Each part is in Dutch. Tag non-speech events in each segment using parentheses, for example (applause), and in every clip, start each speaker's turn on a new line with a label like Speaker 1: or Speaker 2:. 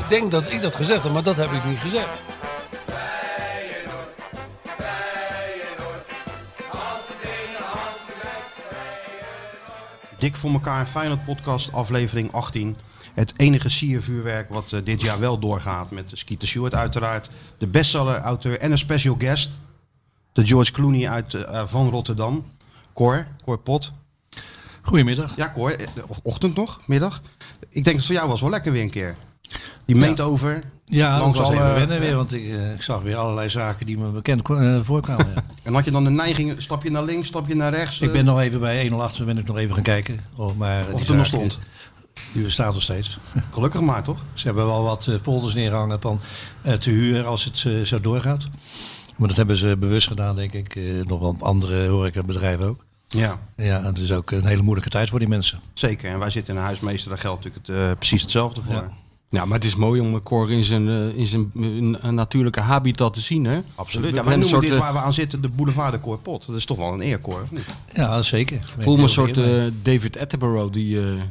Speaker 1: Ik denk dat ik dat gezegd heb, maar dat heb ik niet gezegd.
Speaker 2: Dik voor elkaar, Feyenoord podcast, aflevering 18. Het enige siervuurwerk wat eh, dit jaar wel doorgaat. Met Skeeter Stewart uiteraard, de bestseller, auteur en een special guest. De George Clooney uit, eh, van Rotterdam. Cor, Cor Pot.
Speaker 3: Goedemiddag.
Speaker 2: Ja Cor, eh, of ochtend nog, middag. Ik denk dat het voor jou was wel lekker weer een keer. Die meent over.
Speaker 3: Ja,
Speaker 2: langs
Speaker 3: dat was
Speaker 2: alle-
Speaker 3: even wennen weer, want ik, eh, ik zag weer allerlei zaken die me bekend ko- eh, voorkwamen.
Speaker 2: (laughs)
Speaker 3: ja.
Speaker 2: En had je dan de neiging, stap je naar links, stap je naar rechts?
Speaker 3: Ik
Speaker 2: eh,
Speaker 3: ben nog even bij 108, ben ik nog even gaan kijken. Oh, maar die
Speaker 2: Of het er nog
Speaker 3: zaak,
Speaker 2: stond.
Speaker 3: eh, Die bestaat nog steeds.
Speaker 2: Gelukkig maar, toch?
Speaker 3: Ze hebben wel wat eh, folders neerhangen van eh, te huur als het eh, zo doorgaat. Maar dat hebben ze bewust gedaan, denk ik. Eh, nog wel andere horecabedrijven ook.
Speaker 2: Ja.
Speaker 3: Ja, het is ook een hele moeilijke tijd voor die mensen.
Speaker 2: Zeker, en wij zitten in een huismeester, daar geldt natuurlijk het, eh, precies hetzelfde voor.
Speaker 4: Ja, maar het is mooi om Cor in zijn, eh, in zijn eh, natuurlijke habitat te zien, hè?
Speaker 2: Absoluut.
Speaker 4: We
Speaker 2: Ja,
Speaker 4: hebben
Speaker 2: wij
Speaker 4: een
Speaker 2: noemen
Speaker 4: soort,
Speaker 2: dit
Speaker 4: eh,
Speaker 2: waar we aan zitten de boulevard de Corpot. Dat is toch wel een eer, Cor, of niet?
Speaker 3: Ja, zeker. Ik ben
Speaker 4: voel me een
Speaker 3: heel
Speaker 4: soort
Speaker 3: blij mee.
Speaker 4: eh, David Attenborough die, eh,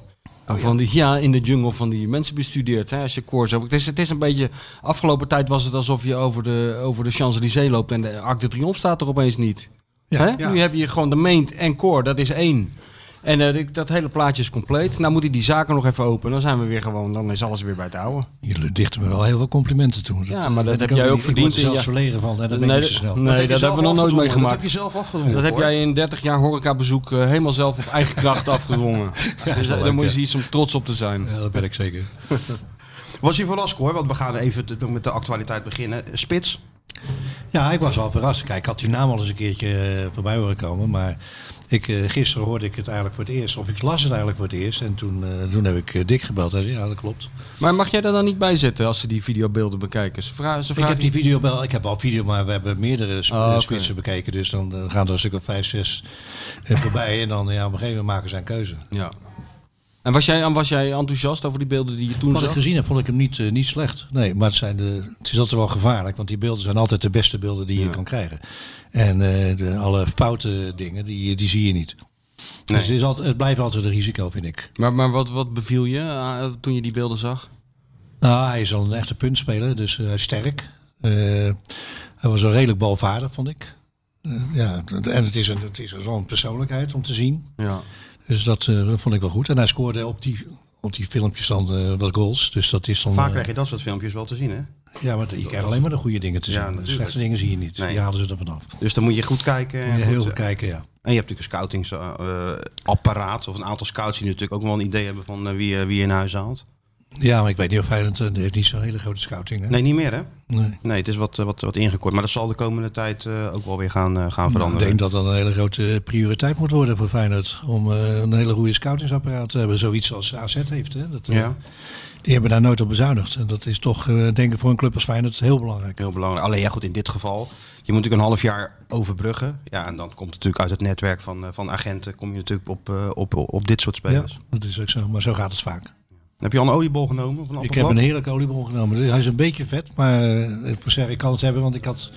Speaker 4: van die ja, in de jungle van die mensen bestudeert. Hè, als je Cor zo... Het is, het is een beetje... Afgelopen tijd was het alsof je over de, over de Champs-Élysées loopt en de Arc de Triomphe staat er opeens niet.
Speaker 3: Ja,
Speaker 4: hè?
Speaker 2: ja.
Speaker 4: Nu heb je gewoon de Meent en Cor, dat is één. En eh, dit- dat hele plaatje is compleet. Nou moet hij die zaken nog even openen. Dan zijn we weer gewoon, dan is alles weer bij het oude.
Speaker 3: Jullie dichten me wel heel veel complimenten toe.
Speaker 4: Ja, maar dat
Speaker 3: ben ik
Speaker 4: heb
Speaker 3: ook
Speaker 4: jij
Speaker 3: niet.
Speaker 4: ook
Speaker 3: Ik
Speaker 4: verdiend
Speaker 3: word
Speaker 4: in
Speaker 3: er zelfs
Speaker 4: je-
Speaker 3: verlegen van. hè, Dat ben
Speaker 4: Nee,
Speaker 3: ik niet zo snel.
Speaker 4: nee,
Speaker 2: heb je
Speaker 4: dat
Speaker 2: zelf
Speaker 4: hebben we nog nooit
Speaker 2: afgedwongen. Dat
Speaker 4: meegemaakt.
Speaker 2: heb je zelf afgedwongen,
Speaker 4: Dat heb
Speaker 2: Cor.
Speaker 4: jij in 30 jaar horecabezoek eh, helemaal zelf op eigen kracht afgedwongen. dus
Speaker 3: wel
Speaker 4: daar
Speaker 3: leuk,
Speaker 4: moet je
Speaker 3: ja.
Speaker 4: iets om trots op te zijn.
Speaker 3: Ja, dat ben ik zeker.
Speaker 2: Was je verrast, Cor? Want we gaan even te- met de actualiteit beginnen. Spits,
Speaker 3: Ja, ik was al verrast. Kijk, ik had die naam al eens een keertje eh, voorbij horen komen. Maar ik, eh, gisteren hoorde ik het eigenlijk voor het eerst. Of ik las het eigenlijk voor het eerst. En toen, eh, toen heb ik eh, Dick gebeld. Hij zei, ja, dat klopt.
Speaker 4: Maar mag jij daar dan niet bij zitten als ze die videobeelden bekijken? Ze vragen, ze
Speaker 3: Ik
Speaker 4: vragen
Speaker 3: heb die video wel, ik heb wel video, maar we hebben meerdere sp-
Speaker 4: Oh, oké.
Speaker 3: spitsen bekeken. Dus dan eh, gaan er een stuk of vijf, zes eh, voorbij. En dan ja, op een gegeven moment maken ze een keuze.
Speaker 4: Ja. En was jij, en was jij enthousiast over die beelden die je toen
Speaker 3: Wat ik
Speaker 4: zag?
Speaker 3: gezien heb, vond ik hem niet, eh, niet slecht. Nee, maar het, zijn de, het is altijd wel gevaarlijk, want die beelden zijn altijd de beste beelden die je kan krijgen. En eh, de, alle foute dingen, die, die zie je niet. Dus het, is altijd, het blijft altijd een risico, vind ik.
Speaker 4: Maar, maar wat, wat beviel je eh, toen je die beelden zag?
Speaker 3: Nou, hij is al een echte puntspeler, dus eh, hij is sterk. Eh, hij was een redelijk balvaardig, vond ik. Eh, ja, en het is, een, het is zo'n persoonlijkheid om te zien.
Speaker 4: Ja.
Speaker 3: Dus dat eh, vond ik wel goed. En hij scoorde op die, op die filmpjes dan eh, wat goals. Dus dat is dan...
Speaker 2: vaak
Speaker 3: eh,
Speaker 2: krijg je dat soort filmpjes wel te zien, hè?
Speaker 3: Ja, maar je krijgt alleen maar de goede dingen te zien. de
Speaker 2: natuurlijk.
Speaker 3: slechte dingen zie je niet.
Speaker 2: Nee.
Speaker 3: Die halen ze er vanaf.
Speaker 2: Dus dan moet je goed kijken. En,
Speaker 3: Ja, heel
Speaker 2: goed,
Speaker 3: veel
Speaker 2: eh,
Speaker 3: kijken, ja.
Speaker 2: en je hebt natuurlijk een scoutingsapparaat. of een aantal scouts die natuurlijk ook wel een idee hebben van eh, wie, eh, wie je in huis haalt.
Speaker 3: Ja, maar ik weet niet of Feyenoord eh, heeft niet zo'n hele grote scouting. Hè?
Speaker 2: Nee, niet meer, hè?
Speaker 3: Nee.
Speaker 2: Nee, het is wat, eh, wat, wat ingekort. Maar dat zal de komende tijd eh, ook wel weer gaan, eh, gaan
Speaker 3: Nou, ik
Speaker 2: veranderen.
Speaker 3: denk dat dat een hele grote eh, prioriteit moet worden voor Feyenoord. Om eh, een hele goede scoutingsapparaat te hebben. Zoiets als AZ heeft. Hè? Dat, eh,
Speaker 2: Ja,
Speaker 3: Die hebben daar nooit op bezuinigd. En dat is toch, eh, denk ik, voor een club als Feyenoord heel belangrijk.
Speaker 2: heel belangrijk. Alleen ja, goed, in dit geval. Je moet natuurlijk een half jaar overbruggen. Ja, en dan komt het natuurlijk uit het netwerk van, eh, van agenten. Kom je natuurlijk op, eh, op, op dit soort
Speaker 3: Ja,
Speaker 2: spelers.
Speaker 3: dat is ook zo. Maar zo gaat het vaak.
Speaker 2: Heb je al een oliebol genomen? Of een
Speaker 3: Ik heb
Speaker 2: appelblad?
Speaker 3: een heerlijke oliebol genomen. Dus Hij is een beetje vet, maar eh, ik moet zeggen, ik kan het hebben, want ik had,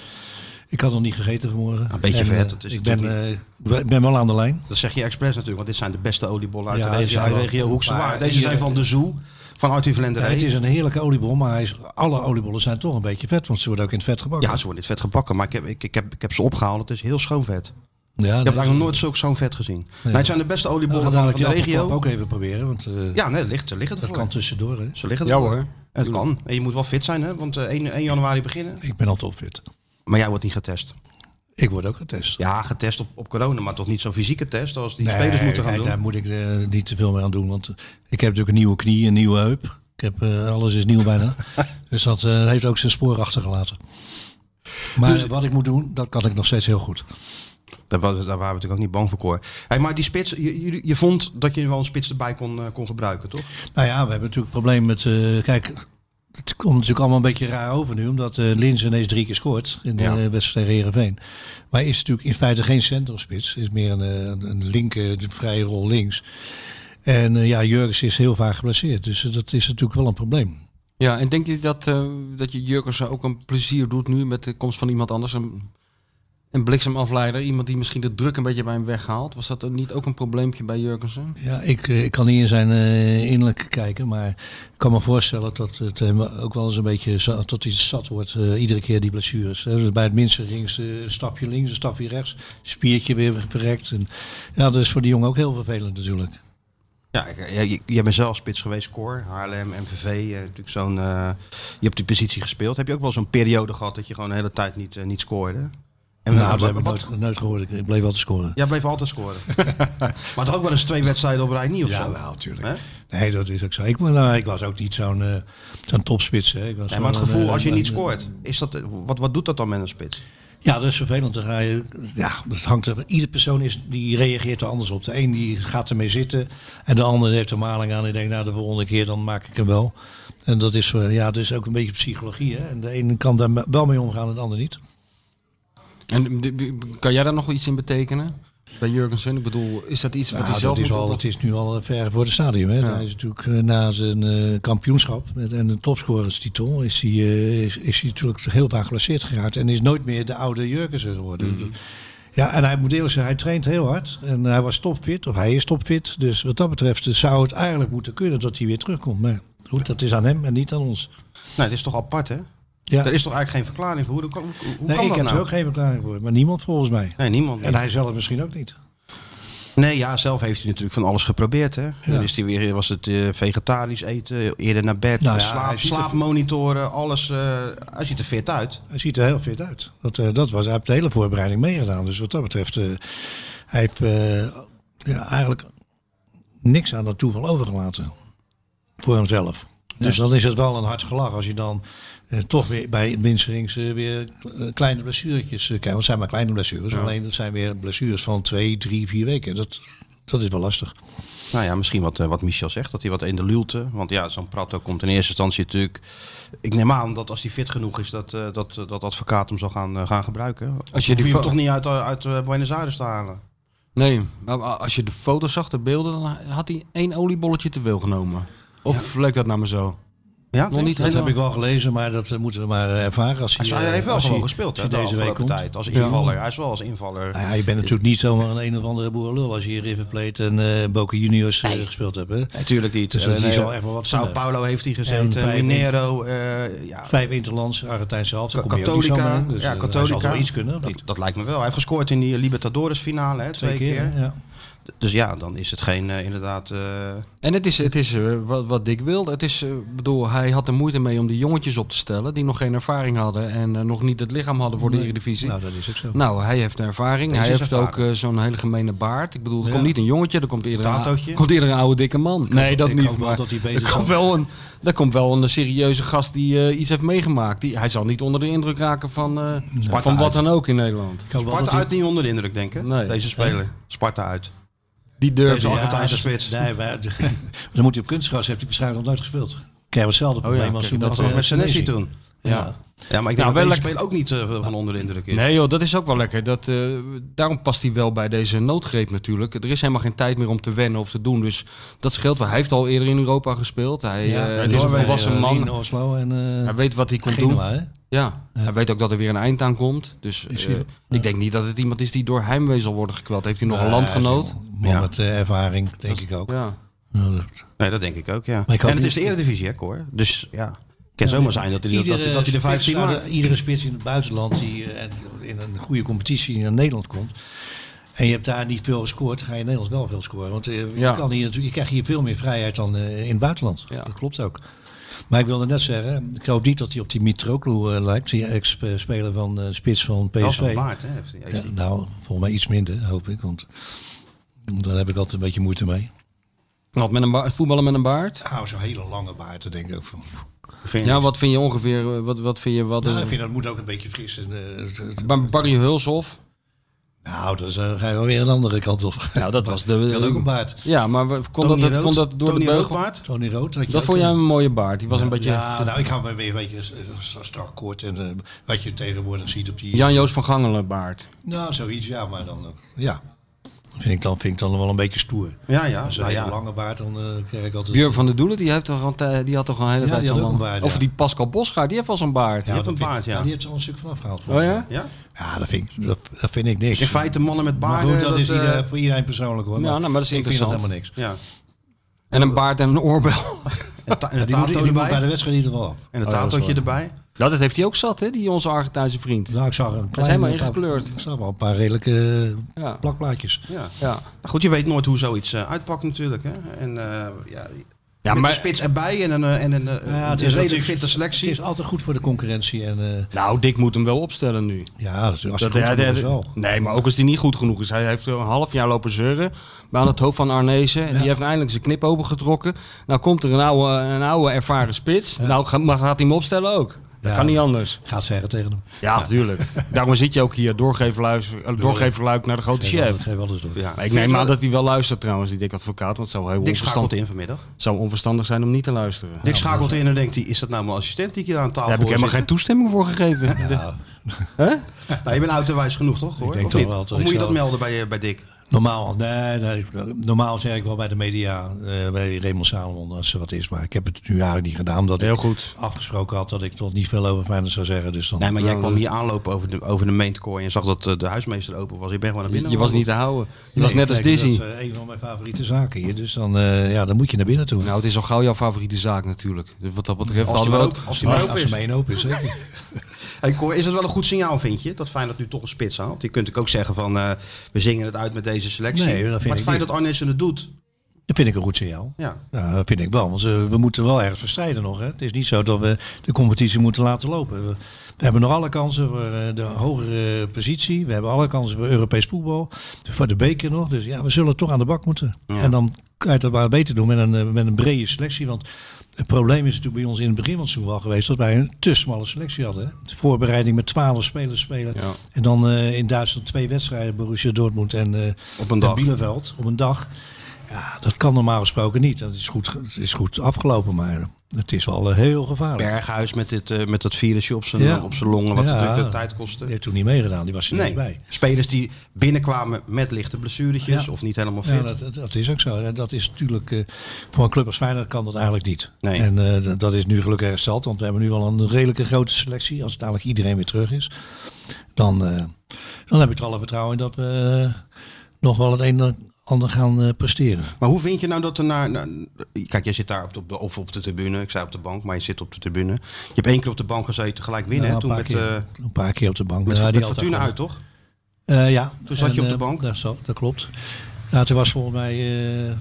Speaker 3: ik had nog niet gegeten vanmorgen.
Speaker 2: Een beetje vet,
Speaker 3: eh,
Speaker 2: dat is
Speaker 3: ik ben,
Speaker 2: natuurlijk
Speaker 3: eh, ik ben wel aan de lijn.
Speaker 2: Dat zeg je expres natuurlijk, want dit zijn de beste oliebollen uit
Speaker 3: Ja,
Speaker 2: de regio,
Speaker 3: die zijn wel-
Speaker 2: regio Hoekse
Speaker 3: maar
Speaker 2: Waard. Deze
Speaker 3: hier-
Speaker 2: zijn van de Zoo, van Arthur
Speaker 3: Ja, het
Speaker 2: Vlenderij.
Speaker 3: is een heerlijke oliebol, maar hij is, alle oliebollen zijn toch een beetje vet, want ze worden ook in het vet gebakken.
Speaker 2: Ja, ze worden in het vet gebakken, maar ik heb, ik, ik, heb, ik heb ze opgehaald. Het is heel schoon vet. Ik
Speaker 3: ja
Speaker 2: heb eigenlijk nog nooit zulk zo'n vet gezien. Nee, het zijn de beste oliebollen van
Speaker 3: dadelijk
Speaker 2: de
Speaker 3: die
Speaker 2: regio.
Speaker 3: appeltap ook even proberen, want eh,
Speaker 2: Ja, nee, ligt, ze liggen
Speaker 3: dat
Speaker 2: ervoor.
Speaker 3: kan tussendoor. Hè.
Speaker 2: Ze liggen
Speaker 4: Ja
Speaker 2: ervoor.
Speaker 4: hoor.
Speaker 2: En het kan. En je moet wel fit zijn, hè? want eh, 1, 1 januari beginnen.
Speaker 3: Ik ben al topfit.
Speaker 2: Maar jij wordt niet getest.
Speaker 3: Ik word ook getest.
Speaker 2: Ja, getest op, op corona, maar toch niet zo'n fysieke test als die
Speaker 3: Nee,
Speaker 2: spelers moeten gaan
Speaker 3: nee,
Speaker 2: doen.
Speaker 3: daar moet ik eh, niet te veel meer aan doen. Want eh, ik heb natuurlijk een nieuwe knie, een nieuwe heup. Ik heb, eh, alles is nieuw
Speaker 2: (laughs)
Speaker 3: bijna. dus dat eh, heeft ook zijn spoor achtergelaten. Maar
Speaker 2: Dus-
Speaker 3: wat ik moet doen, dat kan ik nog steeds heel goed.
Speaker 2: Daar, was- daar waren we natuurlijk ook niet bang voor, Cor. Hey, maar die spits, je, je, je vond dat je wel een spits erbij kon, eh, kon gebruiken, toch?
Speaker 3: Nou ja, we hebben natuurlijk het probleem met... eh, kijk, het komt natuurlijk allemaal een beetje raar over nu, omdat eh Linz ineens drie keer scoort in de
Speaker 2: Ja.
Speaker 3: eh, wedstrijd tegen Heerenveen. Maar hij is natuurlijk in feite geen centrumspits, is meer een, eh, een linker, een vrije rol links. En eh, ja, Jurgens is heel vaak geblesseerd, dus eh, dat is natuurlijk wel een probleem.
Speaker 4: Ja, en denk je dat, eh, dat je Jurgensen ook een plezier doet nu met de komst van iemand anders? Een, een bliksemafleider, iemand die misschien de druk een beetje bij hem weghaalt. Was dat niet ook een probleempje bij Jurgensen?
Speaker 3: Ja, ik, eh, ik kan niet in zijn eh, innerlijk kijken, maar ik kan me voorstellen dat het hem ook wel eens een beetje za- tot iets zat wordt, eh, iedere keer die blessures. Hè. Dus bij het minste links, eh, een stapje links, een stapje rechts, spiertje weer verrekt. En, ja, dat is voor die jongen ook heel vervelend natuurlijk.
Speaker 2: Ja, ik- eh, ja, je, je bent zelf spits geweest, Cor, HLM, MVV. eh, natuurlijk zo'n, eh, je hebt die positie gespeeld. Heb je ook wel zo'n periode gehad dat je gewoon de hele tijd niet, eh, niet scoorde? En
Speaker 3: nou, dat heb
Speaker 2: wat-
Speaker 3: ik nooit, nooit gehoord. Ik- Ik bleef altijd scoren.
Speaker 2: Jij bleef altijd (laughs) scoren. maar toch ook wel eens twee wedstrijden op rij niet of zo?
Speaker 3: natuurlijk.
Speaker 2: Hè?
Speaker 3: Nee, dat is ook zo. Ik, ben- nou, ik was ook niet zo'n eh, zo'n topspits. Hè. Ik was
Speaker 2: Nee, maar het
Speaker 3: wel een,
Speaker 2: gevoel
Speaker 3: eh,
Speaker 2: als je
Speaker 3: een-
Speaker 2: niet scoort, is dat, wat, wat doet dat dan met een spits?
Speaker 3: Ja, dat is vervelend. Dan ga je, ja, dat hangt er, ieder persoon is, die reageert er anders op. De een die gaat ermee zitten en de ander heeft er maling aan. Die denkt, nou de volgende keer dan maak ik hem wel. En dat is, eh, ja, dat is ook een beetje psychologie. Hè. En de ene kan daar me- wel mee omgaan en de ander niet.
Speaker 4: En d- d- kan jij daar nog wel iets in betekenen? Bij Jurgensen? Ik bedoel, is dat iets wat hij
Speaker 3: Nou,
Speaker 4: zelf
Speaker 3: dat is,
Speaker 4: moet
Speaker 3: al,
Speaker 4: op-
Speaker 3: het is nu al ver voor het stadium. Hè.
Speaker 4: Ja.
Speaker 3: Hij is natuurlijk eh, na zijn eh, kampioenschap met- en een topscorerstitel is hij, eh, is, is hij natuurlijk heel vaak geblesseerd geraakt. En is nooit meer de oude Jurgensen geworden.
Speaker 2: Mhm.
Speaker 3: Ja, en hij moet eerlijk zijn, hij traint heel hard. En hij was topfit, of hij is topfit. Dus wat dat betreft eh, zou het eigenlijk moeten kunnen dat hij weer terugkomt. Maar goed, dat is aan hem en niet aan ons.
Speaker 2: Nee, Nou, het is toch apart, hè?
Speaker 3: Ja.
Speaker 2: Er is toch eigenlijk geen verklaring voor? Hoe, hoe, hoe
Speaker 3: Nee,
Speaker 2: kan
Speaker 3: ik
Speaker 2: dat
Speaker 3: heb
Speaker 2: nou?
Speaker 3: er ook geen verklaring voor, maar niemand volgens mij.
Speaker 2: Nee, niemand.
Speaker 3: En hij zelf misschien ook niet.
Speaker 2: Nee, ja, zelf heeft hij natuurlijk van alles geprobeerd. Hè? Dan is hij weer, was het eh, vegetarisch eten, eerder naar bed, eh,
Speaker 3: Nou ja,
Speaker 2: slaap,
Speaker 3: hij ziet er-
Speaker 2: slaapmonitoren, alles. eh, hij ziet er fit uit.
Speaker 3: Hij ziet er heel fit uit. Dat, eh, dat was, hij heeft de hele voorbereiding meegedaan. Dus wat dat betreft, eh, hij heeft eh, ja, eigenlijk niks aan dat toeval overgelaten. Voor hemzelf. Dus dan is het wel een hard gelach als je dan eh, toch weer bij het minsterings eh, weer eh, kleine blessuretjes eh, krijgt. Want het zijn maar kleine blessures. Alleen dat zijn weer blessures van twee, drie, vier weken. Dat, dat is wel lastig.
Speaker 2: Nou ja, misschien wat, eh, wat Michel zegt, dat hij wat in de luwte. Want ja, zo'n Prato komt in eerste instantie natuurlijk... Ik neem aan dat als hij fit genoeg is, dat eh, dat, eh, dat advocaat hem zal gaan, eh, gaan gebruiken.
Speaker 4: Als je
Speaker 2: Hoef
Speaker 4: die
Speaker 2: je hem
Speaker 4: fo-
Speaker 2: toch niet uit, eh, uit eh, Buenos Aires te halen?
Speaker 4: Nee, maar a- als je de foto's zag, de beelden, dan had hij één oliebolletje te veel genomen. Of leuk dat nou maar zo?
Speaker 2: Ja,
Speaker 4: Nog niet
Speaker 3: Dat
Speaker 4: helemaal.
Speaker 3: heb ik wel gelezen, maar dat eh, moeten we maar eh, ervaren. Als hij,
Speaker 2: Hij, hij
Speaker 3: eh,
Speaker 2: heeft wel
Speaker 3: als
Speaker 2: gewoon
Speaker 3: hij-
Speaker 2: gespeeld
Speaker 3: als
Speaker 2: hè,
Speaker 3: hij
Speaker 2: de
Speaker 3: deze week
Speaker 2: afgelopen
Speaker 3: komt.
Speaker 2: tijd. Als invaller. Hij is wel als invaller.
Speaker 3: Nou ja, je bent natuurlijk niet zomaar een een of andere boerenlul als je hier River Plate en eh Boca Juniors eh, gespeeld hebt. Hè?
Speaker 2: Natuurlijk niet.
Speaker 3: Dus
Speaker 2: Eh,
Speaker 3: die
Speaker 2: nee,
Speaker 3: zal echt wel wat
Speaker 2: Sao
Speaker 3: kunnen.
Speaker 2: Paulo heeft hij
Speaker 3: En
Speaker 2: gezeten.
Speaker 3: vijf-
Speaker 2: Minero. eh, ja,
Speaker 3: Vijf Interlands, Argentijnse helft, daar kom je ook niet zomaar
Speaker 2: Katholica.
Speaker 3: in.
Speaker 2: ja,
Speaker 3: Dus, eh, hij
Speaker 2: Katholica.
Speaker 3: zal wel iets kunnen, of
Speaker 2: dat,
Speaker 3: niet?
Speaker 2: dat lijkt me wel. Hij heeft gescoord in die Libertadores finale. Hè, twee, keer.
Speaker 3: hè? Ja.
Speaker 2: Dus ja, dan is het geen eh, inderdaad... eh,
Speaker 4: En het is, het is eh, wat, wat Dick wilde. Het is, eh, bedoel, hij had er moeite mee om die jongetjes op te stellen die nog geen ervaring hadden en eh, nog niet het lichaam hadden voor de Eredivisie.
Speaker 3: Nou,
Speaker 4: Nou,
Speaker 3: dat is ook zo.
Speaker 4: hij heeft ervaring.
Speaker 2: Deze
Speaker 4: hij
Speaker 2: is
Speaker 4: heeft
Speaker 2: ervaren.
Speaker 4: ook eh, zo'n hele gemene baard. Ik bedoel, er
Speaker 3: Ja.
Speaker 4: komt niet een jongetje, er komt eerder,
Speaker 2: Tatootje?
Speaker 4: een, komt eerder een oude dikke man. nee, dat
Speaker 3: ik hoop
Speaker 4: niet.
Speaker 3: wel
Speaker 4: Maar
Speaker 3: dat hij beter
Speaker 4: er, komt
Speaker 3: zal-
Speaker 4: wel een, er komt wel een serieuze gast die eh, iets heeft meegemaakt. Die, hij zal niet onder de indruk raken van, eh, van
Speaker 2: Sparta
Speaker 4: wat
Speaker 2: uit.
Speaker 4: dan ook in Nederland.
Speaker 3: Ik hoop wel dat
Speaker 2: Sparta
Speaker 3: hij- Oh
Speaker 2: uit niet onder de indruk, denk ik.
Speaker 4: Nee.
Speaker 2: Deze speler. Sparta uit.
Speaker 4: Die
Speaker 2: Deze
Speaker 4: derby.
Speaker 2: al- Argentijnse
Speaker 3: dat-
Speaker 2: spits.
Speaker 3: dus- Nee, maar (laughs) dan moet hij op kunstgras, heeft hij waarschijnlijk nog nooit gespeeld. Krijg hetzelfde
Speaker 4: ja,
Speaker 3: probleem als
Speaker 4: kijk,
Speaker 3: toen
Speaker 2: Oh Dat
Speaker 3: met,
Speaker 2: was
Speaker 3: eh,
Speaker 2: met Senesi
Speaker 3: Senesi. Nou,
Speaker 2: toen.
Speaker 3: Ja.
Speaker 2: Ja, maar ik denk dat
Speaker 4: Nou, wel
Speaker 2: deze
Speaker 4: lekker-
Speaker 2: speler ook niet eh, van onder de indruk is.
Speaker 4: Nee joh, dat is ook wel lekker. Dat, eh, daarom past hij wel bij deze noodgreep natuurlijk. Er is helemaal geen tijd meer om te wennen of te doen. Dus dat scheelt wel. Hij heeft al eerder in Europa gespeeld. Hij, eh, het is een
Speaker 3: Noorwegen,
Speaker 4: volwassen man.
Speaker 3: Lien, Oslo en eh,
Speaker 4: Hij weet wat hij kon doen.
Speaker 3: Genoa, hè?
Speaker 4: Ja. Hij weet ook dat er weer een eind aan komt. Dus eh,
Speaker 3: hij-
Speaker 4: ik denk niet dat het iemand is die door heimwee zal worden gekweld. Heeft hij nog een
Speaker 3: Ja,
Speaker 4: landgenoot?
Speaker 3: zo'n Man
Speaker 2: Ja.
Speaker 3: met eh, ervaring, denk ik ook.
Speaker 4: Ja.
Speaker 3: Nou, dat-
Speaker 2: Nee, dat denk ik ook, ja.
Speaker 3: Maar ik hoop
Speaker 2: en het is
Speaker 3: niet-
Speaker 2: de Eredivisie, hè, hoor. Dus ja, het kan zomaar zijn dat hij, dat, dat, dat hij de
Speaker 3: spits
Speaker 2: 15
Speaker 3: uit-
Speaker 2: maakt.
Speaker 3: Iedere spits in het buitenland die eh, in een goede competitie naar Nederland komt. En je hebt daar niet veel gescoord, ga je in Nederland wel veel scoren. Want eh,
Speaker 4: Ja.
Speaker 3: je, kan hier, natuurlijk- je krijgt hier veel meer vrijheid dan eh, in het buitenland.
Speaker 4: Ja.
Speaker 3: Dat klopt ook. Maar ik wilde net zeggen, ik hoop niet dat hij op die Mitroglou eh, lijkt. Die ex-speler van eh, spits van PSV.
Speaker 2: Dat is wel waard, hè. heeft hij- heeft
Speaker 3: Ja,
Speaker 2: hij.
Speaker 3: nou, volgens mij iets minder, hoop ik. Want daar heb ik altijd een beetje moeite mee.
Speaker 4: Wat met een ba- voetballen met een baard?
Speaker 3: Nou, zo'n hele lange baard, dat denk ik ook van.
Speaker 2: Vind je
Speaker 4: Ja,
Speaker 2: niet?
Speaker 4: wat vind je ongeveer? eh, Wat, wat vind je? Wat,
Speaker 3: Nou,
Speaker 4: eh,
Speaker 3: ik vind dat moet ook een beetje fris. En, eh, het- het-
Speaker 4: Bar- Barry Hulshoff?
Speaker 3: Nou, dat is, eh, ga je wel weer een andere kant op.
Speaker 4: Nou, dat was de...
Speaker 3: Ik had ook een baard.
Speaker 4: Ja, maar we- kon
Speaker 2: Tony
Speaker 4: dat,
Speaker 2: Rood,
Speaker 4: kon dat door
Speaker 2: Tony
Speaker 4: de beugel?
Speaker 2: Roodbaard.
Speaker 3: Tony Rood. had je
Speaker 4: Dat
Speaker 3: ook
Speaker 4: vond jij
Speaker 3: een-
Speaker 4: een mooie baard. Die was een beetje...
Speaker 3: Ja, nou, ik hou me weer een beetje eh, stra- strak kort. En eh, wat je tegenwoordig ziet op die...
Speaker 4: Jan-Joos van Gangelen baard.
Speaker 3: Nou, zoiets, ja, maar dan... eh, Ja. Vind ik, dan, vind ik dan wel een beetje stoer.
Speaker 2: Ja, ja.
Speaker 3: Als een
Speaker 2: nou
Speaker 3: hele
Speaker 2: ja.
Speaker 3: lange baard, dan eh, krijg ik altijd...
Speaker 4: Björn van der Doelen, die, heeft toch al, tij- die had toch al een hele
Speaker 3: Ja,
Speaker 4: tijd
Speaker 3: die had
Speaker 4: zo'n
Speaker 3: ook een
Speaker 4: lang-
Speaker 3: baard,
Speaker 4: Of
Speaker 3: ja.
Speaker 4: die Pascal Bosgaard, die heeft wel zo'n baard.
Speaker 2: Ja. die had een
Speaker 3: dat vind
Speaker 2: baard,
Speaker 3: ik-
Speaker 2: ja.
Speaker 3: Die heeft er al een stuk van afgehaald.
Speaker 4: Oh
Speaker 3: volgens mij.
Speaker 4: ja?
Speaker 2: Ja?
Speaker 3: Ja, dat vind ik, dat, dat vind ik niks.
Speaker 2: In feite mannen met
Speaker 3: maar
Speaker 2: baarden.
Speaker 3: goed, dat, is
Speaker 2: eh,
Speaker 3: ieder- voor iedereen persoonlijk hoor.
Speaker 4: Ja, nou, maar dat is
Speaker 3: ik vind dat
Speaker 4: interessant.
Speaker 3: helemaal niks.
Speaker 2: ja.
Speaker 4: En een baard en een (laughs) oorbel.
Speaker 2: En, ta- en een
Speaker 3: Die moet,
Speaker 2: tato
Speaker 3: die moet bij
Speaker 2: erbij.
Speaker 3: de wedstrijd in ieder geval af.
Speaker 2: En een
Speaker 4: Oh ja, dat is
Speaker 2: tatootje
Speaker 4: waar.
Speaker 2: erbij.
Speaker 4: Nou, Dat, dat heeft hij ook zat, hè? Die onze Argentijnse vriend.
Speaker 3: Nou, ik zag een klein...
Speaker 4: helemaal
Speaker 3: een paar-
Speaker 4: ingekleurd.
Speaker 3: Ik zag wel een paar redelijke eh,
Speaker 4: Ja.
Speaker 3: plakplaatjes.
Speaker 2: Ja.
Speaker 4: Ja.
Speaker 2: Nou goed, je weet nooit hoe zoiets eh, uitpakt natuurlijk. Hè? En eh, ja,
Speaker 4: Ja,
Speaker 2: met
Speaker 4: maar-
Speaker 2: een spits erbij en een, eh, en een, eh,
Speaker 3: Ja,
Speaker 2: een
Speaker 3: het is
Speaker 2: redelijk
Speaker 3: natuurlijk-
Speaker 2: fitte
Speaker 3: Het
Speaker 2: selectie.
Speaker 3: is altijd goed voor de concurrentie. En, eh,
Speaker 4: Nou, Dick moet hem wel opstellen nu.
Speaker 3: ja, als het goed
Speaker 4: hij-
Speaker 3: genoeg
Speaker 4: hij-
Speaker 3: is wel.
Speaker 4: nee, maar ook als hij niet goed genoeg is. Hij heeft er een half jaar lopen zeuren. Maar aan het hoofd van Arnezen. En die heeft eindelijk zijn knip opengetrokken. Nou komt er een oude, een oude ervaren spits. Nou ga- maar gaat hij hem opstellen ook. Dat
Speaker 3: Ja.
Speaker 4: kan niet anders.
Speaker 3: Gaat zeggen tegen hem.
Speaker 4: Ja, natuurlijk. Daarom zit je ook hier, doorgeverluik doorgeverluik naar de grote
Speaker 3: Geef wel-
Speaker 4: chef.
Speaker 3: Geef alles door.
Speaker 2: Ja.
Speaker 4: Maar ik neem aan dat hij wel luistert trouwens, die dik advocaat. Want het zou heel
Speaker 2: Dick schakelt
Speaker 4: onverstandig,
Speaker 2: in vanmiddag.
Speaker 4: zou onverstandig zijn om niet te luisteren.
Speaker 2: Dick schakelt in en denkt, hij, is dat nou mijn assistent die ik hier aan tafel
Speaker 4: Daar heb ik helemaal geen toestemming voor gegeven.
Speaker 3: Ja,
Speaker 2: geen... Nou, je bent autowijs genoeg toch? Hoor?
Speaker 3: denk
Speaker 2: Of
Speaker 3: toch
Speaker 2: niet?
Speaker 3: wel
Speaker 2: Of
Speaker 3: dat
Speaker 2: moet
Speaker 3: ik
Speaker 2: je dat
Speaker 3: zou-
Speaker 2: melden bij, eh, bij Dick?
Speaker 3: normaal, nee, nee, normaal zeg ik wel bij de media, eh, bij Raymond Salomon, als er wat is. Maar ik heb het nu eigenlijk niet gedaan, omdat
Speaker 4: Heel
Speaker 3: ik
Speaker 4: goed.
Speaker 3: afgesproken had dat ik toch niet veel over Feyenoord zou zeggen. Dus dan,
Speaker 2: Nee, maar jij
Speaker 4: Nou,
Speaker 2: kwam
Speaker 4: dat-
Speaker 2: hier aanlopen over de, over de maintkooi en zag dat eh, de huismeester open was. Ik ben gewoon naar
Speaker 4: Je,
Speaker 2: binnen.
Speaker 4: je was niet te houden. Je was net als
Speaker 3: kijk,
Speaker 4: Dizzy.
Speaker 3: Dat is eh, een van mijn favoriete zaken hier. Dus dan, eh, ja, dan moet je naar binnen toe.
Speaker 4: Nou, het is al gauw jouw favoriete zaak natuurlijk. Dus wat dat betreft
Speaker 2: Als die
Speaker 4: hadden we
Speaker 2: maar
Speaker 4: het-
Speaker 2: open- als die maar
Speaker 3: als,
Speaker 2: open
Speaker 3: als
Speaker 2: is.
Speaker 3: er maar één open is, zeker.
Speaker 2: Hey Cor, is het wel een goed signaal, vind je? Dat Feyenoord nu toch een spits haalt? Je kunt ook zeggen van, eh, we zingen het uit met deze selectie.
Speaker 3: Nee, dat
Speaker 2: maar
Speaker 3: vind ik
Speaker 2: het feit
Speaker 3: niet.
Speaker 2: dat Arnissen het doet.
Speaker 3: Dat vind ik een goed signaal.
Speaker 2: Ja.
Speaker 3: Ja, dat vind ik wel. Want eh, we moeten wel ergens verstrijden nog. Hè. Het is niet zo dat we de competitie moeten laten lopen. We, we hebben nog alle kansen voor eh, de hogere eh, positie. We hebben alle kansen voor Europees voetbal. Voor de beker nog. Dus ja, we zullen toch aan de bak moeten. En dan kan je dat maar beter doen met een, eh, met een brede selectie. Want het probleem is natuurlijk bij ons in het begin van het seizoen wel geweest... dat wij een te smalle selectie hadden. Hè. De voorbereiding met 12 spelers spelen.
Speaker 4: Ja.
Speaker 3: En dan eh, in Duitsland twee wedstrijden. Borussia Dortmund en, eh,
Speaker 2: Op een
Speaker 3: en
Speaker 2: dag.
Speaker 3: Bielefeld op een dag. Ja, dat kan normaal gesproken niet. Dat is goed, het is goed afgelopen, maar het is wel eh, heel gevaarlijk.
Speaker 2: Berghuis met, dit, eh, met dat virusje op zijn,
Speaker 3: Ja.
Speaker 2: op zijn longen, wat
Speaker 3: Ja.
Speaker 2: natuurlijk de tijd
Speaker 3: Die
Speaker 2: kostte.
Speaker 3: heeft toen niet meegedaan, die was er
Speaker 2: Nee,
Speaker 3: niet bij.
Speaker 2: spelers die binnenkwamen met lichte blessuretjes
Speaker 3: Ja.
Speaker 2: Dus of niet helemaal fit.
Speaker 3: Ja, dat, dat is ook zo. En Dat is natuurlijk, eh, voor een club als Feyenoord kan dat eigenlijk niet.
Speaker 2: Nee.
Speaker 3: En eh, dat- dat is nu gelukkig hersteld, want we hebben nu al een redelijke grote selectie. Als dadelijk iedereen weer terug is, dan, eh, dan heb ik er alle vertrouwen in dat we eh, nog wel het een en ander gaan eh, presteren.
Speaker 2: Maar hoe vind je nou dat er naar... naar- kijk, jij zit daar op de, op de, of op de tribune. Ik zei op de bank, maar je zit op de tribune. Je hebt één keer op de bank gezeten, gelijk winnen. hè?
Speaker 3: Nou,
Speaker 2: Toen
Speaker 3: een,
Speaker 2: met,
Speaker 3: paar
Speaker 2: eh,
Speaker 3: keer, een paar keer op de bank.
Speaker 2: met,
Speaker 3: Ja, die
Speaker 2: met
Speaker 3: had
Speaker 2: Fortuna
Speaker 3: daar-
Speaker 2: uit, toch?
Speaker 3: Eh, ja.
Speaker 2: Toen zat je op de
Speaker 3: eh,
Speaker 2: bank?
Speaker 3: Dat, zo, dat klopt. Ja, toen was volgens mij eh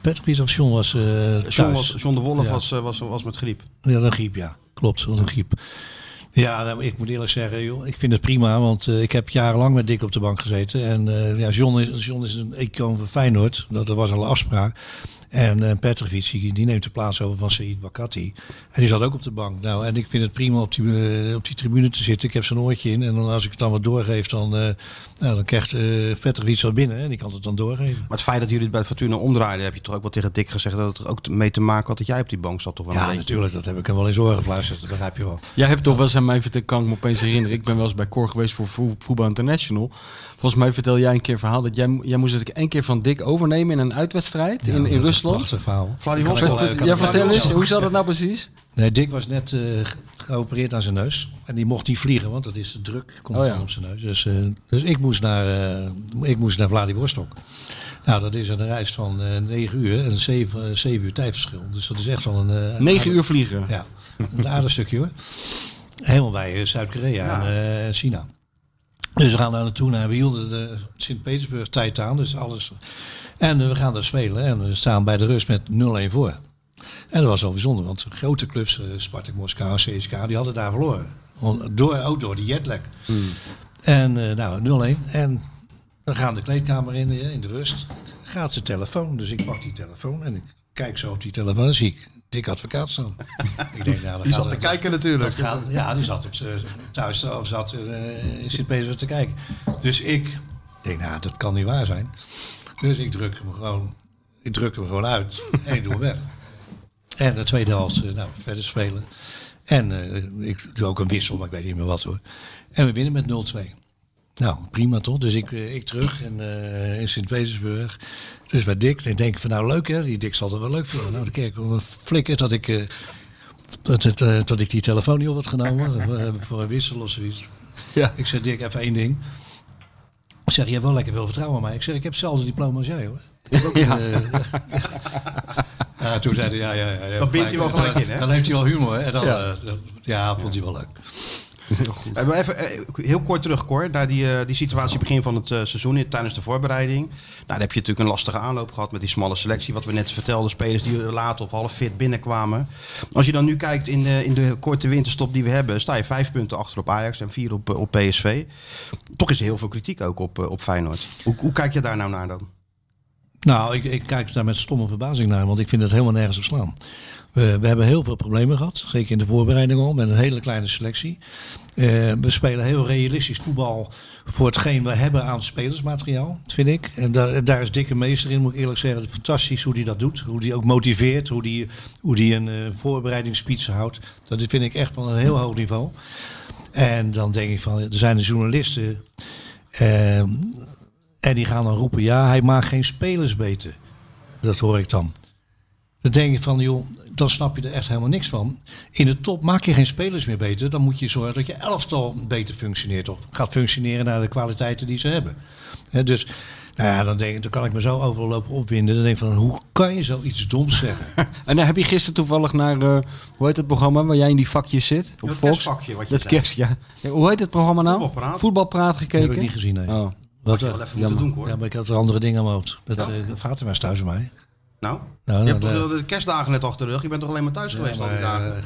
Speaker 3: Patrick of John was eh thuis.
Speaker 2: John, was, John de Wolf
Speaker 3: Ja.
Speaker 2: was, eh, was, was met griep.
Speaker 3: Ja, dat griep, ja. Klopt, dat griep. Ja, nou, ik moet eerlijk zeggen, joh, ik vind het prima, want eh, ik heb jarenlang met Dick op de bank gezeten. En eh, ja, John is, John is een icoon van Feyenoord, dat, dat was al een afspraak. En eh Petrovic, die, die neemt de plaats over van Said Bakati. En die zat ook op de bank. Nou, en ik vind het prima op die, eh, op die tribune te zitten. Ik heb zo'n oortje in en dan, als ik het dan wat doorgeef, dan, eh, nou, dan krijgt eh Petrovic wat binnen en die kan het dan doorgeven.
Speaker 2: Maar het feit dat jullie het bij Fortuna omdraaiden, heb je toch ook wel tegen Dick gezegd dat het er ook mee te maken had dat jij op die bank zat toch wel een
Speaker 3: Ja,
Speaker 2: beetje.
Speaker 3: natuurlijk, dat heb ik hem wel eens oren gefluisterd, dat begrijp je wel.
Speaker 4: Jij hebt toch wel eens aan mij verteld, kan ik me opeens herinneren. Ik ben wel eens bij Cor geweest voor Vo- Voetbal International. Volgens mij vertel jij een keer een verhaal dat jij, jij moest het één keer van Dick overnemen in een uitwedstrijd
Speaker 3: Ja,
Speaker 4: in,
Speaker 3: dat is
Speaker 4: in
Speaker 3: een
Speaker 4: Rusland.
Speaker 3: Prachtig verhaal.
Speaker 2: Vladivostok.
Speaker 3: Kan ik wel- eh,
Speaker 4: Ver-
Speaker 3: kan ik
Speaker 4: ver- Ja,
Speaker 3: wel-
Speaker 4: vertel
Speaker 2: Vladivostok.
Speaker 4: eens, hoe zat dat nou precies?
Speaker 3: Nee, Dick was net eh, geopereerd aan zijn neus. En die mocht niet vliegen, want dat is de druk. Komt
Speaker 4: Oh ja.
Speaker 3: dan op zijn neus. Dus, eh, dus ik, moest naar, eh, ik moest naar Vladivostok. Nou, dat is een reis van eh 9 uur en 7, eh, 7 uur tijdverschil. Dus dat is echt wel een... eh,
Speaker 4: 9
Speaker 3: aardig-
Speaker 4: uur vliegen.
Speaker 3: Ja, een aardig stukje hoor. Helemaal bij eh, Zuid-Korea en eh, China. Dus we gaan daar naartoe en we hielden de Sint-Petersburg tijd aan. Dus alles. En eh, we gaan daar spelen en we staan bij de rust met 0-1 voor. En dat was wel bijzonder, want grote clubs, eh, Spartak Moskou, CSK, die hadden daar verloren. Om- Door, ook door die jetlag. En eh, nou, 0-1. En dan gaan de kleedkamer in, eh, in de rust. Gaat de telefoon. Dus ik pak die telefoon en ik kijk zo op die telefoon. Dan zie ik dik advocaat staan. ik denk, nou, die
Speaker 2: natuurlijk.
Speaker 3: dat eh, gaat- ja, die zat op z'n- thuis of zat eh, in sint Petersburg te kijken. Dus ik Ik denk, nou, dat kan niet waar zijn. Dus ik druk hem gewoon, ik druk hem gewoon uit en ik doe hem weg. En de tweede helft, eh, nou, verder spelen. En eh, ik doe ook een wissel, maar ik weet niet meer wat hoor. En we winnen met 0-2. Nou, prima toch? Dus ik, eh, ik terug en, eh, in Sint-Petersburg. Dus bij Dick. En ik denk van nou leuk hè, die Dick zal er wel leuk vinden. Nou, de kerk flikker dat ik, eh, dat, dat, eh, dat ik die telefoon niet op had genomen. eh, voor een wissel of zoiets.
Speaker 4: Ja.
Speaker 3: Ik zeg Dick, even één ding. Ik zeg, je hebt wel lekker veel vertrouwen in mij. Ik zeg, ik heb hetzelfde diploma als jij hoor. Ik heb ook een, eh, (laughs) ja, toen zei hij, ja, ja, ja. ja
Speaker 2: Dan bindt hij wel
Speaker 3: dan-
Speaker 2: gelijk in, hè?
Speaker 3: Dan heeft hij wel humor, hè? En dan,
Speaker 4: Ja.
Speaker 3: ja. ja, vond hij wel leuk.
Speaker 2: Eh, maar Even eh, heel kort terug, Cor, naar die, eh, die situatie begin van het eh, seizoen in- tijdens de voorbereiding. Nou, daar heb je natuurlijk een lastige aanloop gehad met die smalle selectie. Wat we net vertelden, spelers die later op half fit binnenkwamen. Als je dan nu kijkt in de, in de korte winterstop die we hebben, sta je vijf punten achter op Ajax en vier op, eh, op PSV. Toch is er heel veel kritiek ook op, eh, op Feyenoord. Hoe, hoe kijk je daar nou naar dan?
Speaker 3: Nou, ik, ik kijk daar met stomme verbazing naar, want ik vind het helemaal nergens op slaan. We, we hebben heel veel problemen gehad, zeker in de voorbereiding al, met een hele kleine selectie. Eh, we spelen heel realistisch voetbal voor hetgeen we hebben aan spelersmateriaal, vind ik. En daar daar is dikke meester in, moet ik eerlijk zeggen. Fantastisch hoe hij dat doet, hoe hij ook motiveert, hoe hij hoe die een eh, voorbereidingsspeech houdt. Dat vind ik echt van een heel hoog niveau. En dan denk ik van, er zijn de journalisten... ehm, en die gaan dan roepen, ja, hij maakt geen spelers beter. Dat hoor ik dan. Dan denk ik van, joh, dan snap je er echt helemaal niks van. In de top maak je geen spelers meer beter. Dan moet je zorgen dat je elftal beter functioneert. Of gaat functioneren naar de kwaliteiten die ze hebben. Hè, dus, nou ja, dan, denk ik, dan kan ik me zo overal lopen opwinden. Dan denk ik van, hoe kan je zoiets doms zeggen?
Speaker 4: En dan heb je gisteren toevallig naar, eh, hoe heet het programma waar jij in die vakjes zit? Op
Speaker 2: Dat
Speaker 4: Fox?
Speaker 2: kerstvakje wat je
Speaker 4: Dat
Speaker 2: zei.
Speaker 4: kerst, ja. Ja, Hoe heet het programma nou?
Speaker 2: Voetbalpraat.
Speaker 4: Voetbalpraat gekeken?
Speaker 3: heb ik niet gezien, nee.
Speaker 4: Oh.
Speaker 3: Wat,
Speaker 2: Wel
Speaker 3: eh,
Speaker 2: even moeten
Speaker 4: jammer.
Speaker 2: doen, Cor.
Speaker 3: ja, maar ik had er andere dingen aan mijn hoofd. Met eh Fatima is thuis bij mij.
Speaker 2: Nou,
Speaker 3: Nou,
Speaker 2: je hebt
Speaker 3: nou,
Speaker 2: toch de, de kerstdagen net achter de rug? Je bent toch alleen maar thuis geweest al die
Speaker 3: Maar,
Speaker 2: dagen?
Speaker 3: eh,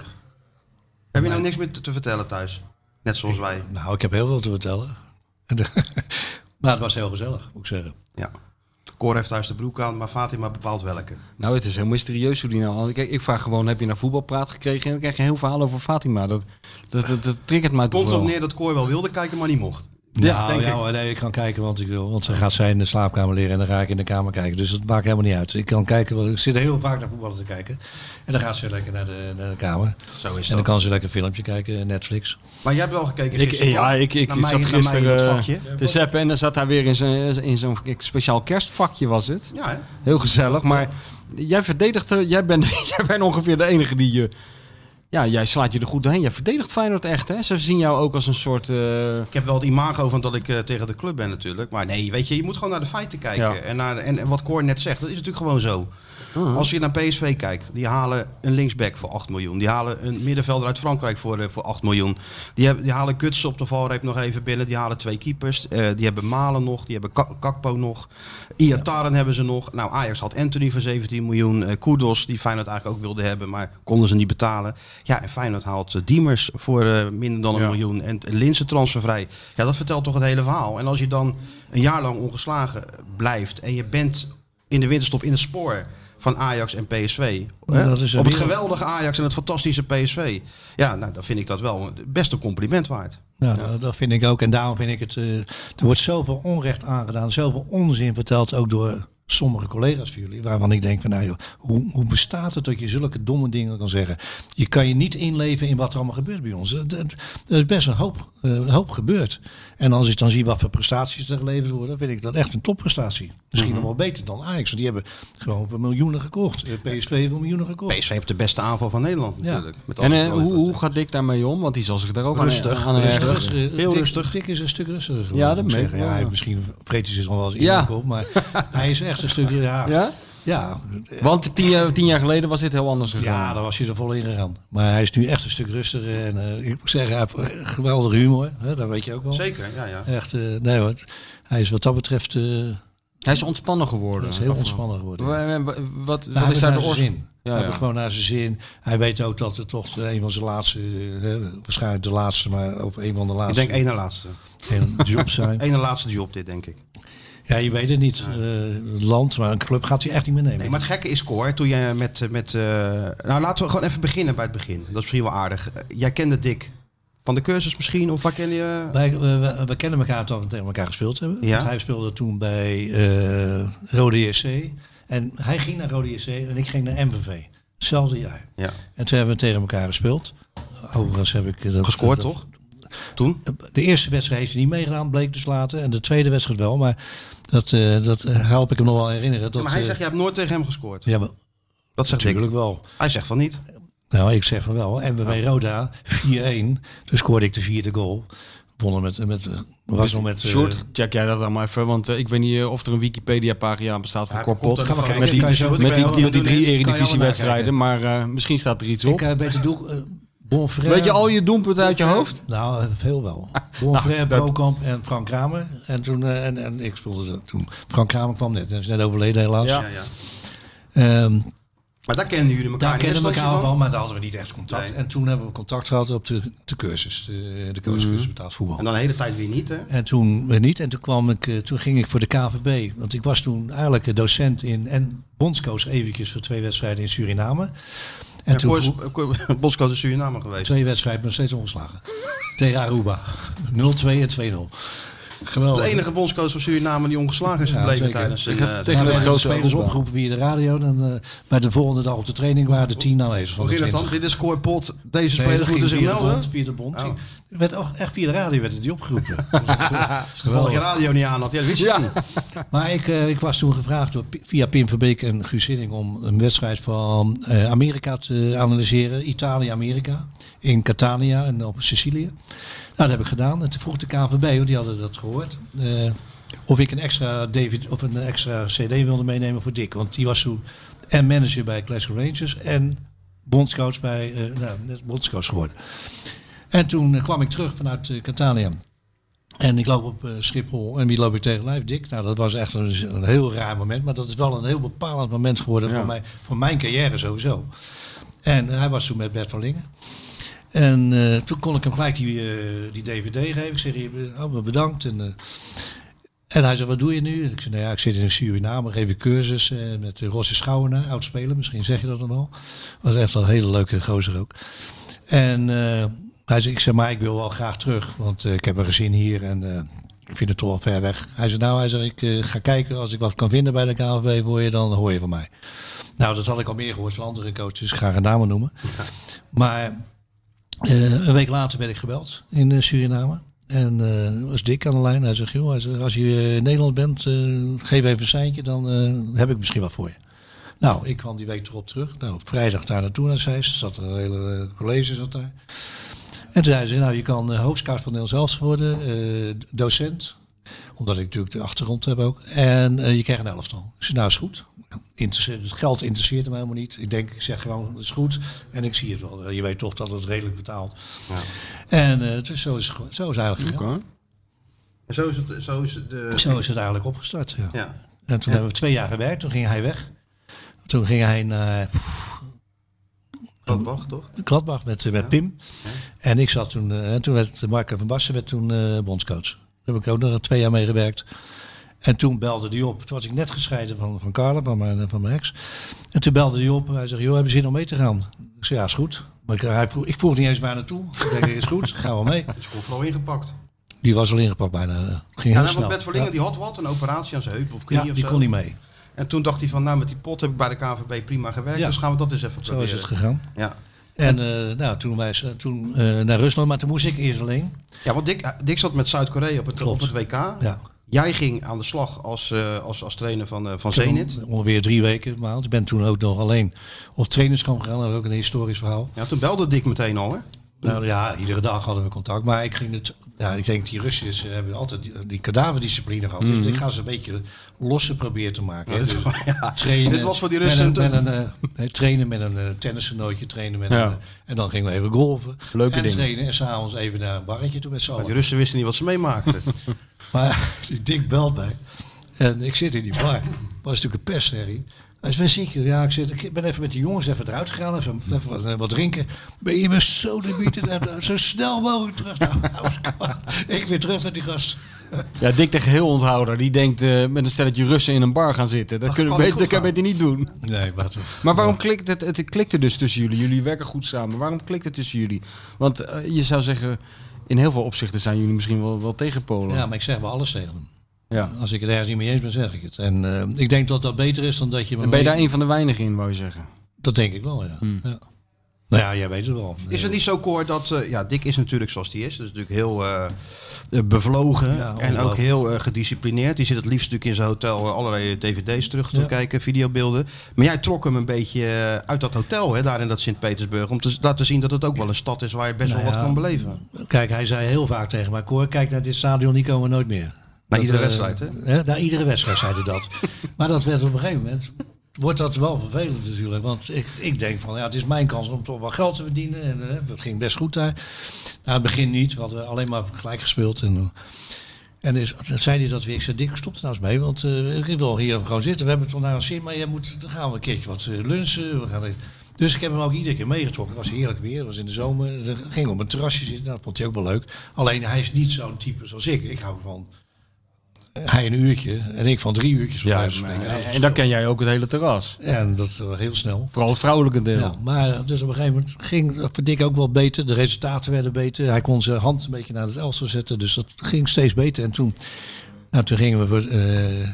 Speaker 2: heb je nou niks meer te, te vertellen thuis? Net zoals wij.
Speaker 3: Nou, ik heb heel veel te vertellen. (laughs) En de- maar het was heel gezellig, moet ik zeggen.
Speaker 2: Ja. Cor heeft thuis de broek aan, maar Fatima bepaalt welke.
Speaker 4: Nou, het is heel mysterieus hoe die nou... al- Kijk, ik vraag gewoon, heb je naar voetbalpraat gekregen? En dan krijg je een heel verhaal over Fatima. Dat, dat, dat, dat triggert mij toch
Speaker 2: Komt
Speaker 4: wel.
Speaker 2: erop neer dat Cor wel wilde kijken, maar niet mocht.
Speaker 3: nou,
Speaker 2: denk
Speaker 3: ja,
Speaker 2: ik.
Speaker 3: hoor, nee, ik kan kijken, want, ik, wil- want ze gaat zij in de slaapkamer liggen en dan ga ik in de kamer kijken. Dus dat maakt helemaal niet uit. Ik kan kijken, want ik zit heel vaak naar voetballen te kijken. En dan gaat ze lekker naar de, naar de kamer.
Speaker 2: Zo is
Speaker 3: En dan
Speaker 2: dat.
Speaker 3: kan ze lekker een filmpje kijken, Netflix.
Speaker 2: Maar jij hebt wel gekeken
Speaker 4: Ik, eh,
Speaker 2: gisteren.
Speaker 4: ja,
Speaker 2: toch?
Speaker 4: ik, ik
Speaker 2: Naar mij- naar
Speaker 4: zat
Speaker 2: mij in
Speaker 4: gisteren
Speaker 2: dat
Speaker 4: eh,
Speaker 2: vakje.
Speaker 4: te zappen en dan zat hij weer in zo'n in zo'n speciaal kerstvakje was het.
Speaker 2: Ja, hè?
Speaker 4: Heel gezellig, maar jij verdedigt, eh, jij bent, (laughs) jij bent ongeveer de enige die je... Ja, jij slaat je er goed doorheen. Jij verdedigt Feyenoord echt, hè? Ze zien jou ook als een soort... eh,
Speaker 2: Ik heb wel het imago van dat ik eh, tegen de club ben natuurlijk. Maar nee, weet je, je moet gewoon naar de feiten kijken.
Speaker 4: Ja. Mhm.
Speaker 2: En, naar, en, en wat Cor net zegt, dat is natuurlijk gewoon zo. Als je naar PSV kijkt, die halen een linksback voor 8 miljoen. Die halen een middenvelder uit Frankrijk voor, eh, voor 8 miljoen. Die, hebben, die halen Guts op de valreep nog even binnen. Die halen twee keepers. Eh, die hebben Malen nog, die hebben Ka- Kakpo nog. Iataren hebben ze nog. Nou, Ajax had Anthony voor 17 miljoen. Eh, Koudos, die Feyenoord eigenlijk ook wilde hebben, maar konden ze niet betalen. Ja, en Feyenoord haalt eh, Diemers voor eh, minder dan een
Speaker 4: Ja.
Speaker 2: miljoen. En Linse transfervrij. Ja, dat vertelt toch het hele verhaal. En als je dan een jaar lang ongeslagen blijft en je bent in de winterstop in het spoor van Ajax en PSV.
Speaker 3: Ja,
Speaker 2: hè,
Speaker 3: dat is een
Speaker 2: Op het
Speaker 3: wereld.
Speaker 2: geweldige Ajax en het fantastische PSV. Ja, nou, dan vind ik dat wel best een compliment waard.
Speaker 3: Nou, dat, dat vind ik ook. En daarom vind ik het. eh, er wordt zoveel onrecht aangedaan, zoveel onzin verteld, ook door sommige collega's van jullie. Waarvan ik denk van nou joh, hoe, hoe bestaat het dat je zulke domme dingen kan zeggen? Je kan je niet inleven in wat er allemaal gebeurt bij ons. Dat, dat- er is best een hoop, eh, een hoop gebeurd. En als ik dan zie wat voor prestaties er geleverd worden, vind ik dat echt een topprestatie. Misschien nog wel beter dan Ajax. Want die hebben gewoon voor miljoenen gekocht. Eh, PSV heeft voor miljoenen gekocht.
Speaker 2: PSV heeft de beste aanval van Nederland
Speaker 3: Ja.
Speaker 2: natuurlijk. Met
Speaker 4: en
Speaker 2: alles
Speaker 4: eh,
Speaker 2: wat-
Speaker 4: hoe, hoe gaat Dick daarmee om? Want die zal zich daar ook aan-
Speaker 3: Rustig,
Speaker 4: aan
Speaker 3: rustig,
Speaker 4: ergeren.
Speaker 3: heel rustig. Dick is een stuk rustiger. geworden,
Speaker 4: Ja, dat
Speaker 3: moet ik
Speaker 4: merk
Speaker 3: zeggen. Ja,
Speaker 4: ik wel,
Speaker 3: hij
Speaker 4: ja.
Speaker 3: misschien vreet hij zich nog wel eens in
Speaker 4: Ja.
Speaker 3: de kop,
Speaker 4: (laughs)
Speaker 3: maar hij is echt een stuk. Ja, ja,
Speaker 4: Ja?
Speaker 3: ja,
Speaker 4: Want tien jaar, tien jaar geleden was dit heel anders gegaan.
Speaker 3: daar was hij er vol in gegaan. Maar hij is nu echt een stuk rustiger en eh, ik moet zeggen, hij heeft eh, geweldige humor, hè, dat weet je ook wel.
Speaker 2: Zeker, ja, ja.
Speaker 3: Echt, eh, nee hoor, hij is wat dat betreft eh,
Speaker 4: Hij is ontspannen
Speaker 3: hij
Speaker 4: geworden.
Speaker 3: is heel ontspannen geworden.
Speaker 4: Wa- wa- wa- Wat,
Speaker 3: Nou,
Speaker 4: wat is
Speaker 3: hij
Speaker 4: daar
Speaker 3: heeft
Speaker 4: de
Speaker 3: naar zijn
Speaker 4: oorzaak?
Speaker 3: zin.
Speaker 4: Ja,
Speaker 3: hij
Speaker 4: ja.
Speaker 3: heeft gewoon naar zijn zin. Hij weet ook dat het toch een van zijn laatste, eh, waarschijnlijk de laatste, maar of een van de
Speaker 2: Ik
Speaker 3: laatste
Speaker 2: denk één na laatste.
Speaker 3: een job
Speaker 4: (laughs)
Speaker 3: zijn.
Speaker 2: Eén na laatste job dit, denk ik.
Speaker 3: Ja, je weet het niet. Eh, het land, maar een club gaat hij echt niet meer nemen.
Speaker 2: Nee, maar het gekke is, Cor, toen jij met... met eh, nou, laten we gewoon even beginnen bij het begin. Dat is misschien wel aardig. Eh, Jij kende Dick Van de cursus misschien? Of waar ken je...
Speaker 3: Wij, eh, we, we- we kennen elkaar toen we tegen elkaar gespeeld hebben.
Speaker 2: Ja.
Speaker 3: Want hij speelde toen bij eh Rode JC. En hij ging naar Rode JC en ik ging naar MVV. Hetzelfde jaar.
Speaker 2: Ja.
Speaker 3: En toen hebben we tegen elkaar gespeeld. Overigens heb ik... eh, dat-
Speaker 2: Gescoord,
Speaker 3: dat-
Speaker 2: toch? Toen?
Speaker 3: De eerste wedstrijd heeft hij niet meegedaan, bleek dus later. En de tweede wedstrijd wel, maar dat, eh, dat help ik hem nog wel herinneren. Dat,
Speaker 2: Ja, maar hij
Speaker 3: eh,
Speaker 2: zegt, je hebt nooit tegen hem gescoord.
Speaker 3: ja, maar
Speaker 2: dat zegt ik.
Speaker 3: natuurlijk wel.
Speaker 2: Hij zegt van niet.
Speaker 3: Nou, ik zeg van wel. En bij Roda 4-1. Toen scoorde ik de vierde goal. Wonnen met... met was nog met... eh,
Speaker 4: Sjoerd, check jij dat dan maar even, want eh, ik weet niet eh, of er een Wikipedia-pagina aan bestaat van
Speaker 2: Ja,
Speaker 4: Korpot.
Speaker 2: komt er nog wel.
Speaker 4: Met die,
Speaker 2: Kan je zo-
Speaker 4: met die,
Speaker 2: kan je
Speaker 4: met die
Speaker 2: allemaal
Speaker 4: drie
Speaker 2: nakijken.
Speaker 4: eredivisiewedstrijden, maar eh, misschien staat er iets op.
Speaker 3: ik heb beter doel... eh, Bonferré.
Speaker 4: weet je al je doelpunten uit je hoofd?
Speaker 3: Nou, eh, veel
Speaker 4: (laughs)
Speaker 3: wel. Bonfrère, Brokamp en Frank Kramer. En, toen, eh, en, en ik speelde dat toen. Frank Kramer kwam net. Hij is net overleden helaas.
Speaker 4: Ja.
Speaker 2: Ja, ja.
Speaker 3: Ehm,
Speaker 2: Maar daar kenden jullie elkaar
Speaker 3: Daar
Speaker 2: niet.
Speaker 3: kennen we
Speaker 2: Wist dat
Speaker 3: elkaar
Speaker 2: je
Speaker 3: van, maar daar hadden we niet echt contact.
Speaker 2: Nee.
Speaker 3: En toen hebben we contact gehad op de, de cursus, de, de cursus,
Speaker 4: Mhm.
Speaker 3: cursus betaald voetbal.
Speaker 2: En dan de hele tijd weer niet, hè?
Speaker 3: En toen weer niet. En toen, kwam ik, eh, toen ging ik voor de KVB. Want ik was toen eigenlijk eh, docent in en bondscoach eventjes voor twee wedstrijden in Suriname. En
Speaker 2: En
Speaker 3: toen
Speaker 2: Koors,
Speaker 3: vroeg-
Speaker 2: Koor- Bosco is Suriname geweest.
Speaker 3: twee wedstrijden nog steeds ongeslagen. (laughs) Tegen Aruba. 0-2 en 2-0. Geweldig.
Speaker 2: De enige bondscoach van Suriname die ongeslagen is
Speaker 3: Ja,
Speaker 2: gebleven
Speaker 3: zeker.
Speaker 2: tijdens een...
Speaker 4: heb
Speaker 2: eh,
Speaker 4: tegen-
Speaker 3: Maar we
Speaker 4: het
Speaker 3: hebben de
Speaker 4: grote
Speaker 3: spelers
Speaker 4: Aruba.
Speaker 3: opgeroepen via de radio. En eh, bij de volgende dag op de training waren de tien aanwezig. Van
Speaker 2: hoe
Speaker 3: de
Speaker 2: ging dat
Speaker 3: 20.
Speaker 2: dan? Dit is Koorpot. Deze
Speaker 3: Nee,
Speaker 2: speler
Speaker 3: dat
Speaker 2: moeten
Speaker 3: ging
Speaker 2: zich
Speaker 3: via de
Speaker 2: melden.
Speaker 3: bond, Via de bond.
Speaker 2: Oh.
Speaker 3: Er werd ook echt via de radio werd het
Speaker 2: (laughs)
Speaker 3: die opgeroepen.
Speaker 2: Terwijl je radio niet aan had. Ja, dat wist je
Speaker 4: Ja.
Speaker 2: niet.
Speaker 3: maar ik, eh, ik was toen gevraagd door, Pi- via Pim Verbeek en Guus Hiddink om een wedstrijd van eh, Amerika te analyseren. Italië-Amerika. In Catania en op Sicilië. Nou, dat heb ik gedaan. En toen vroeg de KVB, want die hadden dat gehoord. eh, of ik een extra, David, of een extra CD wilde meenemen voor Dick. Want die was toen en manager bij Glasgow Rangers. En bondscoach bij, eh, nou, net bondscoach geworden. En toen eh, kwam ik terug vanuit eh, Catania. En ik loop op eh, Schiphol en wie loop ik tegen lijf? Dick. Nou, dat was echt een, een heel raar moment. Maar dat is wel een heel bepalend moment geworden voor, mij, voor mijn carrière sowieso. En eh, hij was toen met Bert van Lingen. En eh, toen kon ik hem gelijk die, eh, die dvd geven. Ik zeg, hier, oh, bedankt. En, eh, en hij zei, wat doe je nu? En ik zei, nou ja, ik zit in Suriname, geef ik cursus eh, met eh, Rossi Schouwenaar, oud-speler. Misschien zeg je dat dan al. Was echt een hele leuke gozer ook. En eh, hij zei, ik zei, maar ik wil wel graag terug, want eh, ik heb een gezin hier en eh, ik vind het toch wel ver weg. Hij zei, nou, hij zei, ik eh, ga kijken als ik wat kan vinden bij de KNVB voor je, dan hoor je van mij. Nou, dat had ik al meer gehoord van andere coaches, dus ik ga geen namen noemen. Maar eh, een week later werd ik gebeld in eh, Suriname. En eh, was Dick aan de lijn. Hij zegt, joh, hij zegt, als je eh, in Nederland bent, eh, geef even een seintje, dan eh, heb ik misschien wat voor je. Nou, ik kwam die week erop terug. Nou, op vrijdag daar naartoe naar Zeist. Er zat een hele eh, college zat daar. En toen zei ze, nou, je kan eh, hoofdscout van Nederland zelfs worden, eh, docent. Omdat ik natuurlijk de achtergrond heb ook. En eh, je krijgt een elftal. Ik zei, nou, is goed. Interesse- het geld interesseert me helemaal niet. Ik denk, ik zeg gewoon, het is goed. En ik zie het wel. Eh, Je weet toch dat het redelijk betaalt. En eh, dus zo is, het ge- zo is het eigenlijk gegaan.
Speaker 4: Oké.
Speaker 2: En zo is het, zo is het de...
Speaker 3: Zo is het eigenlijk opgestart, ja.
Speaker 2: Ja.
Speaker 3: En toen hebben we twee jaar gewerkt. Toen ging hij weg. Toen ging hij naar
Speaker 2: Dat Oh, wacht, toch?
Speaker 3: Gladbach met, eh, met Pim. En ik zat toen, eh, en toen werd Marco van Bassen werd toen eh, bondscoach. Daar heb ik ook nog twee jaar mee gewerkt. En toen belde die op. Toen was ik net gescheiden van, van Carla, van mijn, eh, van mijn ex. En toen belde die op. Hij zegt, joh, hebben ze zin om mee te gaan? Ik zei, ja, is goed. Maar ik, eh, hij vroeg, ik vroeg niet eens waar naartoe. Ik denk, is goed, gaan we mee.
Speaker 2: Is vooral ingepakt.
Speaker 3: Die was al ingepakt bijna. Ging
Speaker 2: Ja,
Speaker 3: heel
Speaker 2: nou, want
Speaker 3: snel.
Speaker 2: Bert Verlingen, die had wat, een operatie aan zijn heup of knie
Speaker 3: ja, ja,
Speaker 2: of
Speaker 3: die
Speaker 2: zo.
Speaker 3: kon niet mee.
Speaker 2: En toen dacht hij van, nou met die pot heb ik bij de KVB prima gewerkt,
Speaker 3: Ja.
Speaker 2: dus gaan we dat eens even
Speaker 3: Zo
Speaker 2: proberen.
Speaker 3: is het gegaan.
Speaker 2: Ja.
Speaker 3: En eh, nou, toen, wij, toen eh, naar Rusland, maar toen moest ik eerst alleen.
Speaker 2: ja, want Dick, Dick zat met Zuid-Korea op het, op
Speaker 3: Klopt.
Speaker 2: het WK.
Speaker 3: Ja.
Speaker 2: Jij ging aan de slag als, eh, als, als trainer van, eh, van Zenit.
Speaker 3: Ongeveer drie weken een maand. Ik ben toen ook nog alleen op trainingskamp gegaan. Dat was ook een historisch verhaal.
Speaker 2: Ja, toen belde Dick meteen al, hè?
Speaker 3: Nou ja, iedere dag hadden we contact. Maar ik ging het... Ja, ik denk, die Russen ze hebben altijd die, die kadaverdiscipline gehad.
Speaker 2: Mhm.
Speaker 3: Dus ik ga ze een beetje losse proberen te maken. hè.
Speaker 2: (laughs)
Speaker 3: Dus trainen,
Speaker 2: Dit was voor die Russen
Speaker 3: Met een,
Speaker 2: te-
Speaker 3: met een, eh, nee, trainen met een eh tennisgenootje, trainen met
Speaker 4: Ja.
Speaker 3: een... eh, en dan gingen we even golven.
Speaker 4: Leuke
Speaker 3: en
Speaker 4: dingen.
Speaker 3: trainen. En s'avonds even naar een barretje toe met z'n
Speaker 2: Want
Speaker 3: allen.
Speaker 2: die Russen wisten niet wat ze
Speaker 3: (laughs)
Speaker 2: meemaakten.
Speaker 3: Maar die dik belt mij. En ik zit in die bar. was natuurlijk een persherrie. Hij is wel ziek. Ja, ik, zit, ik ben even met die jongens even eruit gegaan. Even, even wat, eh, wat drinken. Ben je me zo de bieten? zo snel mogelijk terug. naar huis. (laughs) ik weer terug naar die gast.
Speaker 4: Ja, Dick de geheelohonthouder, die denkt eh, met een stelletje Russen in een bar gaan zitten. Dat,
Speaker 2: Dat
Speaker 4: kunnen we
Speaker 2: kan
Speaker 4: beter, dat
Speaker 2: niet goed
Speaker 4: kan je beter niet doen.
Speaker 3: Nee, maar het-
Speaker 4: Maar waarom klikt het, het klikte dus tussen jullie? Jullie werken goed samen. Waarom klikt het tussen jullie? Want eh, je zou zeggen, in heel veel opzichten zijn jullie misschien wel, wel tegen Polen.
Speaker 3: Ja, maar ik zeg wel alles tegen hem.
Speaker 4: Ja.
Speaker 3: Als ik het ergens niet mee eens ben, zeg ik het. En eh, ik denk dat dat beter is dan dat je... me
Speaker 4: En ben je Hmm. daar
Speaker 3: mee-
Speaker 4: een van de weinigen in, wou je zeggen?
Speaker 3: Dat denk ik wel, ja. ja. Nou ja, jij weet het wel.
Speaker 2: Is het niet zo, Cor, dat... eh, ja, Dick is natuurlijk zoals hij is. Dat is natuurlijk heel eh, eh, bevlogen
Speaker 3: Ja,
Speaker 2: en ook
Speaker 3: ongelooflijk.
Speaker 2: heel eh, gedisciplineerd. Die zit het liefst natuurlijk in zijn hotel eh, allerlei dvd's terug te
Speaker 3: Ja.
Speaker 2: kijken, videobeelden. Maar jij trok hem een beetje eh, uit dat hotel, hè, daar in dat Sint-Petersburg. Om te z- laten zien dat het ook wel een stad is waar je best
Speaker 3: Nou
Speaker 2: wel wat
Speaker 3: ja,
Speaker 2: kan beleven.
Speaker 3: Kijk, hij zei heel vaak tegen mij, Cor, kijk naar dit stadion, die komen we nooit meer.
Speaker 2: Naar iedere
Speaker 3: eh,
Speaker 2: wedstrijd, hè?
Speaker 3: Naar iedere wedstrijd zei hij dat. (laughs) maar dat werd op een gegeven moment, wordt dat wel vervelend natuurlijk. Want ik, ik denk van, ja, het is mijn kans om toch wel geld te verdienen. En eh, het ging best goed daar. Nou, in het begin niet, we hadden alleen maar gelijk gespeeld. En, eh, en is, toen zei hij dat weer. Ik zei, Dick, stop er nou eens mee, want eh, ik wil hier gewoon zitten. We hebben het vandaag een zin, maar jij moet, dan gaan we een keertje wat eh, lunchen. We gaan even- Dus ik heb hem ook iedere keer meegetrokken. Het was heerlijk weer, het was in de zomer. Hij ging op een terrasje zitten, nou, dat vond hij ook wel leuk. Alleen hij is niet zo'n type zoals ik. Ik hou van eh, hij een uurtje en ik van drie uurtjes. van wijze van spreken.
Speaker 4: Eh, en dan ken jij ook het hele terras.
Speaker 3: En dat was heel snel.
Speaker 4: Vooral het vrouwelijke deel.
Speaker 3: Ja, maar dus op een gegeven moment ging dat voor Dick ook wel beter. De resultaten werden beter. Hij kon zijn hand een beetje naar het elftal zetten. Dus dat ging steeds beter. En toen, nou, toen gingen we voor eh,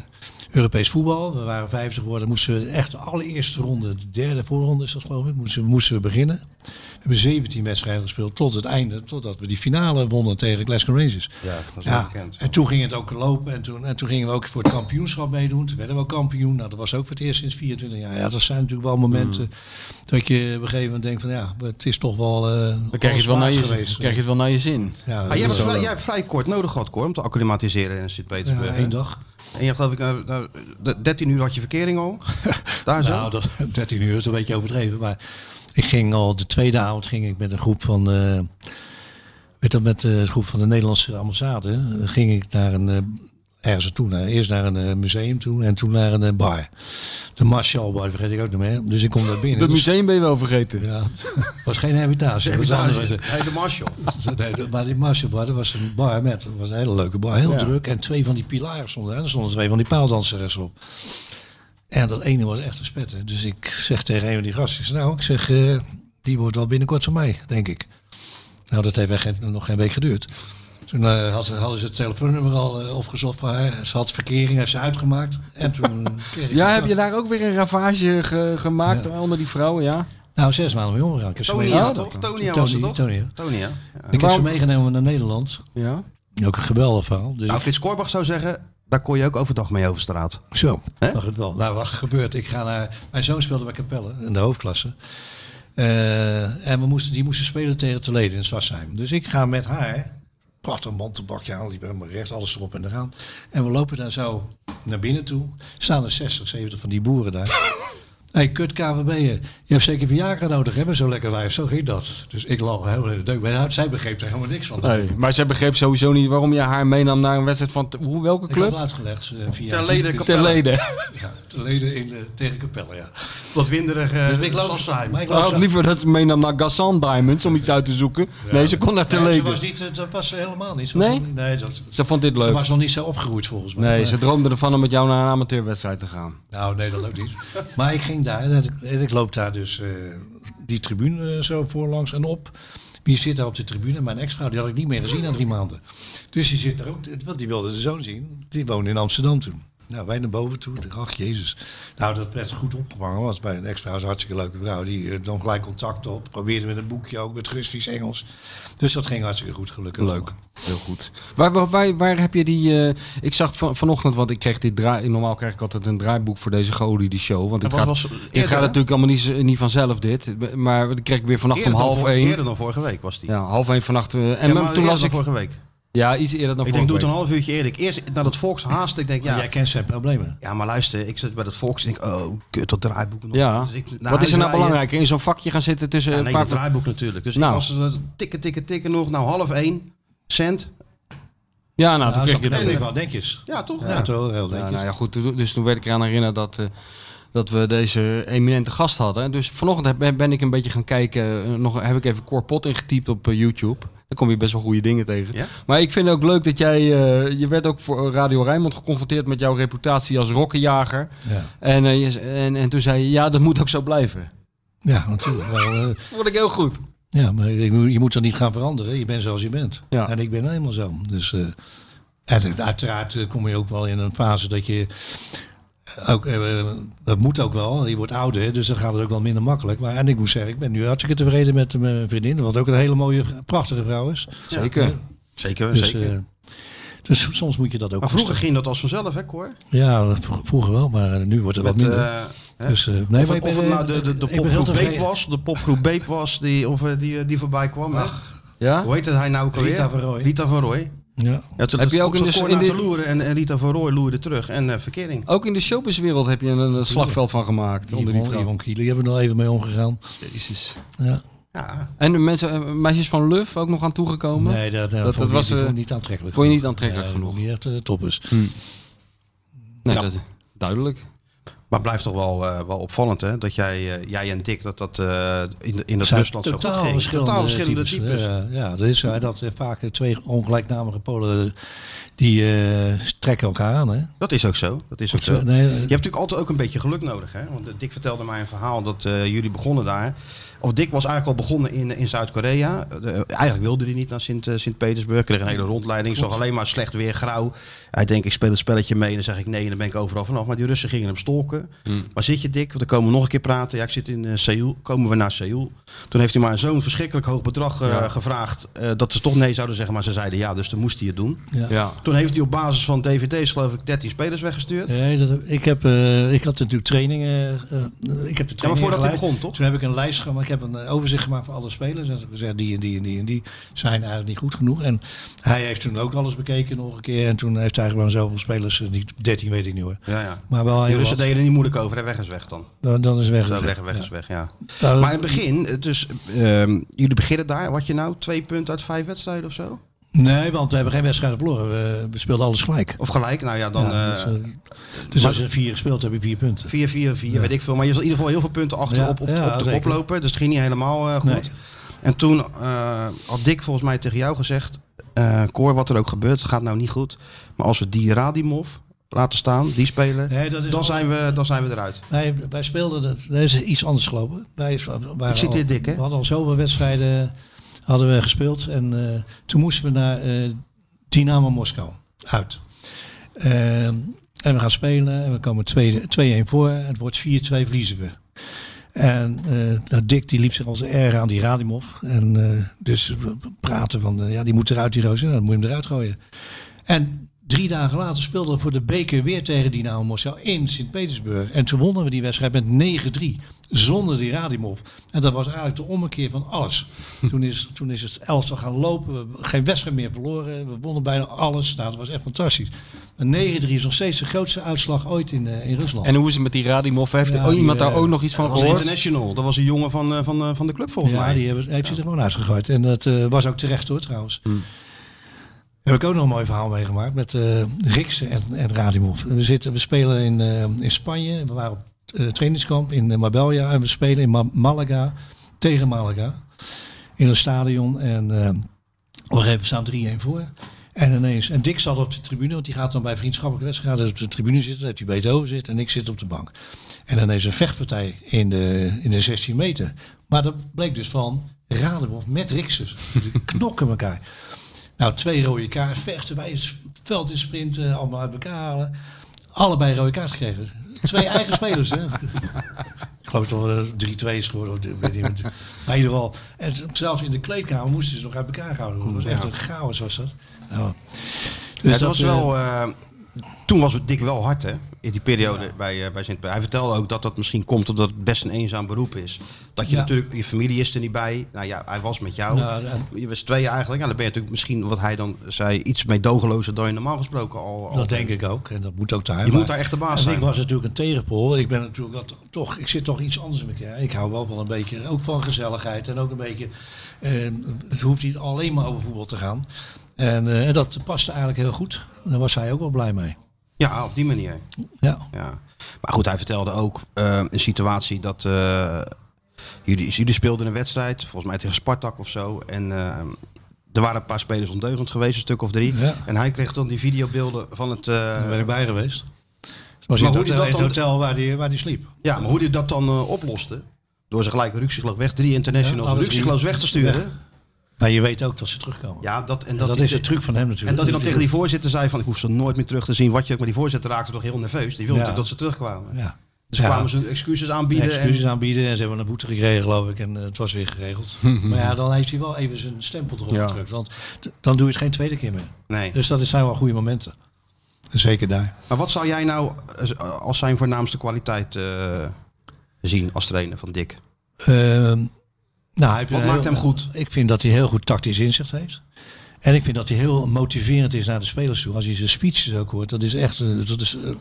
Speaker 3: Europees voetbal. We waren vijftig geworden. Moesten we echt de allereerste ronde, de derde voorronde is dat geloof ik, moesten, moesten we beginnen. We hebben 17 wedstrijden gespeeld tot het einde. Totdat we die finale wonnen tegen Glasgow Rangers.
Speaker 2: Ja, dat was wel
Speaker 3: Ja,
Speaker 2: bekend.
Speaker 3: en toen ging het ook lopen. En toen, en toen gingen we ook voor het kampioenschap meedoen. Toen werden we ook kampioen. Nou, dat was ook voor het eerst sinds 24 jaar. Ja, dat zijn natuurlijk wel momenten
Speaker 2: Mm.
Speaker 3: dat je op een gegeven moment denkt van ja, het is toch wel eh
Speaker 4: Dan krijg je, het wel naar je,
Speaker 3: geweest.
Speaker 4: krijg je het wel naar je zin.
Speaker 2: Maar
Speaker 3: Ja,
Speaker 2: Ah, jij,
Speaker 3: Ah, dat
Speaker 2: hebt
Speaker 3: is
Speaker 2: vrij,
Speaker 3: wel-
Speaker 2: jij hebt vrij kort nodig gehad, Cor, om te acclimatiseren in
Speaker 3: ja,
Speaker 2: Sint-Petersburg. hè?
Speaker 3: één dag.
Speaker 2: En je hebt geloof ik, nou, nou, de- 13 uur had je verkering al. daar Ah, zo.
Speaker 3: Nou, dat, (laughs) 13 uur is een beetje overdreven. Maar ik ging al de tweede avond ging ik met een groep van. eh, weet dat, met eh, de groep van de Nederlandse ambassade. eh, ging ik naar een. eh, ergens naartoe. Naar, eerst naar een eh, museum toe en toen naar een eh, bar. De Marshall Bar, vergeet ik ook nog meer. Dus ik kom daar binnen.
Speaker 4: Het
Speaker 3: Dus-
Speaker 4: museum ben je wel vergeten.
Speaker 3: ja, (laughs) was geen hermitage. dat was een andere-
Speaker 2: Hey, de Marshall.
Speaker 3: Nee, dat- maar die Marshall Bar, dat was een bar met, dat was een hele leuke bar, heel
Speaker 4: Ja.
Speaker 3: druk. En twee van die pilaren stonden, en er stonden twee van die paaldanseres op. En dat ene was echt een spetter. Dus ik zeg tegen een van die gasten, ik zeg, nou, ik zeg, eh, die wordt wel binnenkort van mij, denk ik. Nou, dat heeft echt geen- nog geen week geduurd. Toen eh, had ze, hadden ze het telefoonnummer al eh, opgezocht van haar. Ze had verkering, heeft ze uitgemaakt. En toen
Speaker 4: (laughs)
Speaker 3: kreeg ik
Speaker 4: Ja, heb je
Speaker 3: contact.
Speaker 4: daar ook weer een ravage ge- gemaakt onder die vrouwen? Ja.
Speaker 3: Nou, zes maanden mee omgegaan. Ik
Speaker 4: Oh,
Speaker 3: heb ze
Speaker 2: Tony,
Speaker 3: meegenomen.
Speaker 2: ja, toch? Tony, ja, was het toch?
Speaker 3: Tony, ja.
Speaker 2: Tony, ja.
Speaker 3: Ik heb ze
Speaker 4: Waarom-
Speaker 3: meegenomen naar Nederland.
Speaker 4: ja.
Speaker 3: Ook een geweldig verhaal. Dus
Speaker 2: Nou, Frits Korbach zou zeggen, daar kon je ook overdag mee over straat.
Speaker 3: Zo, mag het wel. Nou, wat gebeurt? Ik ga naar. Mijn zoon speelde bij Capelle in de hoofdklasse. Eh, en we moesten, die moesten spelen tegen Toledo in Swassheim. Dus ik ga met haar. Prachtig mantelbakje aan, die bij me recht, alles erop en eraan. En we lopen daar zo naar binnen toe. Staan er 60, 70 van die boeren daar. (laughs) Hé, hey, kut KVB'er. eh, Je hebt zeker Viagra nodig, hè? met Zo'n lekker wijf. Zo ging dat. Dus ik lag helemaal in de deuk. Maar zij begreep er helemaal niks van.
Speaker 4: Nee, maar zij begreep sowieso niet waarom je haar meenam naar een wedstrijd van... Hoe, welke
Speaker 3: Ik had
Speaker 4: club?
Speaker 3: het uitgelegd eh, via...
Speaker 2: Toledo,
Speaker 3: Diep-
Speaker 4: Ter leden.
Speaker 3: Ja, Toledo in, eh, tegen Capelle, ja.
Speaker 2: Wat winderig eh
Speaker 3: Dus ik loop-
Speaker 2: Sassheim.
Speaker 3: maar ik
Speaker 4: Ik had liever dat ze meenam naar Gassan Diamonds om iets uit te zoeken. Nee, ze kon naar
Speaker 3: Nee,
Speaker 4: Ter
Speaker 3: ze
Speaker 4: leden.
Speaker 3: was niet, eh, dat was ze helemaal niet. Ze
Speaker 4: Nee?
Speaker 3: was nog- nee dat,
Speaker 4: Ze vond dit
Speaker 3: ze
Speaker 4: leuk.
Speaker 3: was nog niet zo opgeroerd volgens mij.
Speaker 4: Nee,
Speaker 3: Maar-
Speaker 4: ze droomde ervan om met jou naar een amateurwedstrijd te gaan.
Speaker 3: Nou, nee, dat loopt niet. maar ik ging daar en ik, en ik loop daar dus eh, die tribune eh, zo voorlangs en op. Wie zit daar op de tribune? Mijn ex-vrouw, die had ik niet meer gezien na drie maanden. Dus die zit daar ook, want die wilde zijn zoon zien. Die woonde in Amsterdam toen. Nou, wij naar boven toe. Ik dacht, Ach, jezus. Nou, dat werd goed opgevangen. Want bij een ex-vrouw is een hartstikke leuke vrouw. Die eh, nam gelijk contact op. Probeerde met een boekje ook, met Russisch, Engels. Dus dat ging hartstikke goed, gelukkig.
Speaker 4: Leuk. Heel goed. Waar, waar, waar, waar heb je die... eh, ik zag van, vanochtend, want ik kreeg dit draai... Normaal krijg ik altijd een draaiboek voor deze geoliede show. Want dit
Speaker 2: was
Speaker 4: gaat,
Speaker 2: wel zo-
Speaker 4: dit
Speaker 2: eerder,
Speaker 4: gaat
Speaker 2: hè?
Speaker 4: natuurlijk allemaal niet, z- niet vanzelf, dit. Maar dat kreeg ik weer vannacht om half
Speaker 2: dan voor-
Speaker 4: één.
Speaker 2: Eerder dan vorige week was die.
Speaker 4: Ja, half één vannacht. eh, en
Speaker 2: Ja,
Speaker 4: maar
Speaker 2: maar
Speaker 4: toen
Speaker 2: eerder
Speaker 4: las
Speaker 2: dan
Speaker 4: ik...
Speaker 2: vorige week.
Speaker 4: Ja, iets eerder dan
Speaker 2: ik
Speaker 4: vorige
Speaker 2: denk, doe het
Speaker 4: week.
Speaker 2: een half uurtje eerlijk. Eerst naar dat Volks haast. Ik denk,
Speaker 3: Ja.
Speaker 2: ja,
Speaker 3: Jij kent zijn problemen.
Speaker 2: ja, maar luister, ik zit bij dat Volks en denk, oh, kut, dat draaiboek nog.
Speaker 4: Ja.
Speaker 2: Dus ik- naar
Speaker 4: Wat is er
Speaker 2: huis
Speaker 4: nou
Speaker 2: rijden.
Speaker 4: belangrijker? In zo'n vakje gaan zitten tussen
Speaker 2: Ja,
Speaker 4: een
Speaker 2: nee,
Speaker 4: Eh, paar...
Speaker 2: dat draaiboek natuurlijk. Dus
Speaker 4: Nou.
Speaker 2: ik was eh, tikken, tikken, tikken nog. Nou, half één. Cent.
Speaker 4: Ja, nou, toen
Speaker 3: Nou,
Speaker 4: kreeg
Speaker 3: dat
Speaker 4: ik
Speaker 3: denk
Speaker 4: het.
Speaker 3: ik wel netjes.
Speaker 2: Ja, toch?
Speaker 3: Ja, toch? Heel
Speaker 4: Ja,
Speaker 3: netjes.
Speaker 4: nou ja, goed. toen- Dus toen werd ik eraan herinnerd dat, eh, dat we deze eminente gast hadden. Dus vanochtend heb- ben ik een beetje gaan kijken. eh, Nog, heb ik even Corpot ingetypt op eh, YouTube. Daar kom je best wel goede dingen tegen.
Speaker 2: Ja?
Speaker 4: Maar ik vind het ook leuk dat jij... eh, je werd ook voor Radio Rijnmond geconfronteerd met jouw reputatie als rokkenjager.
Speaker 3: Ja,
Speaker 4: En, eh, je z- en, en toen zei je, ja, dat moet ook zo blijven.
Speaker 3: ja natuurlijk. Wel, eh,
Speaker 4: Dat vond ik heel goed.
Speaker 3: ja, maar je moet- je moet dat niet gaan veranderen. Je bent zoals je bent.
Speaker 4: Ja.
Speaker 3: En ik ben helemaal zo. Dus, eh, en uiteraard eh, kom je ook wel in een fase dat je... Ook, eh, dat moet ook wel. Je wordt ouder, dus dan gaat het ook wel minder makkelijk. Maar, en ik moet zeggen, ik ben nu hartstikke tevreden met eh, mijn vriendin. Wat ook een hele mooie, prachtige vrouw is.
Speaker 4: Zeker.
Speaker 2: Zeker,
Speaker 3: Dus,
Speaker 2: zeker.
Speaker 3: eh, dus soms moet je dat ook...
Speaker 2: maar vroeger
Speaker 3: koesteren.
Speaker 2: ging dat als vanzelf, hè, Cor?
Speaker 3: Ja, v- vroeger wel, maar eh, nu wordt het
Speaker 2: Met,
Speaker 3: wat minder.
Speaker 2: eh, hè?
Speaker 3: dus, eh, nee, maar
Speaker 2: of, het,
Speaker 3: ik ben,
Speaker 2: of het nou
Speaker 3: eh,
Speaker 2: de, de, de
Speaker 3: ik ben heel
Speaker 2: popgroep Beep
Speaker 3: tevreden.
Speaker 2: was, de popgroep Beep was, die, of eh, die, eh, die voorbij kwam. hè?
Speaker 4: Ja?
Speaker 2: Hoe heet het hij nou ook alweer?
Speaker 3: Rita van Rooij.
Speaker 2: Rita van Rooij.
Speaker 3: Ja.
Speaker 2: Ja, toen-
Speaker 4: Heb je ook
Speaker 2: toen
Speaker 4: in de-
Speaker 2: Cor
Speaker 4: in
Speaker 2: naar
Speaker 4: de-
Speaker 2: te loeren en, en Rita van Rooij loerde terug. En eh, verkering.
Speaker 4: Ook in de showbizwereld heb je een, een slagveld van gemaakt. Onder die
Speaker 3: Yvonne,
Speaker 4: vrouw.
Speaker 3: Yvonne Kiele hebben we nog even mee omgegaan. Ja.
Speaker 2: Ja,
Speaker 4: En de mensen, eh, meisjes van Luf ook nog aan toegekomen?
Speaker 3: Nee, dat, dat,
Speaker 4: dat
Speaker 3: vond ik-
Speaker 4: was,
Speaker 3: die
Speaker 4: eh,
Speaker 3: vond ik niet aantrekkelijk.
Speaker 4: vond je niet
Speaker 3: genoeg.
Speaker 4: aantrekkelijk Hmm.
Speaker 3: Nee, Niet echt eh, toppers.
Speaker 4: Nee,
Speaker 2: Ja.
Speaker 4: dat, duidelijk.
Speaker 2: maar blijft toch wel, eh, wel opvallend, hè? Dat jij, eh, jij en Dick, dat dat eh, in, de, in dat
Speaker 3: Zijn
Speaker 2: Rusland zo goed
Speaker 3: totaal
Speaker 2: ging.
Speaker 3: verschillende,
Speaker 2: totaal verschillende types.
Speaker 3: Ja, ja, dat is eh, dat eh, vaak eh, twee ongelijknamige Polen die eh, trekken elkaar aan. Hè?
Speaker 2: Dat is ook zo. Dat is ook zo.
Speaker 3: Nee, eh,
Speaker 2: Je hebt natuurlijk altijd ook een beetje geluk nodig. Hè? Want eh, Dick vertelde mij een verhaal dat eh, jullie begonnen daar. Of Dick was eigenlijk al begonnen in, in Zuid-Korea. Eh, de- eigenlijk wilde hij niet naar Sint, eh, Sint-Petersburg. Kreeg een hele rondleiding. Zag alleen maar slecht weer, grauw. Hij denkt, ik speel het spelletje mee. En dan zeg ik nee en dan ben ik overal vanaf. Maar die Russen gingen hem stalken. Waar zit je Dick? Want dan komen we nog een keer praten. Ja, ik zit in eh, Seoul. Komen we naar Seoul. Toen heeft hij maar zo'n verschrikkelijk hoog bedrag eh, gevraagd. eh, dat ze toch nee zouden zeggen. Maar ze zeiden ja, dus dan moest hij het doen.
Speaker 4: Ja.
Speaker 2: Toen heeft hij op basis van dvd's geloof ik 13 spelers weggestuurd.
Speaker 3: Nee, dat, heb- ik, heb, eh, ik had natuurlijk trainingen. eh, eh, ik heb de trainingen
Speaker 2: Ja, maar voordat hij
Speaker 3: geleid.
Speaker 2: begon, toch?
Speaker 3: Toen heb ik een lijst gemaakt. Ik heb een eh, overzicht gemaakt van alle spelers. En toen gezegd, die en die en die en die zijn eigenlijk niet goed genoeg. En hij heeft toen ook alles bekeken nog een keer. En toen heeft hij gewoon zoveel spelers, eh, niet, 13 weet ik niet hoor.
Speaker 2: Ja, ja.
Speaker 3: Maar wel
Speaker 2: Die
Speaker 3: heel
Speaker 2: Russen
Speaker 3: wat.
Speaker 2: deden er niet moeilijk over. En weg is weg dan.
Speaker 3: dan, dan is weg.
Speaker 2: Zo,
Speaker 3: gezegd.
Speaker 2: weg, weg is weg, ja.
Speaker 3: Nou, dat-
Speaker 2: Maar in het begin, eh, dus ehm, jullie beginnen daar. Wat je nou? Twee punten uit vijf wedstrijden of zo?
Speaker 3: Nee, want we hebben geen wedstrijd verloren. We, we speelden alles gelijk.
Speaker 2: Of gelijk? Nou ja, dan
Speaker 3: Ja, dus,
Speaker 2: eh,
Speaker 3: eh, dus
Speaker 2: maar-
Speaker 3: als je vier gespeeld hebt, heb je vier punten.
Speaker 2: vier, vier, vier, weet ik veel. Maar je zal in ieder geval heel veel punten achterop op, op,
Speaker 3: Ja, ja,
Speaker 2: de
Speaker 3: zeker.
Speaker 2: kop lopen. Dus het ging niet helemaal eh, goed.
Speaker 3: Nee.
Speaker 2: En toen eh, had Dick volgens mij tegen jou gezegd... eh Cor, wat er ook gebeurt, het gaat nou niet goed. Maar als we die Radimov laten staan, die speler...
Speaker 3: Nee, dat is
Speaker 2: dan, zijn we, dan zijn we eruit.
Speaker 3: Wij, wij speelden, dat, dat is iets anders gelopen. Wij waren
Speaker 2: Ik zit hier
Speaker 3: al-
Speaker 2: dik, hè?
Speaker 3: We hadden al zoveel wedstrijden hadden we gespeeld. En eh, toen moesten we naar eh, Dynamo Moskou uit. Ehm, en we gaan spelen en we komen tweede- 2-1 voor. Het wordt 4-2 verliezen we. En eh, nou, Dick die liep zich als erg aan die Radimov. En eh, dus we praten van, eh, ja die moet eruit die roos. Nou, dan moet je hem eruit gooien. En drie dagen later speelden we voor de beker weer tegen Dynamo Moskou in Sint-Petersburg. En toen wonnen we die wedstrijd met 9-3. Zonder die Radimov. En dat was eigenlijk de ommekeer van alles. Toen is, toen is het elftal gaan lopen. We hebben geen wedstrijd meer verloren. We wonnen bijna alles. Nou, dat was echt fantastisch. En 9-3 is nog steeds de grootste uitslag ooit in, eh, in Rusland.
Speaker 4: En hoe is het met die Radimov? Heeft
Speaker 3: Ja,
Speaker 4: oh, iemand
Speaker 3: die,
Speaker 4: daar
Speaker 3: eh,
Speaker 4: ook nog iets van
Speaker 2: Dat was
Speaker 4: gehoord?
Speaker 2: international. Dat was een jongen van, eh, van, eh, van de club volgens
Speaker 3: ja,
Speaker 2: mij.
Speaker 3: die hebben, heeft hij er gewoon uitgegooid. En dat eh, was ook terecht hoor trouwens.
Speaker 2: Hmm.
Speaker 3: Heb ik ook nog een mooi verhaal meegemaakt met eh Riksen en, en Radimov. We, zitten, we spelen in, eh, in Spanje. We waren op eh, trainingskamp in eh, Marbella. En we spelen in Ma- Malaga tegen Malaga. In een stadion. En eh, op een gegeven moment staan 3-1 voor. En ineens, en Dick zat op de tribune, want die gaat dan bij vriendschappelijke wedstrijden op de tribune zitten, dat hij bij het over zit en ik zit op de bank. En ineens een vechtpartij in de, in de 16 meter. Maar dat bleek dus van Radenhof met Rixus. Die knokken elkaar. Nou, twee rode kaart, vechten bij het veld in sprinten, allemaal uit elkaar halen. Allebei rode kaart gekregen. (laughs) Twee eigen spelers, hè? Ik geloof toch wel dat het 3-2 is geworden. of weet niet meer. (laughs) Maar in ieder geval, en zelfs in de kleedkamer moesten ze nog uit elkaar houden. hoor. Dat was echt een chaos, was dat. Nou, dus
Speaker 2: ja, dat, was
Speaker 3: eh,
Speaker 2: wel, eh, toen was het Dick wel hard, hè? In die periode bij, eh, bij sint Hij vertelde ook dat dat misschien komt omdat het best een eenzaam beroep is. Dat je
Speaker 3: Ja.
Speaker 2: natuurlijk, je familie is er niet bij. Nou ja, hij was met jou.
Speaker 3: Nou, en-
Speaker 2: je was tweeën eigenlijk. Ja, dan ben je natuurlijk misschien, wat hij dan zei, iets meedogenlozer dan je normaal gesproken al... al
Speaker 3: Dat denk ik ook. En dat moet ook daar.
Speaker 2: Je
Speaker 3: Maar-
Speaker 2: moet daar echt de baas
Speaker 3: en
Speaker 2: zijn.
Speaker 3: Ik was natuurlijk een tegenpool. Ik ben natuurlijk wat, toch, ik zit toch iets anders in elkaar. Ik hou wel van een beetje, ook van gezelligheid. En ook een beetje, eh, het hoeft niet alleen maar over voetbal te gaan. En, eh, en dat paste eigenlijk heel goed. Daar was hij ook wel blij mee.
Speaker 2: Ja, op die manier.
Speaker 3: Ja.
Speaker 2: Ja. Maar goed, hij vertelde ook eh, een situatie dat. eh, jullie, jullie speelden een wedstrijd, volgens mij tegen Spartak of zo. En eh, er waren een paar spelers ondeugend geweest, een stuk of drie.
Speaker 3: Ja.
Speaker 2: En hij kreeg dan die videobeelden van het. eh,
Speaker 3: Daar ben ik bij geweest. Was in
Speaker 2: hoe
Speaker 3: het
Speaker 2: die
Speaker 3: hotel,
Speaker 2: dat
Speaker 3: in het
Speaker 2: dan-
Speaker 3: hotel waar die, waar die sliep.
Speaker 2: ja, maar hoe hij dat dan eh, oploste. Door ze gelijk ruksigloos weg, drie internationals
Speaker 3: Ja, alle
Speaker 2: ruksigloos
Speaker 3: drie.
Speaker 2: weg te sturen.
Speaker 3: Weg. Maar je weet ook dat ze terugkomen.
Speaker 2: Ja, dat, en
Speaker 3: En
Speaker 2: dat,
Speaker 3: dat,
Speaker 2: hij-
Speaker 3: is de truc van hem natuurlijk.
Speaker 2: En dat hij dan tegen die voorzitter zei van ik hoef ze nooit meer terug te zien. Wat je ook, maar die voorzitter raakte toch heel nerveus. Die wilde
Speaker 3: Ja.
Speaker 2: natuurlijk dat ze terugkwamen.
Speaker 3: Ja.
Speaker 2: Dus
Speaker 3: Ja.
Speaker 2: kwamen ze hun excuses aanbieden. en-
Speaker 3: excuses aanbieden en ze hebben een boete gekregen geloof ik en eh, het was weer
Speaker 2: (laughs)
Speaker 3: geregeld. maar ja, dan heeft hij wel even zijn stempel erop
Speaker 4: Ja.
Speaker 3: gedrukt, want d- dan doe je het geen tweede keer meer.
Speaker 2: Nee.
Speaker 3: Dus dat zijn wel goede momenten. Zeker daar.
Speaker 2: Maar wat zou jij nou eh, als zijn voornaamste kwaliteit eh, zien als trainer van Dick?
Speaker 3: Ehm, nou, hij heeft
Speaker 2: Wat
Speaker 3: een
Speaker 2: maakt
Speaker 3: heel-
Speaker 2: hem goed?
Speaker 3: Ik vind dat hij heel goed tactisch inzicht heeft. En ik vind dat hij heel motiverend is naar de spelers toe. Als je zijn speeches ook hoort, dat is echt eh, dat is, eh, dat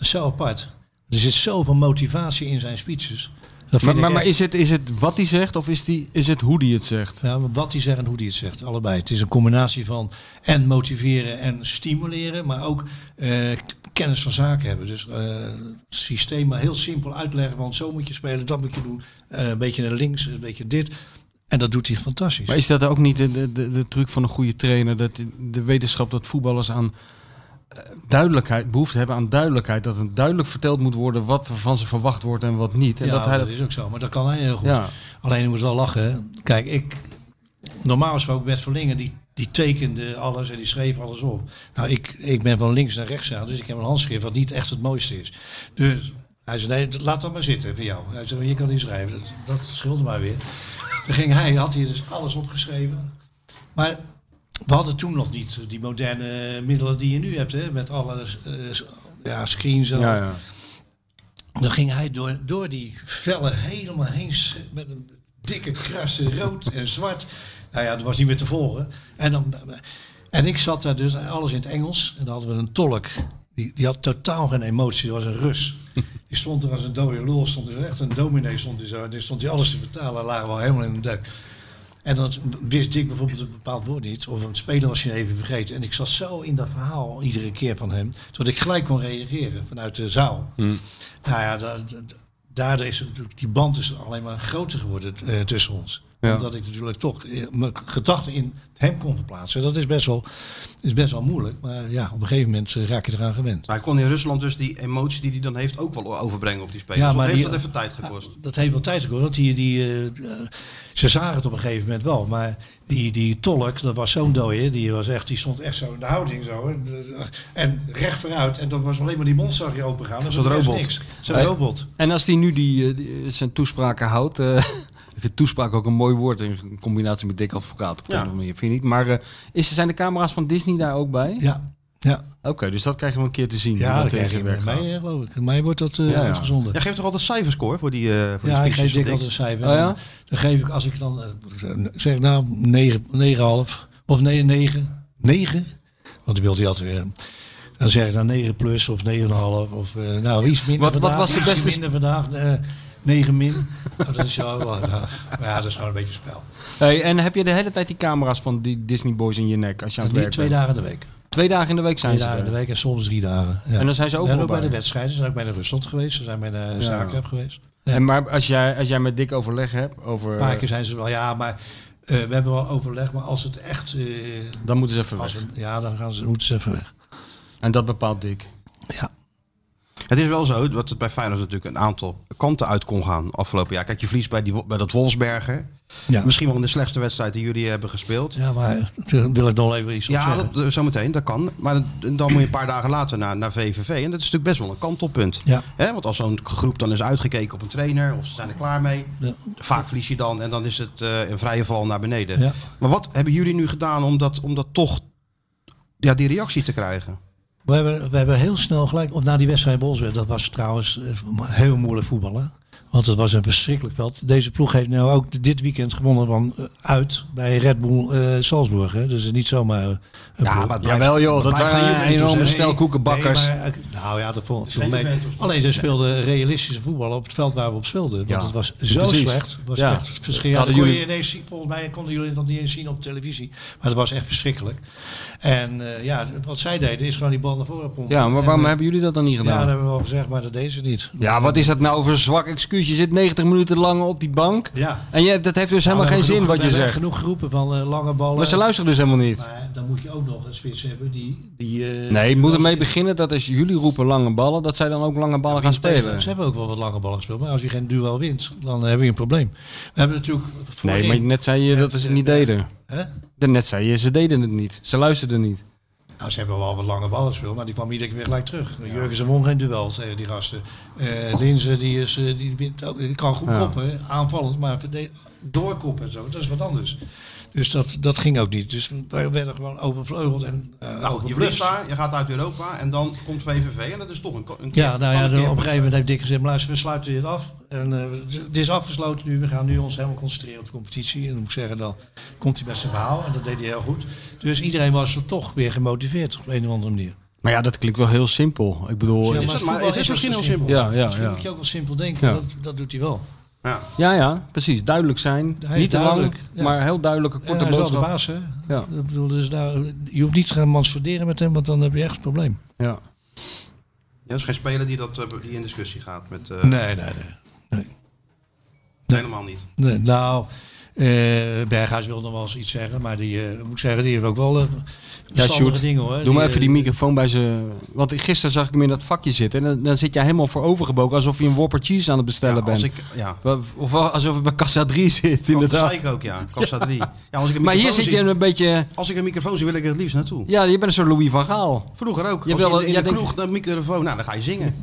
Speaker 3: is zo apart. Er zit zoveel motivatie in zijn speeches. Dat vind
Speaker 4: Maar,
Speaker 3: ik
Speaker 4: maar, maar
Speaker 3: echt-
Speaker 4: is, het, is het wat hij zegt of is, die, is het hoe hij het zegt?
Speaker 3: Ja, maar wat hij zegt en hoe hij het zegt, allebei. Het is een combinatie van en motiveren en stimuleren, maar ook eh, k- kennis van zaken hebben. Dus eh, het systeem maar heel simpel uitleggen, want zo moet je spelen, dat moet je doen. Eh, een beetje naar links, een beetje dit. En dat doet hij fantastisch.
Speaker 4: Maar is dat ook niet de, de, de, de truc van een goede trainer? Dat de wetenschap dat voetballers aan eh, duidelijkheid, behoefte hebben aan duidelijkheid. Dat het duidelijk verteld moet worden wat er van ze verwacht wordt en wat niet. En
Speaker 3: ja,
Speaker 4: dat hij dat,
Speaker 3: is ook zo, maar dat kan hij heel goed.
Speaker 4: Ja.
Speaker 3: Alleen je moet wel lachen. hè. Kijk, ik normaal gesproken Bert Verlingen die, die tekende alles en die schreef alles op. Nou, ik, ik ben van links naar rechts aan, dus ik heb een handschrift wat niet echt het mooiste is. Dus hij zei, nee, laat dat maar zitten voor jou. Hij zei, je kan niet schrijven, dat, dat scheelde maar weer. Toen ging hij, had hij dus alles opgeschreven. Maar we hadden toen nog niet die moderne middelen die je nu hebt, hè, met alle eh, ja, screens en
Speaker 4: ja,
Speaker 3: alles.
Speaker 4: ja.
Speaker 3: Dan ging hij door, door die vellen helemaal heen sch- met een dikke krassen rood en zwart. Nou ja, dat was niet meer te volgen. En, dan, en ik zat daar dus alles in het Engels. En dan hadden we een tolk. Die, die had totaal geen emotie. Dat was een Rus. Die stond er als een dode lul. Stond er echt een dominee stond hij zo. En die stond hij alles te vertalen. En lagen we al helemaal in de dek. En dan wist ik bijvoorbeeld een bepaald woord niet. Of een speler was je even vergeten. En ik zat zo in dat verhaal iedere keer van hem. Dat ik gelijk kon reageren vanuit de zaal. Nou ja, da- da- daardoor is het natuurlijk, die band is alleen maar groter geworden eh, tussen ons.
Speaker 4: Ja.
Speaker 3: Omdat ik natuurlijk toch eh, mijn gedachten in hem kon verplaatsen. Dat is best, wel, is best wel moeilijk. Maar ja, op een gegeven moment eh, raak je eraan gewend.
Speaker 2: Maar hij kon in Rusland dus die emotie die hij dan heeft ook wel overbrengen op die spelers.
Speaker 3: Ja,
Speaker 2: Ja,
Speaker 3: maar
Speaker 2: heeft
Speaker 3: die- Ah,
Speaker 2: dat even tijd gekost?
Speaker 3: Dat heeft wel tijd gekost. Want die, die, eh, ze zagen het op een gegeven moment wel. Maar die, die tolk, dat was zo'n dooie. Die, was echt, die stond echt zo in de houding. Zo, en, eh, en recht vooruit. En dan was alleen maar die mond zag je open gaan.
Speaker 2: Zo'n robot.
Speaker 3: Niks. Zo'n
Speaker 4: Hey.
Speaker 3: robot.
Speaker 4: En als hij nu die, eh, die, eh, zijn toespraken houdt. eh, (laughs) ik vind toespraak ook een mooi woord in combinatie met dik advocaat. Op de
Speaker 2: Ja.
Speaker 4: andere manier, vind ik niet. Maar eh, is, zijn de camera's van Disney daar ook bij?
Speaker 3: Ja, ja.
Speaker 4: Oké, dus dat krijgen we een keer te zien. hoe
Speaker 3: ja dat
Speaker 4: in
Speaker 3: krijg
Speaker 4: zijn
Speaker 3: je
Speaker 4: werk
Speaker 3: met mij,
Speaker 4: gaat.
Speaker 3: eh, geloof ik. Mij wordt dat eh
Speaker 4: Ja, ja.
Speaker 3: uitgezonden.
Speaker 2: Jij geeft toch altijd cijferscore voor die, eh voor die
Speaker 3: Ja, ik
Speaker 2: speeches
Speaker 3: geef
Speaker 2: van
Speaker 3: Dick altijd een cijfer.
Speaker 4: Oh ja?
Speaker 3: Dan geef ik, als ik dan eh, zeg nou 9, 9,5 of nee, 9, 9, want die wilde hij altijd weer. Dan zeg ik dan 9 plus of 9,5 of eh, nou iets minder
Speaker 4: Wat- wat
Speaker 3: vandaag,
Speaker 4: was de
Speaker 3: ietsje
Speaker 4: beste sp-
Speaker 3: minder vandaag, eh 9 min. Oh, dat is jou wel, nou, maar ja, dat is gewoon een beetje spel.
Speaker 4: Hey, en heb je de hele tijd die camera's van die Disney Boys in je nek als je aan
Speaker 3: En
Speaker 4: het
Speaker 3: nu
Speaker 4: werk
Speaker 3: twee
Speaker 4: bent?
Speaker 3: dagen in de week.
Speaker 4: Twee dagen in de week zijn
Speaker 3: Twee
Speaker 4: ze
Speaker 3: dagen in de
Speaker 4: er.
Speaker 3: week en soms drie dagen. Ja.
Speaker 4: En dan zijn ze
Speaker 3: En
Speaker 4: overal
Speaker 3: ook bij de
Speaker 4: bij.
Speaker 3: wedstrijden, ze zijn ook bij de Rusland geweest, ze zijn bij de Zagreb geweest.
Speaker 4: En maar als jij, als jij met Dick overleg hebt over...
Speaker 3: Een paar keer zijn ze wel, ja, maar eh, we hebben wel overleg, maar als het echt... eh,
Speaker 4: Dan moeten ze even
Speaker 3: Als
Speaker 4: weg.
Speaker 3: we- ja, dan gaan ze, moeten ze even weg.
Speaker 4: En dat bepaalt Dick.
Speaker 3: Ja.
Speaker 2: Het is wel zo dat het bij Feyenoord natuurlijk een aantal kanten uit kon gaan afgelopen jaar. Kijk, je verliest bij, die, wo- bij dat Wolfsberger.
Speaker 3: Ja.
Speaker 2: Misschien wel de slechtste wedstrijd die jullie hebben gespeeld. Ja,
Speaker 3: Dus- ja, maar daar wil ik nog even iets op zeggen.
Speaker 2: dat, eh, zometeen, dat kan. Maar dan, dan moet je een paar dagen later naar, naar VVV. En dat is natuurlijk best wel een kantelpunt.
Speaker 3: Ja.
Speaker 2: Hè, want als zo'n groep dan is uitgekeken op een trainer of ze zijn er klaar mee.
Speaker 3: Ja.
Speaker 2: Vaak verlies je dan en dan is het eh, een vrije val naar beneden.
Speaker 3: Ja.
Speaker 2: Maar wat hebben jullie nu gedaan om dat, om dat toch ja, die reactie te krijgen?
Speaker 3: We, hebben, we hebben heel snel gelijk, op, na die wedstrijd in Bolswerd, dat was trouwens eh, heel moeilijk voetballen. Want het was een verschrikkelijk veld. Deze ploeg heeft nou ook dit weekend gewonnen van eh, uit bij Red Bull eh, Salzburg. Hè. Dus niet zomaar een ploeg.
Speaker 2: maar het blijft-
Speaker 4: Jawel joh, dat
Speaker 2: het blijft geen
Speaker 4: waren
Speaker 2: Juventus,
Speaker 4: enorme
Speaker 2: hè?
Speaker 4: stel koekenbakkers.
Speaker 3: Nee, maar, eh, nou ja, dat vond ik
Speaker 2: geen
Speaker 3: mee.
Speaker 2: Juventus, toch?
Speaker 3: Alleen ze speelden realistische voetbal op het veld waar we op speelden. Want
Speaker 4: Ja,
Speaker 3: het was zo
Speaker 4: precies.
Speaker 3: slecht. Het was
Speaker 4: Ja.
Speaker 3: echt verschrikkelijk. Dat
Speaker 4: Hadden
Speaker 3: kon je
Speaker 4: jullie-
Speaker 3: ineens zien- volgens mij konden jullie dat niet eens zien op televisie. Maar het was echt verschrikkelijk. En eh, ja, wat zij deden is gewoon die bal naar voren pompen.
Speaker 4: Ja, maar
Speaker 3: En,
Speaker 4: waarom
Speaker 3: eh,
Speaker 4: hebben jullie dat dan niet
Speaker 3: Ja, dat
Speaker 4: gedaan?
Speaker 3: hebben we al gezegd, maar dat deden ze niet.
Speaker 4: Ja, wat is dat nou voor een zwak excuus? Je zit 90 minuten lang op die bank.
Speaker 3: Ja.
Speaker 4: En je, dat heeft dus helemaal
Speaker 3: Nou, we
Speaker 4: geen zin
Speaker 3: hebben genoeg-
Speaker 4: wat je
Speaker 3: we hebben
Speaker 4: zegt.
Speaker 3: genoeg geroepen van eh, lange ballen.
Speaker 4: Maar ze luisteren dus helemaal niet.
Speaker 3: Maar eh, dan moet je ook nog een spits hebben die... die eh,
Speaker 4: Nee, je moet ermee beginnen dat als jullie roepen lange ballen, dat zij dan ook lange ballen gaan spelen.
Speaker 3: Ze hebben ook wel wat lange ballen gespeeld. Maar als je geen duel wint, dan heb je een probleem. We hebben natuurlijk...
Speaker 4: Nee,
Speaker 3: voorin-
Speaker 4: maar net zei je dat ze het niet deden.
Speaker 3: Hè?
Speaker 4: Net zei je, ze deden het niet. Ze luisterden niet.
Speaker 3: Nou, ze hebben wel wat lange ballen gespeeld, maar die kwam iedere keer weer gelijk terug. Jurgensen won geen duel tegen die gasten. Eh Linzen, die, is, eh, die, wint ook- die kan goed
Speaker 4: Ja.
Speaker 3: koppen, aanvallend, maar verde- doorkoppen en zo, dat is wat anders. Dus dat, dat ging ook niet. Dus wij werden gewoon overvleugeld en eh
Speaker 2: Nou, je
Speaker 3: overblust.
Speaker 2: vlucht daar, je gaat uit Europa en dan komt VVV en dat is toch een, ko- een keer-
Speaker 3: Ja, nou ja,
Speaker 2: kan
Speaker 3: op
Speaker 2: een
Speaker 3: een
Speaker 2: keer-
Speaker 3: gegeven moment heeft Dick gezegd, maar luister, we sluiten dit af. En eh, dit is afgesloten nu, we gaan nu ons helemaal concentreren op de competitie. En dan moet ik zeggen, dan komt hij met zijn verhaal en dat deed hij heel goed. Dus iedereen was er toch weer gemotiveerd op een of andere manier.
Speaker 4: Maar ja, dat klinkt wel heel simpel. Ik bedoel,
Speaker 3: Ja,
Speaker 2: Is het, maar het is misschien heel simpel.
Speaker 4: Ja, ja,
Speaker 3: Misschien
Speaker 4: ja.
Speaker 3: moet je ook wel simpel denken.
Speaker 4: Ja.
Speaker 3: Dat, dat doet hij wel.
Speaker 2: Ja.
Speaker 4: ja, ja, precies. Duidelijk zijn.
Speaker 3: Hij is
Speaker 4: niet te lang,
Speaker 3: duidelijk, ja.
Speaker 4: maar heel duidelijke
Speaker 3: En
Speaker 4: korte
Speaker 3: hij is wel de
Speaker 4: boodschap.
Speaker 3: baas, hè?
Speaker 4: Ja.
Speaker 3: Ik bedoel, dus nou, je hoeft niet te gaan mansforderen met hem, want dan heb je echt een probleem.
Speaker 4: Ja.
Speaker 2: Ja, Er is geen speler die, dat, eh, die in discussie gaat met eh,
Speaker 3: Nee, nee, nee.
Speaker 2: helemaal niet.
Speaker 3: nee nou, eh, Berghuis wil nog wel eens iets zeggen, maar die, eh, moet ik zeggen, die heeft ook wel eh, verstandige
Speaker 4: Sjoerd,
Speaker 3: dingen, hoor.
Speaker 4: Doe maar even die
Speaker 3: eh,
Speaker 4: microfoon bij ze. Want gisteren zag ik hem in dat vakje zitten. En dan, dan zit jij helemaal voorovergebogen alsof je een Whopper Cheese aan het bestellen
Speaker 2: Ja, als
Speaker 4: bent.
Speaker 2: ik, ja,
Speaker 4: Wa- Of alsof je bij Kassa 3 zit,
Speaker 2: dat zei
Speaker 4: inderdaad.
Speaker 2: ik ook, ja. Kassa 3. Ja. als ik een
Speaker 4: Maar hier
Speaker 2: microfoon
Speaker 4: zit
Speaker 2: zie-
Speaker 4: je een beetje...
Speaker 2: Als ik een microfoon zie, wil ik er het liefst naartoe.
Speaker 4: Ja, je bent een soort Louis van Gaal.
Speaker 2: Vroeger ook.
Speaker 4: Je
Speaker 2: als
Speaker 4: wil-
Speaker 2: je in de,
Speaker 4: jij
Speaker 2: kroeg
Speaker 4: denkt-
Speaker 2: naar de microfoon, nou dan ga je
Speaker 4: (laughs)
Speaker 2: zingen.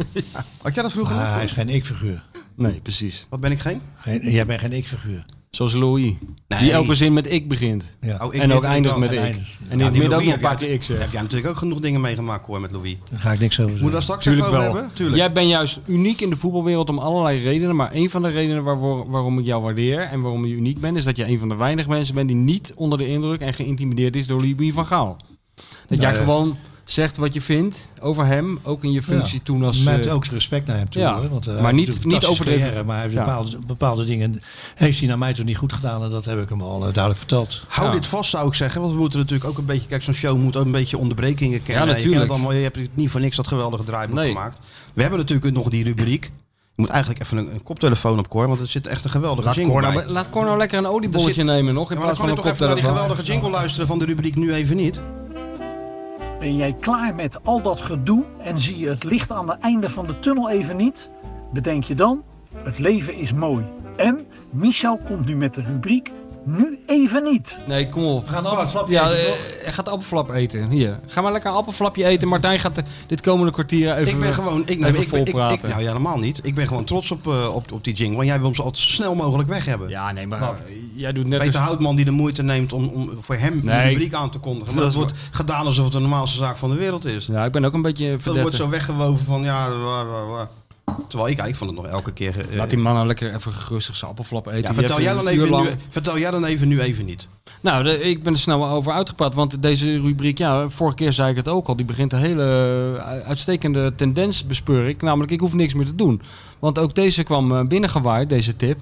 Speaker 2: Had jij dat vroeger?
Speaker 3: Ah,
Speaker 2: ook?
Speaker 3: hij is geen ik-figuur.
Speaker 4: Nee, precies.
Speaker 2: Wat ben ik geen?
Speaker 3: Geen- Jij bent geen ik-figuur.
Speaker 4: Zoals Louis. Die elke zin met ik begint.
Speaker 3: Ja.
Speaker 2: Oh, ik
Speaker 4: en
Speaker 2: weet
Speaker 4: ook
Speaker 2: het
Speaker 4: eindigt
Speaker 2: wel.
Speaker 4: met
Speaker 3: en
Speaker 4: ik.
Speaker 3: eindigt.
Speaker 4: En in het
Speaker 2: die
Speaker 4: midden
Speaker 2: Louis
Speaker 4: ook nog een
Speaker 2: heb
Speaker 4: paar
Speaker 2: jij-
Speaker 4: keer ik zeg.
Speaker 2: Heb jij natuurlijk ook genoeg dingen meegemaakt hoor met Louis.
Speaker 3: Daar ga ik niks over
Speaker 2: Moet
Speaker 3: zeggen.
Speaker 2: daar straks
Speaker 4: Tuurlijk
Speaker 2: even over
Speaker 4: wel.
Speaker 2: hebben? Tuurlijk.
Speaker 4: Jij bent juist uniek in de voetbalwereld om allerlei redenen. Maar een van de redenen waarvoor, waarom ik jou waardeer en waarom je uniek bent, is dat je een van de weinig mensen bent die niet onder de indruk en geïntimideerd is door Louis van Gaal. Dat jij
Speaker 3: ja.
Speaker 4: gewoon zegt wat je vindt over hem, ook in je functie
Speaker 3: Ja.
Speaker 4: toen als.
Speaker 3: Met
Speaker 4: eh,
Speaker 3: ook respect naar hem toe.
Speaker 4: ja.
Speaker 3: hoor, want, eh,
Speaker 4: Maar
Speaker 3: hij
Speaker 4: niet-
Speaker 3: heeft natuurlijk
Speaker 4: niet
Speaker 3: fantastische
Speaker 4: overdreven.
Speaker 3: carrière, Maar hij heeft
Speaker 4: Ja.
Speaker 3: bepaalde, bepaalde dingen heeft hij naar mij toen niet goed gedaan. En dat heb ik hem al eh, duidelijk verteld.
Speaker 2: Hou
Speaker 4: Ja.
Speaker 2: dit vast, zou ik zeggen. Want we moeten natuurlijk ook een beetje... Kijk, zo'n show moet ook een beetje onderbrekingen kennen.
Speaker 4: Ja,
Speaker 2: Je, kent
Speaker 4: natuurlijk.
Speaker 2: het allemaal, je hebt niet voor niks dat geweldige draaiboek
Speaker 4: Nee.
Speaker 2: gemaakt. We hebben natuurlijk nog die rubriek. Je moet eigenlijk even een, een koptelefoon op, Cor. Want er zit echt een geweldige
Speaker 4: laat,
Speaker 2: jingle
Speaker 4: Cor nou,
Speaker 2: bij.
Speaker 4: laat Cor nou lekker een oliebolletje
Speaker 2: zit-
Speaker 4: nemen nog.
Speaker 2: Ja, maar dan
Speaker 4: In plaats
Speaker 2: kan
Speaker 4: van
Speaker 2: je
Speaker 4: een
Speaker 2: toch even naar die
Speaker 4: koptelefoon.
Speaker 2: geweldige jingle luisteren van de rubriek nu even niet.
Speaker 5: Ben jij klaar met al dat gedoe en zie je het licht aan het einde van de tunnel even niet? Bedenk je dan, het leven is mooi. En Michel komt nu met de rubriek Nu even niet.
Speaker 4: Nee, kom op.
Speaker 3: We gaan allemaal flapje
Speaker 4: Ja,
Speaker 3: eten,
Speaker 4: eh,
Speaker 3: toch?
Speaker 4: hij gaat appelflap eten. Hier, ga maar lekker een appelflapje eten. Martijn gaat eh, dit komende kwartier even...
Speaker 2: Ik ben gewoon... Ik, nee,
Speaker 4: even
Speaker 2: ik, ben- ik, ik,
Speaker 4: volpraten.
Speaker 2: nou, ja, helemaal niet. Ik ben gewoon trots op, eh, op, op die jingle. Want jij wil hem zo snel mogelijk weg hebben.
Speaker 4: Ja, nee, maar
Speaker 2: Nou,
Speaker 4: eh, jij doet net...
Speaker 2: Peter
Speaker 4: als-
Speaker 2: Houtman die de moeite neemt om, om voor hem
Speaker 4: Nee.
Speaker 2: de rubriek aan te kondigen. Maar
Speaker 4: Dat
Speaker 2: dat,
Speaker 4: is
Speaker 2: wordt gedaan alsof het de normaalste zaak van de wereld is.
Speaker 4: Ja, ik ben ook een beetje
Speaker 2: Dat wordt
Speaker 4: verdedigd.
Speaker 2: zo weggewoven van ja, waar, waar, waar. terwijl ik eigenlijk van het nog elke keer. eh,
Speaker 4: Laat die man nou lekker even gerustig zijn appelflap eten.
Speaker 2: ja,
Speaker 4: Die
Speaker 2: vertel,
Speaker 4: heeft
Speaker 2: jij
Speaker 4: een
Speaker 2: dan
Speaker 4: uur
Speaker 2: even
Speaker 4: lang-
Speaker 2: nu, vertel jij dan even nu even niet.
Speaker 4: Nou, de- ik ben er snel over uitgepraat. Want deze rubriek, ja, vorige keer zei ik het ook al. Die begint een hele eh, uitstekende tendens, bespeur ik. Namelijk, ik hoef niks meer te doen. Want ook deze kwam eh, binnengewaaid, deze tip.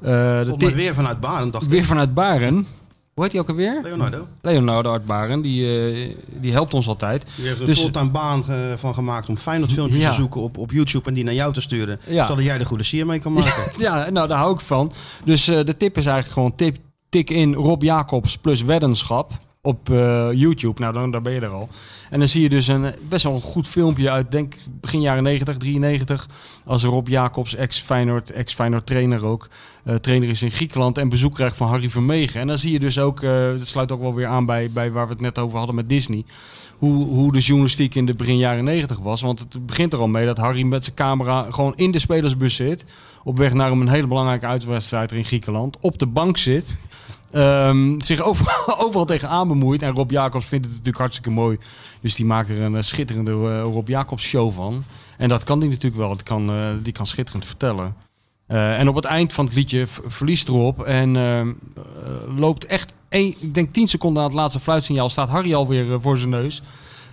Speaker 4: Eh, de
Speaker 2: Volgens
Speaker 4: tip
Speaker 2: mij weer vanuit Baren dacht ik.
Speaker 4: weer vanuit Baren. Hoe heet die ook alweer?
Speaker 2: Leonardo.
Speaker 4: Leonardo uit Baren, die, eh, die helpt ons altijd.
Speaker 2: Die heeft er
Speaker 4: Dus-
Speaker 2: fulltime baan eh, van gemaakt om Feyenoord filmpjes
Speaker 4: Ja.
Speaker 2: te zoeken op, op YouTube en die naar jou te sturen.
Speaker 4: Ja.
Speaker 2: Zodat jij de goede sier mee kan maken.
Speaker 4: Ja, nou daar hou ik van. Dus eh, de tip is eigenlijk gewoon tip, tik in Rob Jacobs plus weddenschap op eh, YouTube. Nou, dan daar ben je er al. En dan zie je dus een eh, best wel een goed filmpje uit, denk begin jaren 90, 93. Als Rob Jacobs, ex-Feyenoord, ex-Feyenoord trainer ook, eh, trainer is in Griekenland en bezoek krijgt van Harry Vermegen. En dan zie je dus ook, eh, dat sluit ook wel weer aan bij, bij waar we het net over hadden met Disney hoe, hoe de journalistiek in de begin jaren 90 was. Want het begint er al mee dat Harry met zijn camera gewoon in de spelersbus zit. Op weg naar een hele belangrijke uitwedstrijd in Griekenland. Op de bank zit. ehm, zich overal, (laughs) overal tegenaan bemoeit. En Rob Jacobs vindt het natuurlijk hartstikke mooi. Dus die maakt er een eh, schitterende eh, Rob Jacobs show van. En dat kan die natuurlijk wel. Het kan, eh, die kan schitterend vertellen. Eh, en op het eind van het liedje v- verliest erop en eh, eh, loopt echt, één, ik denk 10 seconden aan het laatste fluitsignaal, staat Harry alweer eh, voor zijn neus.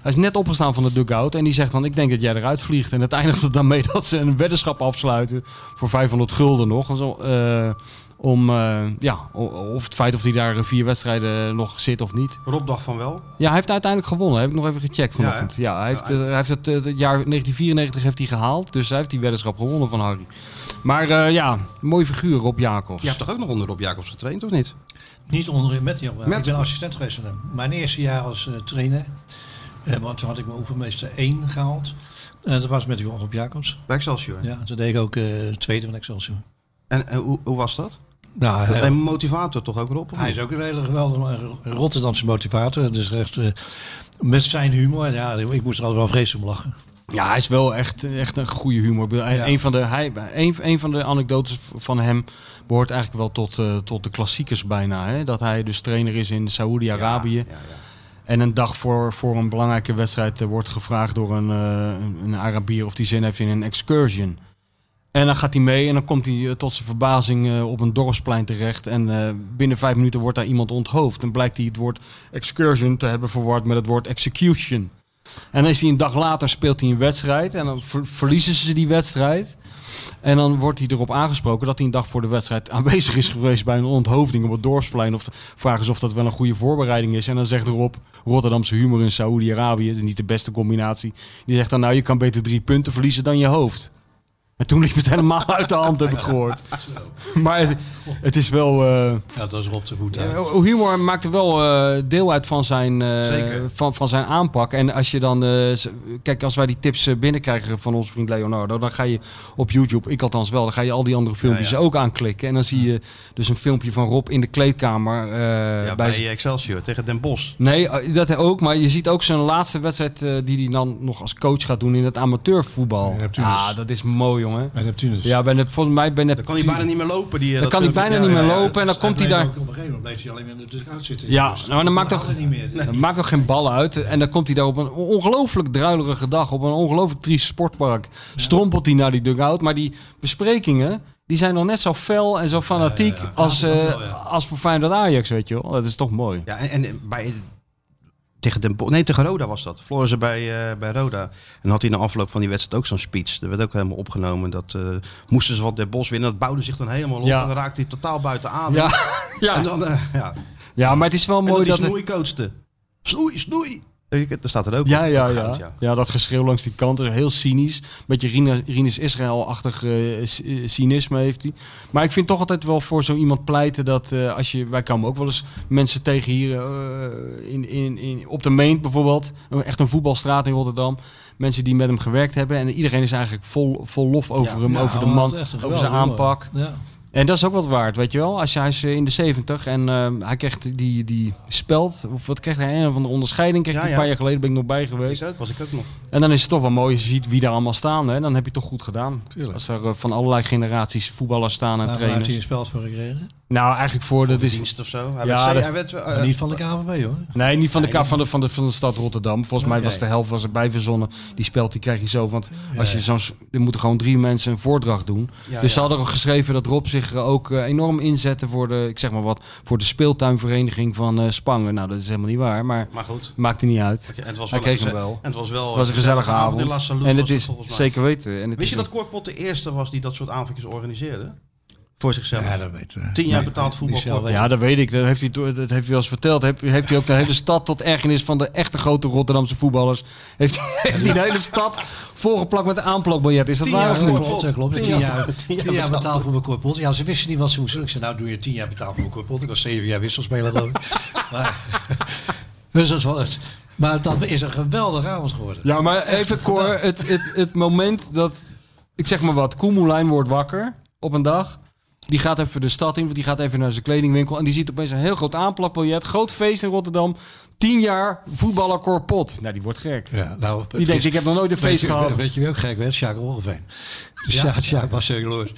Speaker 4: Hij is net opgestaan van de dugout en die zegt dan, ik denk dat jij eruit vliegt. En het (laughs) eindigt het dan mee dat ze een weddenschap afsluiten voor 500 gulden nog. En zo, eh, om, eh, ja, o- of het feit of hij daar vier wedstrijden nog zit of niet.
Speaker 2: Rob dacht van wel.
Speaker 4: Ja, hij heeft uiteindelijk gewonnen. Heb ik nog even gecheckt
Speaker 2: Ja, hè?
Speaker 4: vanochtend. Ja, hij heeft, eh, hij heeft het, eh, het jaar 1994 heeft hij gehaald. Dus hij heeft die weddenschap gewonnen van Harry. Maar eh, ja, mooi figuur Rob Jacobs.
Speaker 2: Je hebt toch ook nog onder Rob Jacobs getraind, of niet?
Speaker 3: Niet onder met Jan.
Speaker 2: Met-
Speaker 3: Ik ben assistent geweest van hem. Mijn eerste jaar als eh, trainer. eh, want toen had ik mijn oefenmeester 1 gehaald. En dat was met Jon op Jacobs.
Speaker 2: Bij Excelsior.
Speaker 3: Ja, toen deed ik ook eh, tweede van Excelsior.
Speaker 2: En, en hoe, hoe was dat?
Speaker 3: Nou,
Speaker 2: Dat
Speaker 3: eh,
Speaker 2: een motivator toch ook, Rob? of
Speaker 3: hij
Speaker 2: niet?
Speaker 3: is ook een hele geweldige eh, Rotterdamse motivator. Dus echt, eh, met zijn humor. Ja, ik moest er altijd wel vreselijk om lachen.
Speaker 4: Ja, hij is wel echt, echt een goede humor. Hij-
Speaker 3: Ja.
Speaker 4: Een, van de, hij, een, een van de anekdotes van hem behoort eigenlijk wel tot, eh, tot de klassiekers bijna. Hè? Dat hij dus trainer is in Saoedi-Arabië.
Speaker 2: Ja, ja.
Speaker 4: En een dag voor, voor een belangrijke wedstrijd eh, wordt gevraagd door een, eh, een Arabier of die zin heeft in een excursion. En dan gaat hij mee en dan komt hij eh, tot zijn verbazing eh, op een dorpsplein terecht. En eh, binnen vijf minuten wordt daar iemand onthoofd. En blijkt hij het woord excursion te hebben verward met het woord execution. En dan is hij een dag later speelt hij een wedstrijd en dan ver- verliezen ze die wedstrijd. En dan wordt hij erop aangesproken dat hij een dag voor de wedstrijd aanwezig is geweest bij een onthoofding op het dorpsplein. Of de vraag is of dat wel een goede voorbereiding is. En dan zegt erop Rotterdamse humor in Saoedi-Arabië, het is niet de beste combinatie. Die zegt dan nou je kan beter drie punten verliezen dan je hoofd. En toen liep het helemaal (laughs) uit de hand, heb ik gehoord. Maar het, het is wel... eh,
Speaker 3: Ja, dat is Rob de voet.
Speaker 4: ja, Eh, oh, humor maakte wel eh, deel uit van zijn, eh,
Speaker 2: Zeker.
Speaker 4: van, van zijn aanpak. En als je dan. eh, z- kijk, als wij die tips eh, binnenkrijgen van onze vriend Leonardo, dan ga je op YouTube, ik althans wel, dan ga je al die andere filmpjes
Speaker 2: Ja,
Speaker 4: ook aanklikken. En dan zie je dus een filmpje van Rob in de kleedkamer. eh,
Speaker 2: Ja,
Speaker 4: bij
Speaker 2: bij,
Speaker 4: z-
Speaker 2: Excelsior tegen Den Bosch.
Speaker 4: Nee, eh, dat ook. Maar je ziet ook zijn laatste wedstrijd eh, die hij dan nog als coach gaat doen in het amateurvoetbal.
Speaker 3: Ja,
Speaker 4: Ja,
Speaker 3: Neptunus.
Speaker 4: ah, dat is mooi, jongen.
Speaker 3: Bij Neptunus.
Speaker 4: Ja, ben, volgens mij ben
Speaker 2: Dan kan hij bijna niet meer lopen. Die, eh,
Speaker 4: Dan
Speaker 2: dat
Speaker 4: kan
Speaker 2: filmpje.
Speaker 4: hij bijna
Speaker 2: Ja,
Speaker 4: niet meer
Speaker 2: ja, ja.
Speaker 4: lopen en dan komt hij
Speaker 3: dus bleef
Speaker 4: daar.
Speaker 3: ook Op een gegeven moment bleef hij alleen maar in de dugout zitten.
Speaker 4: Ja,
Speaker 3: Dus
Speaker 4: nou, dan maakt
Speaker 3: dat
Speaker 4: toch-
Speaker 3: haalde niet meer. Dus-
Speaker 4: Dat maakt nog geen ballen uit. En dan komt hij daar op een ongelooflijk druilerige dag, op een ongelooflijk triest sportpark. Strompelt hij naar die dugout. Maar die besprekingen, die zijn nog net zo fel en zo fanatiek
Speaker 3: Ja, ja, ja.
Speaker 4: Als, eh,
Speaker 3: Ja, ja.
Speaker 4: als voor Feyenoord Ajax, weet je wel. Dat is toch mooi.
Speaker 2: Ja, en, en bij, tegen Den Bosch, nee, tegen Roda was dat. Verloren ze bij, eh, bij Roda. En had hij na afloop van die wedstrijd ook zo'n speech. Dat werd ook helemaal opgenomen. Dat eh, moesten ze wat Den Bosch winnen. Dat bouwde zich dan helemaal op.
Speaker 4: Ja.
Speaker 2: En dan raakte hij totaal buiten adem. (laughs)
Speaker 4: Ja,
Speaker 2: En
Speaker 4: ja.
Speaker 2: dan, eh, ja.
Speaker 4: ja maar het is wel
Speaker 2: En
Speaker 4: mooi
Speaker 2: dat
Speaker 4: dat...
Speaker 2: hij
Speaker 4: het-
Speaker 2: snoei coachte. Snoei, snoei. Weet je, Daar staat er ook
Speaker 4: Ja,
Speaker 2: op.
Speaker 4: ja,
Speaker 2: Op
Speaker 4: ja.
Speaker 2: goud, ja.
Speaker 4: ja, dat geschreeuw langs die kant is heel cynisch. Beetje Rina- Rinus Israël-achtig eh, c- eh, cynisme heeft hij. Maar ik vind toch altijd wel voor zo iemand pleiten dat eh, als je... Wij komen ook wel eens mensen tegen hier eh, in, in, in, op de Meent bijvoorbeeld. Een- Echt een voetbalstraat in Rotterdam. Mensen die met hem gewerkt hebben. En iedereen is eigenlijk vol, vol lof over hem,
Speaker 3: Ja,
Speaker 4: over de
Speaker 3: maar
Speaker 4: man,
Speaker 3: dat is echt een
Speaker 4: over zijn
Speaker 3: geweldige jongen.
Speaker 4: aanpak.
Speaker 3: Ja.
Speaker 4: En dat is ook wat waard, weet je wel. Als je, hij is eh, in de 70 en ehm, hij krijgt die, die speld, of wat krijgt hij, een of andere onderscheiding kreeg
Speaker 2: Ja,
Speaker 4: hij
Speaker 2: ja.
Speaker 4: een paar jaar geleden, ben ik nog bij geweest.
Speaker 2: Ik ook, was ik ook nog.
Speaker 4: En dan is het toch wel mooi, als je ziet wie daar allemaal staan, hè. dan heb je het toch goed gedaan.
Speaker 3: Tuurlijk.
Speaker 4: Als er eh, van allerlei generaties voetballers staan en
Speaker 3: Waar heeft
Speaker 4: trainers.
Speaker 3: hij een speld voor gekregen?
Speaker 4: Nou, eigenlijk voor, dat is...
Speaker 2: Dienst of zo. Hij
Speaker 4: Ja,
Speaker 2: werd,
Speaker 4: dat-
Speaker 2: hij werd, eh,
Speaker 3: niet van de KVB hoor.
Speaker 4: Nee, niet van de, ka- van, de, van, de, van de stad Rotterdam. Volgens mij
Speaker 3: Oké.
Speaker 4: was de helft was erbij verzonnen. Die speld die krijg je zo. Want als je zo'n, s- er moeten gewoon drie mensen een voordracht doen.
Speaker 2: Ja,
Speaker 4: dus ze
Speaker 2: ja.
Speaker 4: hadden al geschreven dat Rob zich eh, ook eh, enorm inzette voor de, ik zeg maar wat, voor de speeltuinvereniging van eh, Spangen. Nou, dat is helemaal niet waar, maar
Speaker 2: maar goed.
Speaker 4: maakte niet uit.
Speaker 2: En het was
Speaker 4: Hij
Speaker 2: een
Speaker 4: kreeg hem
Speaker 2: geze-
Speaker 4: wel.
Speaker 2: En het was wel
Speaker 4: Het was een gezellige avond.
Speaker 2: in La Salou
Speaker 4: en
Speaker 2: was
Speaker 4: het is
Speaker 2: volgens mij.
Speaker 4: zeker weten. En het
Speaker 2: Wist
Speaker 4: is
Speaker 2: je dat Korpot de eerste was die dat soort aanvakjes organiseerde? Voor zichzelf.
Speaker 3: Ja, dat weet
Speaker 4: eh.
Speaker 3: ik.
Speaker 2: Tien jaar betaald voetbal.
Speaker 3: Michel weet
Speaker 4: Ja, dat weet ik. Dat heeft hij, to- dat heeft hij wel eens verteld. Heb- Heeft hij ook de hele stad tot ergernis van de echte grote Rotterdamse voetballers. Heeft, heeft hij (laughs) de hele stad volgeplakt met een aanplakbiljet. Is dat
Speaker 2: Tien
Speaker 4: waar
Speaker 2: jaar
Speaker 4: of
Speaker 3: Ja,
Speaker 4: niet?
Speaker 2: voor-
Speaker 3: klopt, dat klopt.
Speaker 2: Tien
Speaker 3: Tien
Speaker 2: jaar-
Speaker 3: jaar,
Speaker 2: tien jaar
Speaker 3: tien jaar betaald voor mijn korpot. Ja, ze wisten niet wat ze moesten doen. Ik zei, nou doe je tien jaar betaald voor mijn korpot. Ik was zeven jaar wisselspeler geloof ik. (laughs) maar, dus dat was het. Maar dat is een geweldige avond geworden.
Speaker 4: Ja, maar even Cor, het, het, het moment dat, ik zeg maar wat, Koemoelijn wordt wakker op een dag. Die gaat even de stad in, want die gaat even naar zijn kledingwinkel. En die ziet opeens een heel groot aanplakbiljet. Groot feest in Rotterdam. Tien jaar voetballer Corpot. Nou, die wordt gek.
Speaker 3: Ja, nou, het
Speaker 4: Die denkt,
Speaker 3: is-
Speaker 4: ik heb nog nooit een
Speaker 3: Weet
Speaker 4: feest
Speaker 3: je- (laughs)
Speaker 4: gehad.
Speaker 3: Weet je wie ook gek werd? Sjaak Roggeveen. Ja, Sjaak was jaloers.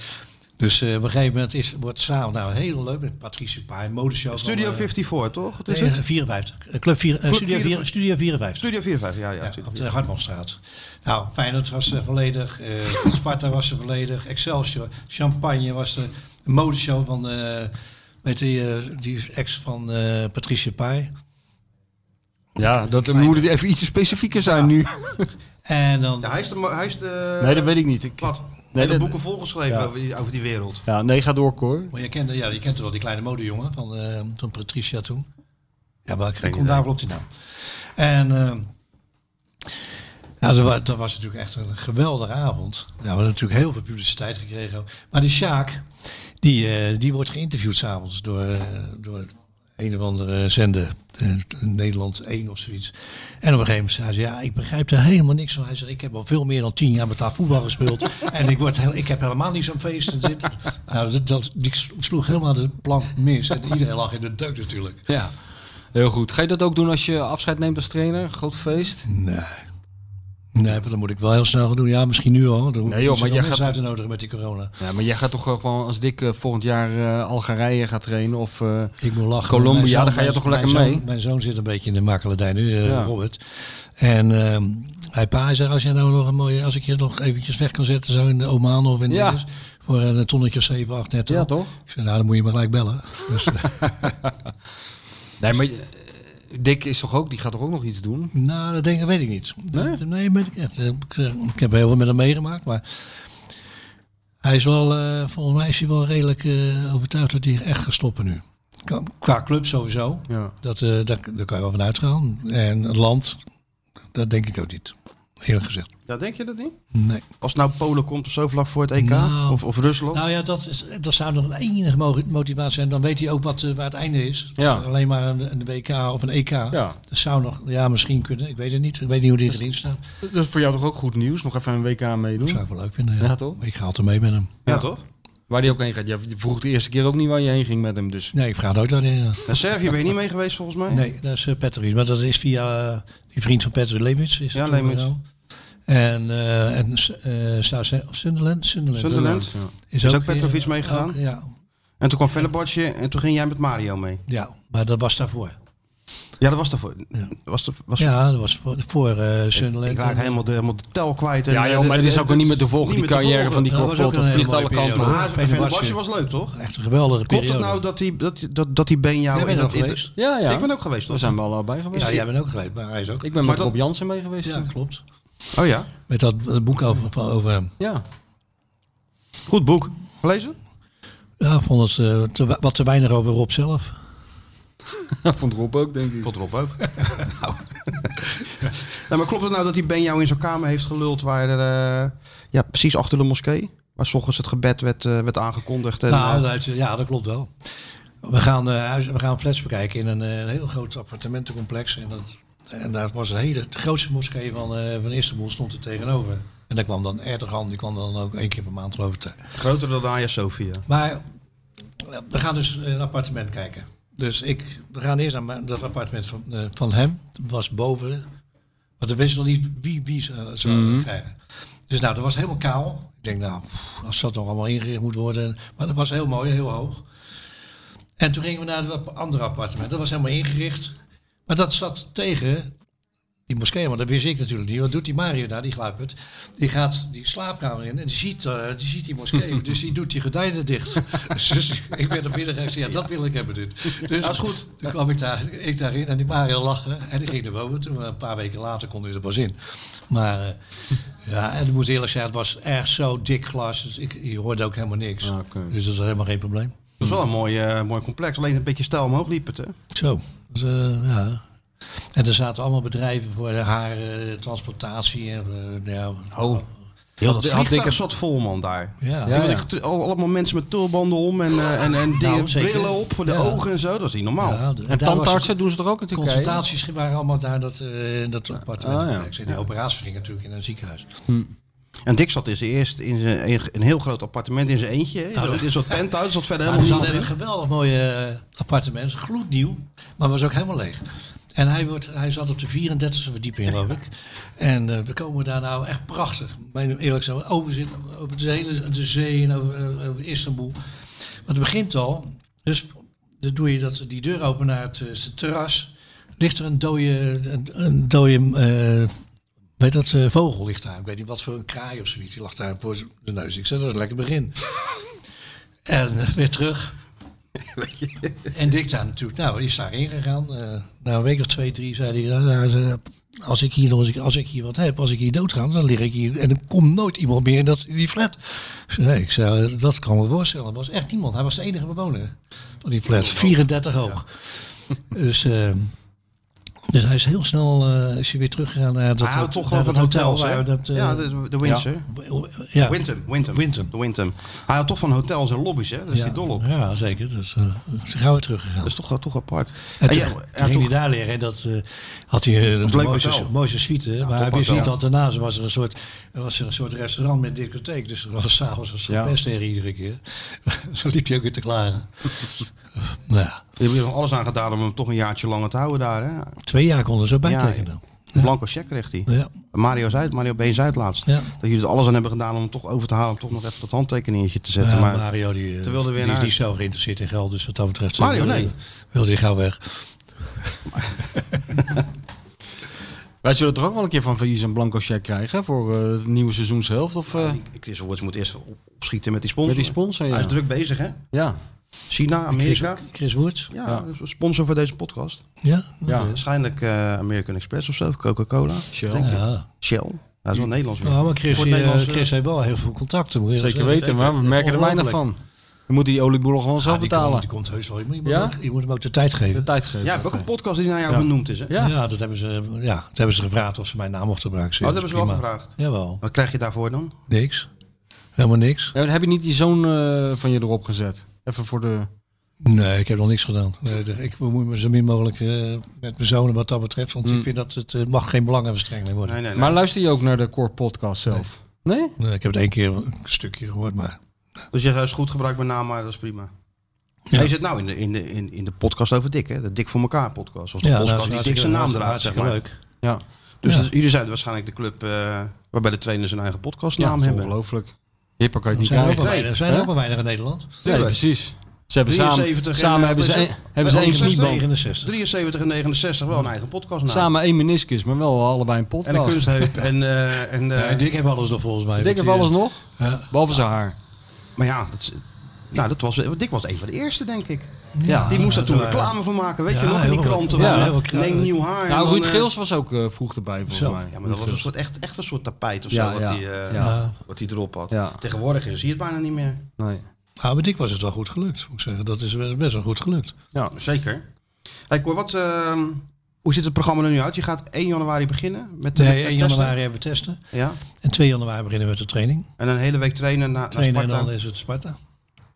Speaker 3: Dus eh, op een gegeven moment is, wordt samen nou heel leuk met Patrice Paaien, modeshow. van,
Speaker 2: Studio
Speaker 3: eh,
Speaker 2: 54, toch? Het is
Speaker 3: nee,
Speaker 2: het?
Speaker 3: 54. Eh, Club vier, eh, Studio,
Speaker 2: 54.
Speaker 3: vier, Studio 54.
Speaker 2: Studio 54, ja, ja.
Speaker 3: Ja,
Speaker 2: Studio
Speaker 3: op de Hartmanstraat. Nou, Feyenoord was er volledig, eh, (laughs) Sparta was er volledig, Excelsior, Champagne was er, een modeshow van, eh weet je, eh, die ex van eh Patricia Pai.
Speaker 4: Ja, dat moet het even iets specifieker zijn nu.
Speaker 3: En
Speaker 2: 54.
Speaker 3: dan,
Speaker 2: Ja, hij is de... ma- Hij is de eh,
Speaker 4: Nee, dat weet ik niet. Ik,
Speaker 2: Wat?
Speaker 4: Nee,
Speaker 2: Nee, de
Speaker 4: dat-
Speaker 2: boeken volgeschreven over, die, over die wereld.
Speaker 4: ja, nee, ga door, Cor.
Speaker 3: maar je kent, ja, je kent wel die kleine modejongen van, eh, van Patricia toen. Ja, maar ik
Speaker 2: Geen
Speaker 3: kom
Speaker 2: idee.
Speaker 3: daar wel op die naam. En ehm, nou, dat, wa- dat was natuurlijk echt een geweldige avond. Nou, we hebben natuurlijk heel veel publiciteit gekregen. ook. Maar die Sjaak, die, eh, die wordt geïnterviewd s'avonds door, eh, door een of andere zender. eh, Nederland 1 of zoiets. En op een gegeven moment zei ze, ja, ik begrijp er helemaal niks van. Hij zegt, ik heb al veel meer dan tien jaar betaald voetbal
Speaker 4: (laughs)
Speaker 3: gespeeld. en ik, word heel, ik heb helemaal niet zo'n feest. En dit. Nou, dat, dat, die sloeg helemaal de plank mis. En iedereen lag in de deuk natuurlijk.
Speaker 4: Ja, heel goed. Ga je dat ook doen als je afscheid neemt als trainer? Groot feest?
Speaker 3: Nee. Nee, maar dan moet ik wel heel snel gaan doen. Ja, misschien nu al. Dan
Speaker 4: Nee, joh, maar
Speaker 3: maar
Speaker 4: jij
Speaker 3: jij gaat
Speaker 4: gaat-
Speaker 3: uit te nodigen met die corona.
Speaker 4: Ja, maar jij gaat toch gewoon als Dick eh, volgend jaar eh, Algerije gaat trainen of... eh,
Speaker 3: Ik moet lachen.
Speaker 4: Colombia,
Speaker 3: Mijn zoon-
Speaker 4: daar ga je
Speaker 3: mijn-
Speaker 4: toch lekker
Speaker 3: mijn zoon-
Speaker 4: mee?
Speaker 3: mijn zoon zit een beetje in de makkeledij nu, eh,
Speaker 4: Ja.
Speaker 3: Robert. En ehm, hij pa hij zegt, als jij nou nog een mooie, als ik je nog eventjes weg kan zetten, zo in de Oman of in
Speaker 4: Ja.
Speaker 3: dinges, voor een tonnetje of 7, 8 netto.
Speaker 4: Ja, toch?
Speaker 3: Ik zeg, nou, dan moet je me gelijk bellen. Dus, eh,
Speaker 4: nee, maar eh, Dick is toch ook, die gaat toch ook nog iets doen?
Speaker 3: nou, dat denk ik, weet ik niet.
Speaker 4: Nee?
Speaker 3: Dat- Nee, weet ik echt. Ik, eh, ik heb heel veel met hem meegemaakt, maar hij is wel, eh, volgens mij is hij wel redelijk eh, overtuigd dat hij echt gaat stoppen nu. Qua- Qua club sowieso.
Speaker 4: Ja.
Speaker 3: Dat, eh, daar, daar kan je wel van uitgaan. En het land, dat denk ik ook niet. Eerlijk gezegd.
Speaker 2: Ja, denk je dat niet?
Speaker 3: Nee.
Speaker 2: Als nou Polen komt of zo vlak voor het EK,
Speaker 3: Nou.
Speaker 2: of, of Rusland.
Speaker 3: Nou ja, dat, is, dat zou nog een enige mo- motivatie zijn. Dan weet hij ook wat, eh, waar het einde is.
Speaker 4: Ja.
Speaker 3: Dus alleen maar een, een WK of een EK.
Speaker 4: Ja.
Speaker 3: Dat zou nog, ja, misschien kunnen. Ik weet het niet. Ik weet niet hoe die erin staat.
Speaker 4: Dat is voor jou toch ook goed nieuws? Nog even een WK
Speaker 3: Dat
Speaker 2: Hm?
Speaker 4: meedoen?
Speaker 3: zou ik wel leuk vinden.
Speaker 4: Ja, toch?
Speaker 3: Ik ga altijd mee met hem.
Speaker 2: ja,
Speaker 4: ja.
Speaker 2: toch?
Speaker 4: Waar die ook heen gaat. Je vroeg de eerste keer ook niet waar je heen ging met hem, dus...
Speaker 3: Nee, ik vraag nooit daarin.
Speaker 2: Naar Servië ben je niet mee geweest volgens mij?
Speaker 3: Nee, dat is uh, Maar dat is via eh, die vriend van Patrick Lemits. Is
Speaker 2: Ja,
Speaker 3: het toen
Speaker 2: Lemits.
Speaker 3: gedaan. En, eh, en eh South- of Sunderland? Sunderland.
Speaker 2: Sunderland.
Speaker 4: Ja.
Speaker 2: Is ook
Speaker 3: weer- eh,
Speaker 2: Petrovic meegegaan?
Speaker 3: ook- Ja,
Speaker 2: En toen kwam Fellebadje en toen ging jij met Mario mee.
Speaker 3: Ja, maar dat was daarvoor.
Speaker 2: Ja, dat was daarvoor. Was de, was
Speaker 3: Ja, dat was voor, voor eh Sunderland.
Speaker 2: Ik raak helemaal de, helemaal de tel kwijt. En,
Speaker 4: Ja, joh,
Speaker 2: eh,
Speaker 4: maar
Speaker 2: de-
Speaker 4: dit is
Speaker 2: de-
Speaker 4: ook wel niet meer te volgen,
Speaker 2: niet
Speaker 4: die
Speaker 2: meer te
Speaker 4: carrière
Speaker 2: volgen.
Speaker 4: van die
Speaker 3: Dat was ook
Speaker 4: kopbal.
Speaker 3: een
Speaker 4: Het
Speaker 3: hele
Speaker 4: vliegt
Speaker 3: mooie
Speaker 4: alle kanten
Speaker 3: periode.
Speaker 4: op.
Speaker 2: Maar
Speaker 3: Fenerbahce.
Speaker 2: Fenerbahce was leuk, toch?
Speaker 3: Echt een geweldige
Speaker 2: Klopt het
Speaker 3: periode.
Speaker 2: nou dat die, dat, dat, dat die been jou...
Speaker 3: Jij bent
Speaker 2: in
Speaker 3: er
Speaker 2: dat-
Speaker 3: geweest?
Speaker 4: Ja, ja.
Speaker 2: Ik ben ook geweest,
Speaker 4: Daar
Speaker 2: toch?
Speaker 4: zijn we allebei geweest.
Speaker 3: Ja, jij bent ook geweest, maar hij is ook.
Speaker 4: Ik ben
Speaker 2: Maar
Speaker 4: met
Speaker 2: dat-
Speaker 4: Rob Jansen mee geweest.
Speaker 3: Ja,
Speaker 4: toen.
Speaker 3: klopt.
Speaker 2: Oh ja.
Speaker 3: Met dat eh, boek over, van- over eh, hem.
Speaker 4: ja.
Speaker 2: Goed boek. Gelezen?
Speaker 3: Ja, ik vond het eh, te wa- wat te weinig over Rob zelf.
Speaker 4: Vond Rob ook, denk ik.
Speaker 2: Vond Rob ook. (laughs) nou. nou, maar klopt het nou dat die Ben jou in zijn kamer heeft geluld waar er, eh, ja, precies achter de moskee? Waar 's ochtends het gebed werd, eh, werd aangekondigd. En,
Speaker 3: nou,
Speaker 2: eh,
Speaker 3: dat, ja, dat klopt wel. We gaan, eh, huis, we gaan flats bekijken in een eh, heel groot appartementencomplex. En, dat, en daar was een hele de grootste moskee van, eh van Istanbul stond er tegenover. En daar kwam dan Erdogan, die kwam dan ook één keer per maand geloof ik te-
Speaker 2: groter dan Hagia Sophia.
Speaker 3: Maar eh, we gaan dus een appartement kijken. Dus ik, we gaan eerst naar mijn- dat appartement van, eh, van hem. Dat was boven. Want we wisten nog niet wie wie zou, zou krijgen. Dus nou, dat was helemaal kaal. Ik denk nou, pff, als dat nog allemaal ingericht moet worden. Maar dat was heel mooi, heel hoog. En toen gingen we naar dat andere appartement. Dat was helemaal ingericht. Maar dat zat tegen die moskee, maar dat wist ik natuurlijk niet. Wat doet die Mario daar, die gluipert? Die gaat die slaapkamer in en die ziet, eh, die, ziet die moskee. dus die doet die gordijnen dicht. dus ik ben naar binnen gegaan en zei, ja, dat wil ik hebben dit. Dus
Speaker 2: Dat is goed.
Speaker 3: Toen kwam ik, daar, ik daarin en die Mario lachte en die ging er boven. Toen, eh, een paar weken later kon hij er pas in. Maar eh, ja, en ik moet eerlijk zeggen, het was echt zo dik glas. Dus ik, je hoorde ook helemaal niks.
Speaker 4: Ah, oké.
Speaker 3: Dus dat is helemaal geen probleem.
Speaker 2: Dat is wel een mooi, eh, mooi complex. Alleen een beetje stijl omhoog liep het, hè?
Speaker 3: Zo. Dus, eh, ja. En er zaten allemaal bedrijven voor haar eh, transportatie. En, eh, ja,
Speaker 4: Oh.
Speaker 2: Heel dat
Speaker 4: had
Speaker 2: vliegtuig
Speaker 4: ik-
Speaker 2: zat vol, man, daar.
Speaker 3: Ja. Nou,
Speaker 4: Ja.
Speaker 2: Ja, want ik- al- allemaal mensen met tulbanden om en, eh, en,
Speaker 3: (laughs)
Speaker 2: en dingen,
Speaker 3: zeker.
Speaker 2: brillen op voor de
Speaker 3: Ja.
Speaker 2: ogen en zo. Dat is niet normaal.
Speaker 3: Ja, d-
Speaker 4: En
Speaker 3: daar was
Speaker 4: tandartsen
Speaker 3: het-
Speaker 4: doen ze toch ook in Turkije?
Speaker 3: Consultaties waren allemaal daar dat, eh, in dat appartement.
Speaker 4: Ah, ja.
Speaker 3: En die operaties gingen natuurlijk in een ziekenhuis.
Speaker 2: En Dick zat in zijn eerst in zijn, in een heel groot appartement in zijn eentje. hè.
Speaker 3: Nou,
Speaker 2: in een soort penthouse, zat verder
Speaker 3: Maar er
Speaker 2: helemaal
Speaker 3: zat
Speaker 2: niemand
Speaker 3: in een
Speaker 2: in.
Speaker 3: geweldig mooi eh, appartement, gloednieuw, maar was ook helemaal leeg. En hij, wordt, hij zat op de 34e verdieping, geloof ik. En eh, we komen daar nou echt prachtig. Bijna eerlijk zo, overzicht over de hele de zee en over, eh, over Istanbul. Want het begint al. Dus dan doe je dat, die deur open naar het, eh, het terras. Ligt er een dode, een, een dode eh, bij dat eh, vogel ligt daar. Ik weet niet wat voor een kraai of zoiets. Die lag daar voor de neus. Ik zei, dat is een lekker begin. en eh, weer
Speaker 2: (laughs)
Speaker 3: terug. en Dick daar natuurlijk. Nou, is daarheen gegaan. Eh, na een week of twee, drie zei hij... "Nou, nou, eh, als ik, hier, nog eens- als ik hier wat heb, als ik hier doodga, dan lig ik hier. En dan komt nooit iemand meer in, dat, in die flat. Ik zei, nee, ik zei, eh, dat kan me voorstellen. Er was echt niemand. Hij was de enige bewoner van die
Speaker 2: Oh.
Speaker 3: flat. 34 hoog. (laughs) Dus, eh, dus hij is heel snel eh, is hij weer teruggegaan naar dat,
Speaker 2: Hij houdt
Speaker 3: dat-
Speaker 2: toch
Speaker 3: naar
Speaker 2: wel van hotels,
Speaker 3: waar
Speaker 2: hè?
Speaker 3: dat, eh,
Speaker 2: Ja, de, de Windsor.
Speaker 3: ja.
Speaker 2: Wyndham, Wyndham.
Speaker 3: Wyndham.
Speaker 2: De Wyndham. Hij houdt toch van hotels en lobby's, hè? Daar is hij dol op.
Speaker 3: Ja, zeker. Dus, eh ze gaan weer teruggegaan.
Speaker 2: Dat is toch, toch apart. En
Speaker 3: en toen,
Speaker 2: ja,
Speaker 3: toen
Speaker 2: ja,
Speaker 3: ging
Speaker 2: toch-
Speaker 3: hij daar leren en dat eh, had hij eh, een
Speaker 2: leuk
Speaker 3: mooie,
Speaker 2: hotel.
Speaker 3: mooie suite. maar hij
Speaker 2: tophotel.
Speaker 3: wist niet dat daarnaast was er een soort, er was er een soort restaurant met discotheek. Dus er was s'avonds een champagne iedere keer. (laughs) Zo liep je ook weer te klagen. (laughs) nou ja,
Speaker 2: Je hebt er alles aan gedaan om hem toch een jaartje langer te houden daar. Hè?
Speaker 3: twee jaar konden ze zo
Speaker 2: Ja,
Speaker 3: bijtekenen. dan.
Speaker 2: Een Blanco check kreeg hij.
Speaker 3: Ja.
Speaker 2: Mario Zuid, Mario B. Zuid laatst.
Speaker 3: Ja.
Speaker 2: Dat jullie er alles aan hebben gedaan om hem toch over te halen. Om toch nog even dat handtekeningetje te zetten.
Speaker 3: Ja,
Speaker 2: maar
Speaker 3: Mario die, eh,
Speaker 2: toen wilde weer
Speaker 3: die is
Speaker 2: naar-
Speaker 3: niet zo geïnteresseerd in geld, dus wat dat betreft eh,
Speaker 2: Mario,
Speaker 3: wilde,
Speaker 2: nee.
Speaker 3: wilde hij gauw weg.
Speaker 4: Wij zullen toch ook wel een keer van Verlies een blanco check krijgen voor eh, het nieuwe seizoenshelft? Of, eh,
Speaker 2: Chris Woorts moet eerst op- opschieten met die sponsor.
Speaker 4: Met die sponsor, ja.
Speaker 2: Hij is druk bezig, hè?
Speaker 4: ja.
Speaker 2: China, Amerika.
Speaker 3: Chris, Chris Woerts?
Speaker 2: ja, sponsor voor deze podcast.
Speaker 3: Ja?
Speaker 4: Ja.
Speaker 2: Waarschijnlijk eh, American Express of zo, of Coca-cola.
Speaker 4: Shell.
Speaker 2: Denk ik.
Speaker 3: Ja.
Speaker 2: Shell. Dat is wel Nederlands. weer.
Speaker 3: Nou, maar Chris,
Speaker 2: Voor
Speaker 3: eh,
Speaker 2: Nederlands, eh,
Speaker 3: Chris heeft wel heel veel contacten. moet je
Speaker 4: Zeker
Speaker 3: zeggen.
Speaker 4: weten, maar we merken er weinig van. We moeten die olieboel gewoon zelf
Speaker 3: Ja, die
Speaker 4: betalen.
Speaker 3: Komt, die komt heus wel. Je moet, je moet
Speaker 4: Ja?
Speaker 3: ook- je moet hem ook de tijd geven.
Speaker 4: De tijd geven.
Speaker 2: Ja, ik heb ook een podcast die naar jou genoemd is, hè?
Speaker 4: Ja.
Speaker 3: ja. dat hebben ze, ja, dat hebben ze gevraagd of ze mijn naam mochten gebruiken.
Speaker 2: Oh, dat hebben ze wel
Speaker 3: Prima.
Speaker 2: gevraagd.
Speaker 3: Jawel,
Speaker 2: Wat krijg je daarvoor dan?
Speaker 3: niks. Helemaal niks.
Speaker 4: Ja, maar heb je niet die zoon eh, van je erop gezet? Even voor de...
Speaker 3: Nee, ik heb nog niks gedaan. Nee, de- ik bemoei me zo min mogelijk eh, met mijn zonen wat dat betreft. Want ik vind dat het eh, mag geen belangenverstrengeling worden.
Speaker 2: Mm. Nee, nee, nee.
Speaker 4: Maar luister je ook naar de Core Podcast zelf? Nee?
Speaker 3: Nee, ik heb het één keer een stukje gehoord, maar...
Speaker 2: Dus je is goed gebruikt met naam, maar dat is prima.
Speaker 3: Ja.
Speaker 2: Hij zit nou in de, in, de, in, in de podcast over Dick, hè? De Dik voor elkaar podcast. Of de
Speaker 3: dat is
Speaker 2: podcast die Dick
Speaker 3: nou, hartstikke-
Speaker 2: zijn naam draagt, zeg
Speaker 3: hartstikke
Speaker 2: maar.
Speaker 3: leuk.
Speaker 4: Ja,
Speaker 2: Dus
Speaker 3: Ja.
Speaker 2: dat- jullie zijn waarschijnlijk de club eh, waarbij de trainer zijn eigen
Speaker 4: ja
Speaker 2: podcastnaam
Speaker 4: dat is
Speaker 2: hebben.
Speaker 4: ongelooflijk. Hipper kan je het
Speaker 3: Zijn
Speaker 4: niet
Speaker 3: er ook wel
Speaker 4: krijgen.
Speaker 3: weinig, zijn er
Speaker 4: Hè?
Speaker 3: ook wel weinig in Nederland.
Speaker 4: Nee, precies. Ze hebben samen,
Speaker 2: 73
Speaker 4: samen
Speaker 2: en,
Speaker 4: hebben ze,
Speaker 2: eh,
Speaker 4: een- hebben ze één
Speaker 2: 69.
Speaker 4: knieband.
Speaker 3: 69.
Speaker 2: 73 en 69 wel een eigen podcastnaam.
Speaker 4: Samen één meniscus, maar wel allebei een
Speaker 2: En een
Speaker 4: podcast.
Speaker 2: kunstheup. en, eh, en, eh,
Speaker 3: Ja, Dick heeft alles nog volgens mij.
Speaker 4: Ik denk
Speaker 3: Want die-
Speaker 4: heb
Speaker 3: eh,
Speaker 4: alles nog,
Speaker 3: Ja.
Speaker 4: behalve zijn haar.
Speaker 2: maar ja, dat, is- nou, dat was, Dick was een van de eerste, denk ik.
Speaker 4: Ja.
Speaker 2: Die moest daar
Speaker 3: dat
Speaker 2: toen
Speaker 3: waren-
Speaker 2: reclame van maken, weet je
Speaker 3: Ja,
Speaker 2: nog? In die
Speaker 3: heel veel-
Speaker 2: kranten.
Speaker 3: ja,
Speaker 2: waar,
Speaker 3: heel veel
Speaker 2: neem
Speaker 3: kranten.
Speaker 2: nieuw haar. en
Speaker 4: Nou,
Speaker 2: dan,
Speaker 4: Ruud
Speaker 2: eh,
Speaker 4: Geels was ook eh, vroeg erbij, volgens
Speaker 3: Zo.
Speaker 4: mij.
Speaker 2: Ja, maar dat was een soort, echt, echt een soort tapijt of
Speaker 4: Ja,
Speaker 2: zo,
Speaker 4: ja,
Speaker 2: wat, die, eh,
Speaker 4: ja.
Speaker 2: wat die erop had.
Speaker 4: Ja.
Speaker 2: Tegenwoordig zie je het bijna niet meer.
Speaker 4: Nee.
Speaker 3: Nou, maar Dick was het wel goed gelukt, moet ik zeggen. Dat is eh, best wel goed gelukt.
Speaker 2: (laughs)
Speaker 4: Ja.
Speaker 2: Zeker. Hey, Cor, wat, ehm, hoe ziet het programma er nu uit? Je gaat 1 januari beginnen met met-
Speaker 3: Nee,
Speaker 2: met
Speaker 3: 1
Speaker 2: testen.
Speaker 3: januari hebben we testen.
Speaker 2: Ja.
Speaker 3: En 2 januari beginnen we met de training.
Speaker 2: En een hele week trainen na, naar
Speaker 3: Trainen en
Speaker 2: Sparta.
Speaker 3: dan is het Sparta.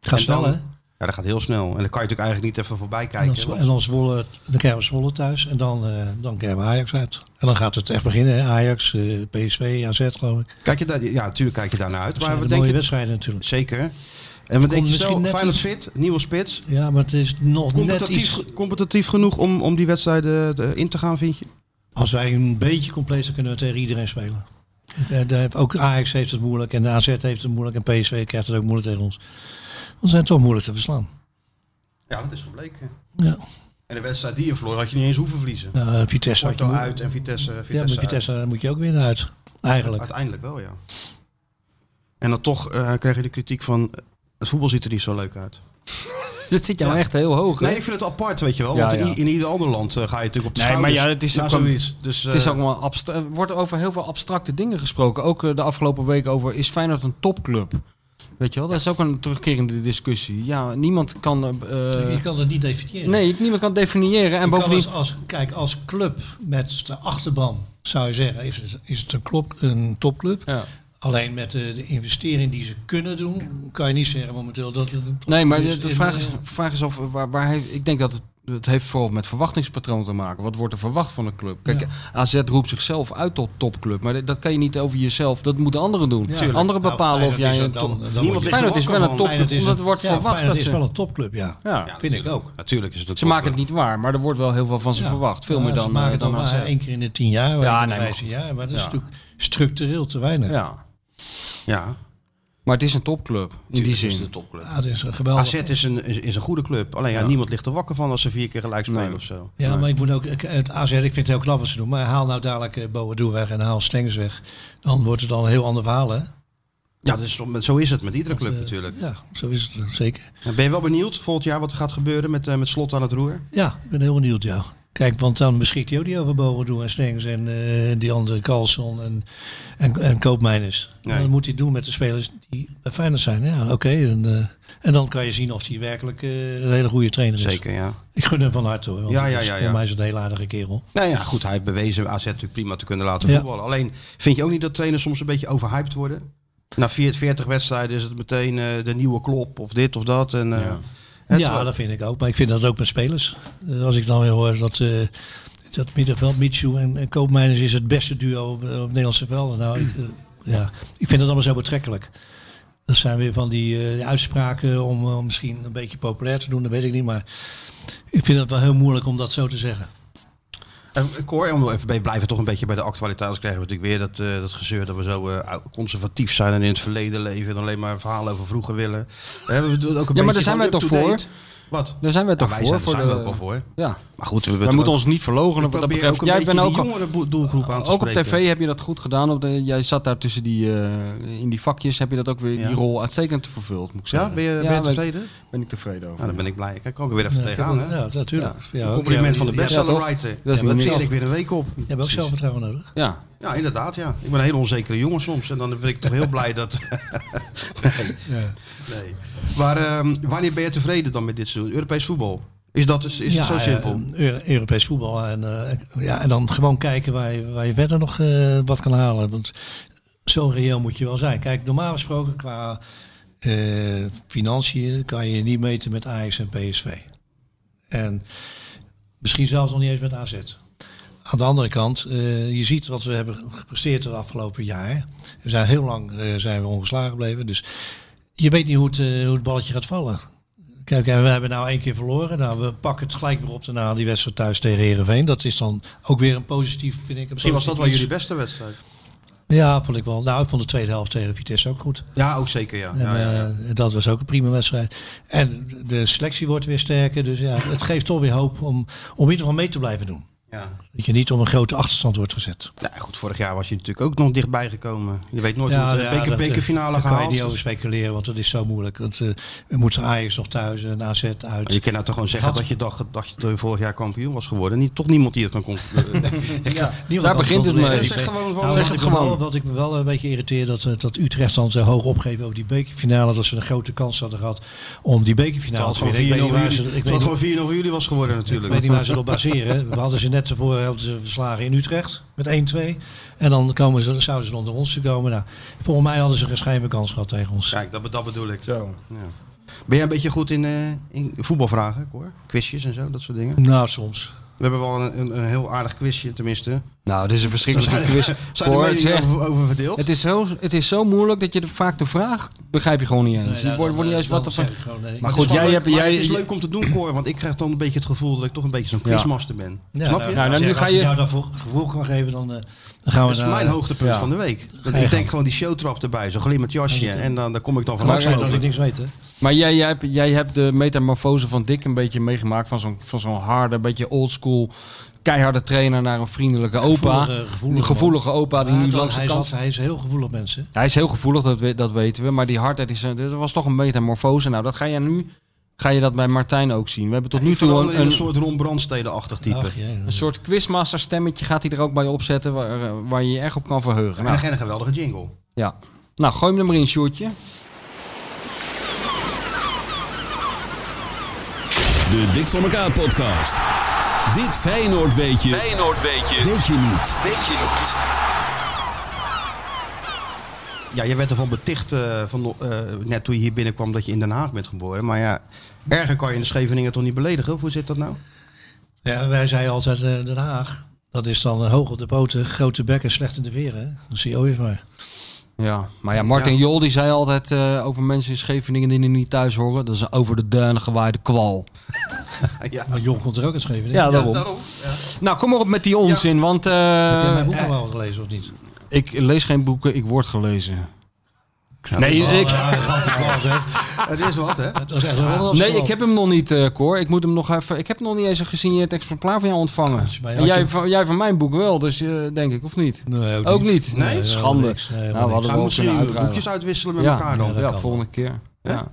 Speaker 3: Ga
Speaker 2: En
Speaker 3: snel,
Speaker 2: dan- eh,
Speaker 3: hè?
Speaker 2: Ja, dat gaat heel snel. En dan kan je natuurlijk eigenlijk niet even voorbij
Speaker 3: En dan,
Speaker 2: kijken.
Speaker 3: Zwo-
Speaker 2: want-
Speaker 3: en dan, Zwolle, dan krijgen we Zwolle thuis en dan, eh, dan krijgen we Ajax uit. En dan gaat het echt beginnen, hè? Ajax, eh, PSV, AZ geloof ik.
Speaker 2: Kijk je daar, ja, natuurlijk kijk je daar naar uit.
Speaker 3: Dat
Speaker 2: maar
Speaker 3: zijn
Speaker 2: we
Speaker 3: de mooie
Speaker 2: denken,
Speaker 3: wedstrijden natuurlijk.
Speaker 2: zeker. En we denken,
Speaker 3: misschien
Speaker 2: stel,
Speaker 3: net
Speaker 2: Feyenoord
Speaker 3: iets-
Speaker 2: fit, nieuwe spits.
Speaker 3: Ja, maar het is nog net
Speaker 2: Competitief,
Speaker 3: iets...
Speaker 2: competitief genoeg om, om die wedstrijden eh, in te gaan, vind je?
Speaker 3: Als wij een beetje compleet zijn, kunnen we tegen iedereen spelen. Eh, daar heeft- Ook Ajax heeft het moeilijk en de AZ heeft het moeilijk en PSV krijgt het ook moeilijk tegen ons. Want ze zijn toch moeilijk te verslaan.
Speaker 2: Ja, dat is gebleken.
Speaker 3: Ja.
Speaker 2: En de wedstrijd die je verloor had je niet eens hoeven verliezen.
Speaker 3: Eh, Vitesse had je
Speaker 2: Porto
Speaker 3: moe-
Speaker 2: uit en Vitesse, Vitesse,
Speaker 3: Ja, met
Speaker 2: uit.
Speaker 3: Vitesse moet je ook winnen uit. Eigenlijk.
Speaker 2: Uiteindelijk wel, ja. En dan toch eh, kreeg je de kritiek van... eh, Het voetbal ziet er niet zo leuk uit.
Speaker 4: Dit zit jou echt heel hoog, hè?
Speaker 2: Nee, ik vind het apart, weet je wel.
Speaker 4: Ja,
Speaker 2: want in,
Speaker 4: ja.
Speaker 2: i- in ieder ander land eh, ga je natuurlijk op de
Speaker 4: Nee, maar
Speaker 2: schouders.
Speaker 4: ja, het is
Speaker 2: na
Speaker 4: ook wel-
Speaker 2: zoiets. Dus,
Speaker 4: Het is
Speaker 2: eh,
Speaker 4: ook maar abstra- er wordt over heel veel abstracte dingen gesproken. Ook eh, de afgelopen week over is Feyenoord een topclub? Weet je wel, dat is ook een terugkerende discussie. Ja, niemand kan. eh,
Speaker 3: je kan het niet definiëren.
Speaker 4: nee, niemand kan definiëren. En
Speaker 3: Je kan
Speaker 4: bovendien.
Speaker 3: als, als- kijk, als club met de achterban zou je zeggen, is het, is het een, klop, een topclub.
Speaker 4: Ja.
Speaker 3: Alleen met de, de investering die ze kunnen doen, kan je niet zeggen momenteel dat het een topclub
Speaker 2: Dus
Speaker 4: Nee, maar de,
Speaker 3: is
Speaker 4: de
Speaker 3: in-
Speaker 4: vraag, is,
Speaker 3: in-
Speaker 4: vraag is of eh, waar, waar hij. Ik denk dat het Het heeft vooral met verwachtingspatroon te maken. Wat wordt er verwacht van een club? Kijk, AZ roept zichzelf uit tot topclub. Maar dat- dat kan je niet over jezelf. Dat moeten anderen doen.
Speaker 3: Tuurlijk.
Speaker 4: Anderen
Speaker 3: Nou,
Speaker 4: bepalen of
Speaker 3: Feyenoord
Speaker 4: jij
Speaker 3: is
Speaker 4: een
Speaker 3: dan-
Speaker 4: top...
Speaker 3: dan
Speaker 2: Niemand
Speaker 3: word je-
Speaker 2: ligt er
Speaker 4: Feyenoord is
Speaker 2: wakker
Speaker 4: wel een
Speaker 2: van.
Speaker 4: top.
Speaker 3: Feyenoord is
Speaker 4: Omdat
Speaker 3: een-
Speaker 4: wordt
Speaker 3: ja,
Speaker 4: verwacht
Speaker 3: Feyenoord
Speaker 4: dat
Speaker 3: is
Speaker 4: ze...
Speaker 3: wel een topclub, ja.
Speaker 4: Ja.
Speaker 3: Vind ik ook.
Speaker 2: Natuurlijk is het een
Speaker 4: Ze maken het
Speaker 2: topclub.
Speaker 4: niet waar, maar er wordt wel heel veel van ze
Speaker 3: Ja.
Speaker 4: verwacht. Veel
Speaker 3: Ja,
Speaker 4: meer
Speaker 3: ze
Speaker 4: dan,
Speaker 3: maken
Speaker 4: eh,
Speaker 3: het
Speaker 4: dan
Speaker 3: ook
Speaker 4: AZ.
Speaker 3: maar één keer in de tien jaar,
Speaker 4: Ja,
Speaker 3: ja,
Speaker 4: nee, maar goed.
Speaker 3: jaar. Maar dat is
Speaker 4: Ja.
Speaker 3: natuurlijk structureel te weinig.
Speaker 4: Ja.
Speaker 2: Ja,
Speaker 4: Maar het is een topclub, in die
Speaker 2: natuurlijk is het
Speaker 4: zin.
Speaker 2: een topclub.
Speaker 3: Ja, dat is een geweldig.
Speaker 2: AZ is een, is, is een goede club. Alleen ja,
Speaker 4: Ja.
Speaker 2: niemand ligt er wakker van als ze vier keer gelijk spelen
Speaker 4: Nee.
Speaker 2: of zo.
Speaker 3: Ja, maar ik moet ook ik- het AZ, ik vind het heel knap wat ze doen. Maar haal nou dadelijk eh, Boadu weg en haal Stengs weg. Dan wordt het al een heel ander verhaal, hè?
Speaker 2: Ja, dus, zo is het met iedere club
Speaker 3: eh,
Speaker 2: natuurlijk.
Speaker 3: Ja, zo is het eh, zeker.
Speaker 2: En Ben je wel benieuwd volgend jaar wat er gaat gebeuren met, eh, met slot aan het roer?
Speaker 3: Ja, ik ben heel benieuwd, ja. Kijk, want dan beschikt hij ook niet over Boadu en Stengs en eh, die andere Carlson en, en, en Koopmeiners.
Speaker 2: Nee.
Speaker 3: Dan moet hij doen met de spelers die bij Feyenoord zijn. Ja, oké. En, eh, en dan kan je zien of hij werkelijk eh, een hele goede trainer is.
Speaker 2: Zeker, ja.
Speaker 3: Ik gun hem van harte hoor. Want
Speaker 2: Ja,
Speaker 3: het
Speaker 2: ja,
Speaker 3: is-
Speaker 2: ja, ja.
Speaker 3: Voor mij is het een heel aardige kerel.
Speaker 2: Nou ja, goed, hij heeft bewezen AZ natuurlijk prima te kunnen laten
Speaker 3: Ja.
Speaker 2: voetballen. Alleen vind je ook niet dat trainers soms een beetje overhyped worden? Na 40, 40 wedstrijden is het meteen eh, de nieuwe klop of dit of dat. En, eh, het-
Speaker 3: ja, dat vind ik ook. Maar ik vind dat ook met spelers. Eh, als ik dan weer hoor dat, eh dat middenveld, Michu en, en Koopmeiners is het beste duo op, op Nederlandse velden. Nou, ik, eh, ja. ik vind dat allemaal zo betrekkelijk. Dat zijn weer van die eh, die uitspraken om eh, om misschien een beetje populair te doen, dat weet ik niet. Maar ik vind het wel heel moeilijk om dat zo te zeggen.
Speaker 2: En eh, Cor, om even bij we blijven toch een beetje bij de actualiteit. Anders krijgen we natuurlijk weer dat, eh, dat gezeur dat we zo eh, ou- conservatief zijn en in het verleden leven. En alleen maar verhalen over vroeger willen. Eh, we doen ook een
Speaker 4: Ja,
Speaker 2: beetje
Speaker 4: maar daar zijn wij
Speaker 2: gewoon
Speaker 4: toch voor?
Speaker 2: up-to-date. Wat?
Speaker 4: Daar zijn we
Speaker 2: Ja,
Speaker 4: toch
Speaker 2: wij
Speaker 4: voor?
Speaker 2: zijn, daar
Speaker 4: voor
Speaker 2: zijn we
Speaker 4: de-
Speaker 2: ook wel voor.
Speaker 4: Ja.
Speaker 2: Maar goed, we,
Speaker 4: Wij moeten ons niet verlogenen wat dat
Speaker 2: proberen ook
Speaker 4: betreft.
Speaker 2: een
Speaker 4: Jij
Speaker 2: beetje
Speaker 4: bent
Speaker 2: die
Speaker 4: ook al-
Speaker 2: jongere bo- doelgroep aan te
Speaker 4: Ook op
Speaker 2: spreken.
Speaker 4: tv heb je dat goed gedaan. Op de, jij zat daar tussen die, eh, in die vakjes. Heb je dat ook weer
Speaker 2: Ja.
Speaker 4: die rol uitstekend vervuld, moet ik
Speaker 2: Ja,
Speaker 4: zeggen.
Speaker 2: ben je, ben je
Speaker 4: ben ik-
Speaker 2: tevreden?
Speaker 4: Ben ik tevreden over.
Speaker 2: Nou, dan ben ik blij. Ik kan ik ook weer even
Speaker 3: Ja, ik heb
Speaker 2: tegenaan.
Speaker 3: ook-
Speaker 2: hè?
Speaker 3: ja, natuurlijk. Ja.
Speaker 2: Een
Speaker 3: ook.
Speaker 2: compliment
Speaker 3: Ja,
Speaker 2: van de
Speaker 3: ja,
Speaker 2: bestseller
Speaker 4: toch?
Speaker 2: writer.
Speaker 4: Dat is
Speaker 2: Ja, dat
Speaker 4: niet
Speaker 2: tel
Speaker 4: meer.
Speaker 2: ik weer een week op.
Speaker 3: Je hebt ook zelfvertrouwen nodig.
Speaker 4: Ja.
Speaker 2: Ja, inderdaad. Ja. Ik ben een hele onzekere jongen soms. En dan ben ik toch heel blij dat...
Speaker 3: (laughs)
Speaker 2: nee. nee. Maar ehm, wanneer ben je tevreden dan met dit seizoen? Europees voetbal? Is dat dus, is het zo simpel?
Speaker 3: eh, Euro- Europees voetbal. En, eh, ja, en dan gewoon kijken waar je, waar je verder nog eh, wat kan halen. Want zo reëel moet je wel zijn. Kijk, normaal gesproken qua eh, financiën kan je niet meten met Ajax en PSV. En misschien zelfs nog niet eens met AZ. Aan de andere kant, eh, je ziet wat we hebben gepresteerd het afgelopen jaar. We zijn heel lang eh, zijn we ongeslagen gebleven. Dus je weet niet hoe het, eh, hoe het balletje gaat vallen. Kijk, en we hebben nou één keer verloren. Nou, we pakken het gelijk weer op daarna die wedstrijd thuis tegen Herenveen. Dat is dan ook weer een positief, vind ik. een
Speaker 2: Misschien was dat wel jullie
Speaker 3: positief
Speaker 2: beste wedstrijd.
Speaker 3: iets. Ja, vond ik wel. Nou, ik vond de tweede helft tegen Vitesse ook goed.
Speaker 2: Ja, ook zeker ja.
Speaker 3: En,
Speaker 2: ja, ja, ja.
Speaker 3: eh, dat was ook een prima wedstrijd. En de selectie wordt weer sterker. Dus ja, het geeft toch weer hoop om, om in ieder geval mee te blijven doen.
Speaker 2: ja.
Speaker 3: Dat je niet op een grote achterstand wordt gezet.
Speaker 2: Nou, goed, vorig jaar was je natuurlijk ook nog dichtbij gekomen. Je weet nooit hoe het eh, beker,
Speaker 3: dat, eh,
Speaker 2: bekerfinale
Speaker 3: daar kan je
Speaker 2: gehaald.
Speaker 3: niet over speculeren, want dat is zo moeilijk. Want eh, we moeten Ajax nog thuis en AZ uit.
Speaker 2: Je kan nou toch gewoon zeggen
Speaker 3: Had-
Speaker 2: dat je dacht dat je vorig jaar kampioen was geworden. Niet, toch niemand die het kan concluderen.
Speaker 3: Niemand
Speaker 4: Daar
Speaker 3: kan
Speaker 4: begint
Speaker 3: controleren.
Speaker 4: het mee.
Speaker 2: Zeg
Speaker 3: Ik ben-
Speaker 2: gewoon van-
Speaker 3: Nou,
Speaker 4: zeg
Speaker 3: wat
Speaker 4: het
Speaker 3: ik me wel-
Speaker 4: gewoon.
Speaker 3: Wat ik me wel een beetje irriteer, dat, eh, dat Utrecht dan zo hoog opgeeft over die bekerfinale. Dat ze een grote kans hadden gehad om die bekerfinale
Speaker 2: Terwijl
Speaker 3: te winnen. Ik weet niet waar ze- ik weet niet-
Speaker 2: het gewoon 4-0 voor jullie was geworden
Speaker 3: Ik
Speaker 2: natuurlijk.
Speaker 3: weet niet waar ze het op baseren. We hadden ze net tevoren hadden ze verslagen in Utrecht met 1-2. En dan komen ze, zouden ze onder ons te komen. Nou, volgens mij hadden ze geen schijn van kans gehad tegen ons.
Speaker 2: Kijk, dat, be- dat bedoel ik. Ja. Ben jij een beetje goed in, eh, in voetbalvragen, hoor? Quizjes en zo, dat soort dingen.
Speaker 3: Nou, soms.
Speaker 2: We hebben wel een, een, een heel aardig quizje, tenminste.
Speaker 4: Nou, dit is een verschrikkelijke (laughs) quiz.
Speaker 2: Zijn
Speaker 4: Cor,
Speaker 2: er
Speaker 4: het is
Speaker 2: meningen
Speaker 4: echt-
Speaker 2: over, over verdeeld?
Speaker 4: Het is, zo, het is zo moeilijk dat je de, vaak de vraag begrijp je gewoon niet eens.
Speaker 3: Nee,
Speaker 4: Je
Speaker 3: nou,
Speaker 4: wordt- wordt niet
Speaker 3: dan-
Speaker 4: eens wat
Speaker 3: dan
Speaker 4: er van.
Speaker 3: zeg ik gewoon nee.
Speaker 2: Het
Speaker 4: Maar
Speaker 2: is
Speaker 4: goed,
Speaker 2: gewoon
Speaker 4: jij
Speaker 2: leuk,
Speaker 4: hebt
Speaker 2: maar
Speaker 4: jij.
Speaker 2: het is leuk om te doen, Cor. Want ik krijg dan een beetje het gevoel dat ik toch een beetje zo'n quizmaster ben.
Speaker 3: Ja,
Speaker 2: Snap je?
Speaker 4: nou,
Speaker 3: als
Speaker 4: nu
Speaker 3: jij-
Speaker 4: ga
Speaker 3: als ik
Speaker 4: je-
Speaker 3: jou daar voor- gevoel kan geven, dan, eh, dan gaan we
Speaker 2: Dat is
Speaker 3: naar...
Speaker 2: mijn hoogtepunt
Speaker 4: ja.
Speaker 2: van de week. Dat
Speaker 3: je
Speaker 2: ik denk
Speaker 3: gang.
Speaker 2: gewoon die showtrap erbij, zo'n glimmend jasje. En dan, dan kom ik dan
Speaker 3: Het mag
Speaker 2: vanaf.
Speaker 3: zijn dat ik niks weet, hè?
Speaker 4: Maar jij, jij, hebt, jij hebt de metamorfose van Dick een beetje meegemaakt. Van zo'n van zo'n harde, beetje oldschool, keiharde trainer naar een vriendelijke opa.
Speaker 3: Gevoelige- gevoelige
Speaker 4: een gevoelige opa die
Speaker 3: Maar
Speaker 4: nu
Speaker 3: dan-
Speaker 4: langs de
Speaker 3: hij, is
Speaker 4: kant...
Speaker 3: altijd- hij is heel gevoelig, mensen.
Speaker 4: Hij is heel gevoelig, dat, we- dat weten we. Maar die hardheid is, eh, dat was toch een metamorfose. Nou, dat ga je nu ga je dat bij Martijn ook zien. We hebben tot nu toe
Speaker 2: een,
Speaker 4: een,
Speaker 2: een
Speaker 4: een,
Speaker 2: soort Ron Brandstede-achtig type.
Speaker 3: Ach, ja,
Speaker 4: een soort quizmaster stemmetje gaat hij er ook bij opzetten. Waar, eh, waar je je erg op kan verheugen. Nou,
Speaker 2: En een geweldige jingle.
Speaker 4: ja. nou gooi hem er maar in, Sjoerdje.
Speaker 6: De Dik voor elkaar podcast. Dit Feyenoord weet je. Feyenoord weet je. Weet je niet. Weet je niet.
Speaker 2: Ja, je werd ervan beticht eh, van, eh, net toen je hier binnenkwam dat je in Den Haag bent geboren. Maar ja, erger kan je in de Scheveningen toch niet beledigen? Of Hoe zit dat nou?
Speaker 3: Ja, wij zeiden altijd eh, Den Haag. Dat is dan eh, hoog op de poten, grote bekken, slecht in de weer. Hè? Dat zie je ooit maar.
Speaker 4: Ja, maar ja, Martin Jol die zei altijd eh, over mensen in Scheveningen die er niet thuis horen. Dat is over de duinen gewaaide kwal.
Speaker 2: (laughs) ja,
Speaker 3: Maar Jong komt er ook uit Scheveningen.
Speaker 4: Ja, daarom.
Speaker 2: daarom. Ja.
Speaker 4: Nou, kom maar op met die onzin, want eh,
Speaker 3: Heb jij mijn boek nog wel gelezen of niet?
Speaker 4: ik lees geen boeken, ik word gelezen.
Speaker 2: Nee,
Speaker 4: ik,
Speaker 3: (laughs)
Speaker 2: Het is wat, hè?
Speaker 3: Dat is echt wel
Speaker 4: nee, ik heb hem nog niet, eh Cor. Ik moet hem nog even. Ik heb nog niet eens een gesigneerd exemplaar van jou ontvangen.
Speaker 3: is bij jou.
Speaker 4: En jij,
Speaker 3: Had je-
Speaker 4: van, jij van mijn boek wel, dus eh, denk ik, of niet?
Speaker 3: Nee, ook,
Speaker 4: Ook niet.
Speaker 3: Nee, helemaal
Speaker 4: schande.
Speaker 3: niks. Nee, helemaal
Speaker 4: nou, we
Speaker 3: niks.
Speaker 2: Gaan
Speaker 4: hadden
Speaker 2: we
Speaker 4: wel
Speaker 2: misschien
Speaker 4: kunnen
Speaker 2: nieuwe
Speaker 4: uitruilen.
Speaker 2: boekjes uitwisselen met
Speaker 4: ja,
Speaker 2: elkaar dan?
Speaker 4: Ja,
Speaker 3: dat kan
Speaker 4: volgende keer. Ja.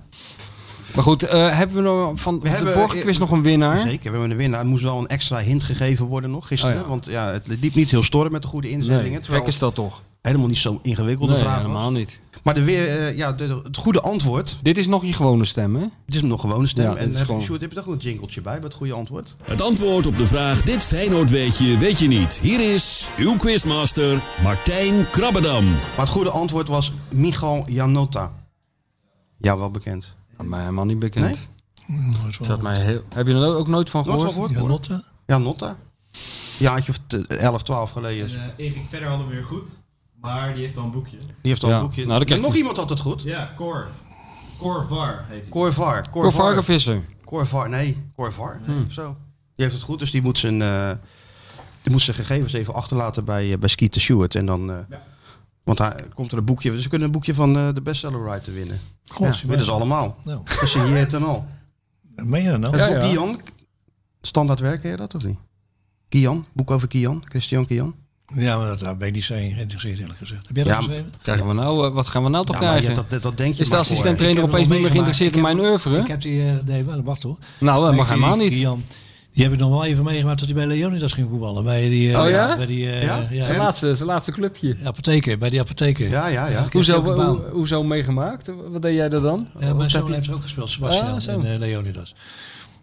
Speaker 4: Maar goed, eh, hebben we nog van de
Speaker 2: hebben-
Speaker 4: vorige
Speaker 2: eh,
Speaker 4: quiz nog een winnaar?
Speaker 2: Zeker, we hebben een winnaar. Er moest wel een extra hint gegeven worden nog gisteren.
Speaker 4: Oh ja.
Speaker 2: Want ja, het liep niet heel storm met de goede inzendingen.
Speaker 4: Nee,
Speaker 2: terwijl
Speaker 4: gek is dat toch?
Speaker 2: helemaal niet zo ingewikkelde
Speaker 4: Nee,
Speaker 2: vraag was.
Speaker 4: helemaal niet.
Speaker 2: Maar de weer, eh, ja, de- de- het goede antwoord,
Speaker 4: Dit is nog je gewone stem, hè?
Speaker 2: het is hem nog gewoon stem.
Speaker 4: Ja, dit
Speaker 2: en
Speaker 4: is
Speaker 2: heb,
Speaker 4: gewoon-
Speaker 2: ik, Sjoerd, heb je toch een jingletje bij bij het goede antwoord?
Speaker 6: Het antwoord op de vraag Dit Feyenoord weet je, weet je niet. Hier is uw quizmaster Martijn Krabbedam.
Speaker 2: Maar het goede antwoord was Michal Janota. Ja, wel bekend.
Speaker 4: Maar helemaal niet bekend.
Speaker 2: Nee?
Speaker 3: Nooit van-
Speaker 4: Dat mij heel... Heb je er ook nooit van
Speaker 2: Nooit van
Speaker 4: gehoord?
Speaker 2: gehoord?
Speaker 3: Ja,
Speaker 2: hoor.
Speaker 3: Lotte?
Speaker 2: Janotta. Jaartje of t- 11, 12 geleden.
Speaker 7: En
Speaker 2: Die
Speaker 7: eh, Erik verder hadden we weer goed, maar die heeft al een boekje.
Speaker 2: heeft al een
Speaker 4: Ja.
Speaker 2: boekje.
Speaker 4: Nou, dan krijg
Speaker 2: En nog
Speaker 4: je-
Speaker 2: iemand had het goed.
Speaker 7: Ja, Cor. Cor Var heet hij.
Speaker 2: Corvar.
Speaker 4: Cor Varkenvisser.
Speaker 2: Corvar, nee, Corvar.
Speaker 4: Hmm.
Speaker 2: Of zo. Die heeft het goed, dus die moet zijn, eh, die moet zijn gegevens even achterlaten bij, eh, bij Skeeter Stewart. En dan, eh, Want hij komt er een boekje, ze kunnen een boekje van eh, de bestseller writer winnen.
Speaker 3: God,
Speaker 2: Ja, dit is allemaal.
Speaker 3: Nou,
Speaker 2: Gesigneerd en al.
Speaker 3: meen je dat nou?
Speaker 2: En
Speaker 4: Ja,
Speaker 2: Bob
Speaker 4: ja.
Speaker 2: Kian, standaard werk, ken je dat of niet? Kian, boek over Kian, Christian Kian.
Speaker 3: Ja, maar dat, daar ben ik niet zo in geïnteresseerd eerlijk gezegd. Heb jij dat
Speaker 2: Ja,
Speaker 3: geschreven?
Speaker 4: Krijgen we nou, eh, wat gaan we nou toch
Speaker 2: Ja, maar
Speaker 4: krijgen?
Speaker 2: je- dat, dat, dat denk je
Speaker 4: is de
Speaker 2: maar voor, hè.
Speaker 4: assistent-trainer
Speaker 3: Ik heb
Speaker 4: opeens
Speaker 3: hem
Speaker 4: niet meer
Speaker 3: al
Speaker 4: geïnteresseerd in mijn
Speaker 3: meegemaakt.
Speaker 4: oeuvre?
Speaker 3: Ik heb die... eh, nee, wel, wacht hoor.
Speaker 4: Nou, dat
Speaker 3: Nee,
Speaker 4: mag
Speaker 3: die-
Speaker 4: helemaal niet.
Speaker 3: die Jan, die heb ik nog wel even meegemaakt dat hij bij Leonidas ging voetballen. Bij die, eh,
Speaker 4: Oh ja?
Speaker 3: Bij die eh,
Speaker 2: Ja?
Speaker 3: ja?
Speaker 2: Zijn
Speaker 4: Zijn laatste, zijn laatste clubje.
Speaker 3: apotheker. Bij die apotheker.
Speaker 2: Ja, ja, ja.
Speaker 4: Hoezo,
Speaker 3: op de baan.
Speaker 4: hoe- hoezo meegemaakt? Wat deed jij er dan?
Speaker 3: Ja,
Speaker 4: Wat
Speaker 3: mijn
Speaker 4: heb
Speaker 3: zoon
Speaker 4: je-
Speaker 3: heeft er ook gespeeld, Sebastian
Speaker 4: Ah, zo.
Speaker 3: en eh, Leonidas.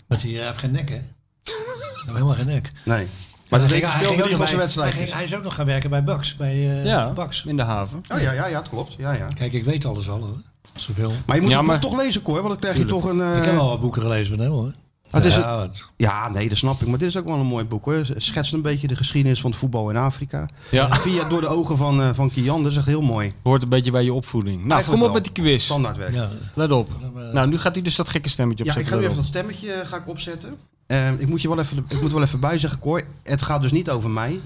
Speaker 3: Maar die eh, heeft geen nek, hè? Hij heeft helemaal geen nek.
Speaker 2: Nee. Maar
Speaker 3: Hij
Speaker 2: dat
Speaker 3: ging-
Speaker 2: deed
Speaker 3: hij
Speaker 2: speelde
Speaker 3: ging ook
Speaker 2: drie van
Speaker 3: nog
Speaker 2: zijn
Speaker 3: bij- hij,
Speaker 2: wedstrijdjes.
Speaker 3: ging- hij is ook nog gaan werken bij Bax. Bij eh,
Speaker 4: Ja,
Speaker 3: Bax.
Speaker 4: in de haven.
Speaker 2: Oh ja, ja, ja, dat klopt. Ja, ja.
Speaker 3: Kijk, ik weet alles al, hoor. Zoveel.
Speaker 2: Maar je moet
Speaker 4: Ja,
Speaker 2: het
Speaker 4: maar-
Speaker 2: boek toch lezen, Cor, want dan krijg je toch een... eh,
Speaker 3: ik heb al wat boeken gelezen van hem, hoor.
Speaker 2: het is
Speaker 3: ja, het-
Speaker 2: Ja, nee, dat snap ik. Maar dit is ook wel een mooi boek. Hoor. Schetst een beetje de geschiedenis van het voetbal in Afrika.
Speaker 4: Ja.
Speaker 2: Via door de ogen van, eh, van Kian. Dat is echt heel mooi.
Speaker 4: Hoort een beetje bij je opvoeding. Nou,
Speaker 2: Eigenlijk
Speaker 4: kom op
Speaker 2: wel.
Speaker 4: met die quiz.
Speaker 2: Standaardwerk.
Speaker 3: ja,
Speaker 4: Let op. Nou, nu gaat hij dus dat gekke stemmetje
Speaker 2: Ja, ik
Speaker 4: opzetten.
Speaker 2: ga nu
Speaker 4: let
Speaker 2: even
Speaker 4: op.
Speaker 2: dat stemmetje eh, ga ik opzetten. Eh, ik, moet je wel even, ik moet wel even bijzeggen, Cor. Het gaat dus niet over mij.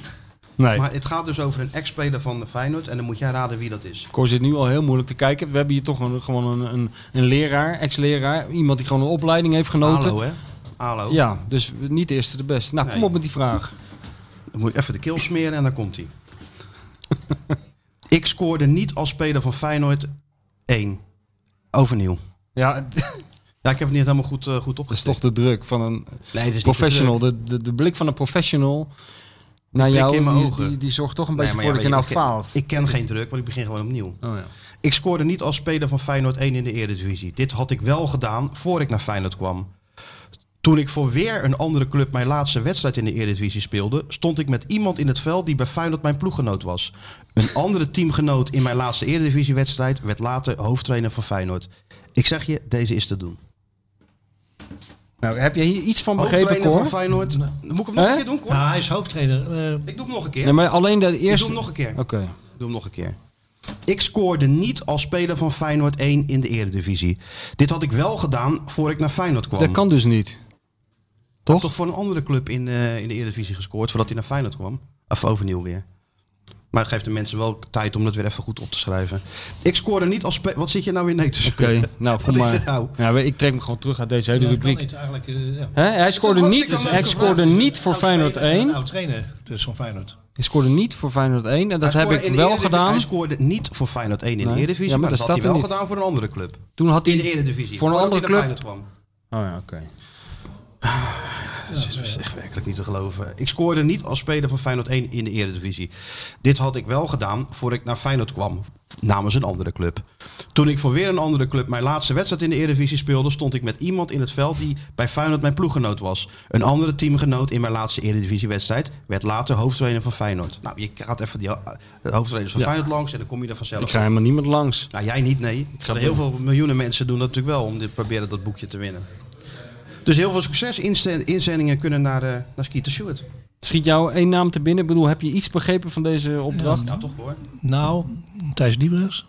Speaker 4: Nee,
Speaker 2: Maar het gaat dus over een ex-speler van de Feyenoord. En dan moet jij raden wie dat is.
Speaker 4: Cor zit nu al heel moeilijk te kijken. We hebben hier toch een, gewoon een, een, een leraar, ex-leraar. Iemand die gewoon een opleiding heeft genoten.
Speaker 2: Alo, hè? Alo.
Speaker 4: Ja, dus niet de eerste de beste. Nou, kom
Speaker 2: Nee.
Speaker 4: op met die vraag.
Speaker 2: Dan moet je even de keel smeren en dan komt hij. (laughs) ik scoorde niet als speler van Feyenoord 1. Overnieuw.
Speaker 4: Ja, (laughs) het
Speaker 2: Ja, ik heb het niet helemaal goed, eh, goed
Speaker 4: is
Speaker 2: opgestikt.
Speaker 4: toch de druk van een
Speaker 2: Nee, het is niet
Speaker 4: professional. De, de, de blik van een professional naar
Speaker 2: blik
Speaker 4: jou,
Speaker 2: in mijn
Speaker 4: die,
Speaker 2: ogen.
Speaker 4: die, die zorgt toch een
Speaker 2: Nee,
Speaker 4: beetje
Speaker 2: maar
Speaker 4: voor
Speaker 2: ja,
Speaker 4: dat je nou
Speaker 2: weet ik-
Speaker 4: faalt.
Speaker 2: Ik ken geen druk, want ik begin gewoon opnieuw.
Speaker 4: Oh, ja.
Speaker 2: Ik scoorde niet als speler van Feyenoord 1 in de Eredivisie. Dit had ik wel gedaan voor ik naar Feyenoord kwam. Toen ik voor weer een andere club mijn laatste wedstrijd in de Eredivisie speelde, stond ik met iemand in het veld die bij Feyenoord mijn ploeggenoot was. Een andere teamgenoot in mijn laatste Eredivisiewedstrijd werd later hoofdtrainer van Feyenoord. Ik zeg je, deze is te doen.
Speaker 4: Nou, heb je hier iets van begrepen,
Speaker 2: Hoofdtrainer
Speaker 4: Cor?
Speaker 2: van Feyenoord. Dan Moet ik hem nog
Speaker 4: Hè?
Speaker 2: een keer doen, Cor?
Speaker 3: Nou, hij is hoofdtrainer. eh,
Speaker 2: Ik doe hem nog een keer.
Speaker 4: Nee, maar alleen de
Speaker 2: Ik
Speaker 4: eerste...
Speaker 2: doe hem nog een keer.
Speaker 4: Oké.
Speaker 2: Doe hem nog een keer. Ik scoorde niet als speler van Feyenoord 1 in de Eredivisie. Dit had ik wel gedaan voor ik naar Feyenoord kwam.
Speaker 4: Dat kan dus niet.
Speaker 2: Hij
Speaker 4: Toch?
Speaker 2: had toch voor een andere club in, eh, in de Eredivisie gescoord voordat hij naar Feyenoord kwam. Of overnieuw weer. Maar het geeft de mensen wel tijd om dat weer even goed op te schrijven. Ik scoorde niet als speler... Wat zit je nou weer nee te
Speaker 4: Oké,
Speaker 2: schrijven?
Speaker 4: (laughs) nou
Speaker 2: Wat
Speaker 4: kom
Speaker 2: is het
Speaker 4: maar.
Speaker 2: nou?
Speaker 4: Ja, maar ik trek me gewoon terug uit deze hele
Speaker 3: ja, kan
Speaker 4: rubriek.
Speaker 3: niet eigenlijk, eh, ja.
Speaker 4: Hè? Hij scoorde
Speaker 2: een
Speaker 4: niet,
Speaker 2: hartstikke
Speaker 4: hij
Speaker 2: leuke
Speaker 4: scoorde
Speaker 2: vraag.
Speaker 4: niet voor Feyenoord
Speaker 3: Een
Speaker 4: 1.
Speaker 3: oud trainer dus van Feyenoord.
Speaker 4: Hij scoorde niet voor Feyenoord 1. En dat
Speaker 2: Hij
Speaker 4: heb
Speaker 2: scoorde
Speaker 4: ik
Speaker 2: in de
Speaker 4: wel
Speaker 2: Eredivisie-
Speaker 4: gedaan.
Speaker 2: Hij scoorde niet voor Feyenoord 1 in
Speaker 4: Nee.
Speaker 2: de Eredivisie.
Speaker 4: Ja, maar
Speaker 2: maar,
Speaker 4: dat
Speaker 2: dat had
Speaker 4: staat
Speaker 2: hij wel
Speaker 4: er niet.
Speaker 2: gedaan voor een andere club.
Speaker 4: Toen had hij
Speaker 2: In de Eredivisie.
Speaker 4: Voor een
Speaker 2: voordat
Speaker 4: andere
Speaker 2: hij naar
Speaker 4: club.
Speaker 2: Feyenoord kwam.
Speaker 4: Oh ja, oké.
Speaker 2: Het is echt werkelijk niet te geloven. Ik scoorde niet als speler van Feyenoord 1 in de Eredivisie. Dit had ik wel gedaan voor ik naar Feyenoord kwam namens een andere club. Toen ik voor weer een andere club mijn laatste wedstrijd in de Eredivisie speelde, stond ik met iemand in het veld die bij Feyenoord mijn ploeggenoot was. Een andere teamgenoot in mijn laatste Eredivisiewedstrijd werd later hoofdtrainer van Feyenoord. Nou, je gaat even die ho- eh, hoofdtrainers van Feyenoord langs en dan kom je er vanzelf.
Speaker 4: Ik ga helemaal niemand langs.
Speaker 2: Nou, jij niet, nee. Er heel veel miljoenen mensen doen dat natuurlijk wel om dit proberen dat boekje te winnen. Dus heel veel succes. Inste- inzendingen kunnen naar, eh naar Skeeter Stewart.
Speaker 4: Schiet jou één naam te binnen? Ik bedoel, heb je iets begrepen van deze opdracht?
Speaker 2: Nou, toch hoor.
Speaker 3: Nou, Thijs Diebres.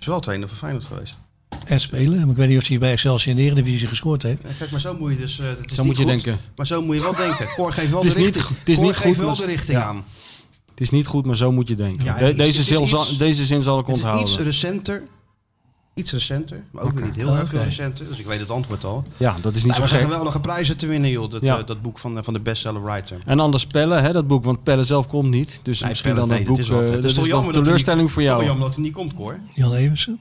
Speaker 2: Is wel trainer van Feyenoord geweest.
Speaker 3: En spelen. Maar Ik weet niet of hij bij Excelsior in de Eredivisie gescoord heeft.
Speaker 2: Ja, kijk, maar zo moet je dus... eh, het is
Speaker 4: Zo
Speaker 2: niet
Speaker 4: moet je
Speaker 2: goed,
Speaker 4: denken.
Speaker 2: Maar zo moet je wel denken. Cor geeft wel
Speaker 4: Het is
Speaker 2: de
Speaker 4: niet
Speaker 2: richting,
Speaker 4: goed- het is
Speaker 2: Cor
Speaker 4: niet
Speaker 2: geeft
Speaker 4: goed,
Speaker 2: wel
Speaker 4: maar-
Speaker 2: de richting
Speaker 4: ja.
Speaker 2: aan.
Speaker 4: Het is niet goed, maar zo moet je denken.
Speaker 2: Ja,
Speaker 4: De-
Speaker 2: het is-
Speaker 4: deze,
Speaker 2: het
Speaker 4: zin
Speaker 2: is
Speaker 4: zal-
Speaker 2: iets-
Speaker 4: deze zin zal ik
Speaker 2: Het is
Speaker 4: onthouden.
Speaker 2: iets recenter. Iets recenter. Maar ook weer niet heel erg veel
Speaker 3: Oké.
Speaker 2: recenter. Dus ik weet het antwoord al.
Speaker 4: ja, dat is niet
Speaker 2: Maar we
Speaker 4: zo
Speaker 2: zijn
Speaker 4: gek.
Speaker 2: geweldige prijzen te winnen, joh. Dat,
Speaker 4: Ja.
Speaker 2: eh, dat boek van, eh, van de bestseller writer.
Speaker 4: En anders Pelle, hè, dat boek. Want Pelle zelf komt niet. Dus
Speaker 2: Nee,
Speaker 4: misschien
Speaker 2: Pelle,
Speaker 4: dan
Speaker 2: nee,
Speaker 4: dat
Speaker 2: dit
Speaker 4: boek.
Speaker 2: is wat, hè.
Speaker 4: eh,
Speaker 2: Het is
Speaker 4: dat
Speaker 2: toch
Speaker 4: is
Speaker 2: jammer dat
Speaker 4: wel
Speaker 2: hij
Speaker 4: teleurstelling voor
Speaker 2: Jammer
Speaker 4: jou.
Speaker 2: jammer dat hij niet komt, Cor.
Speaker 3: Jan Eversen.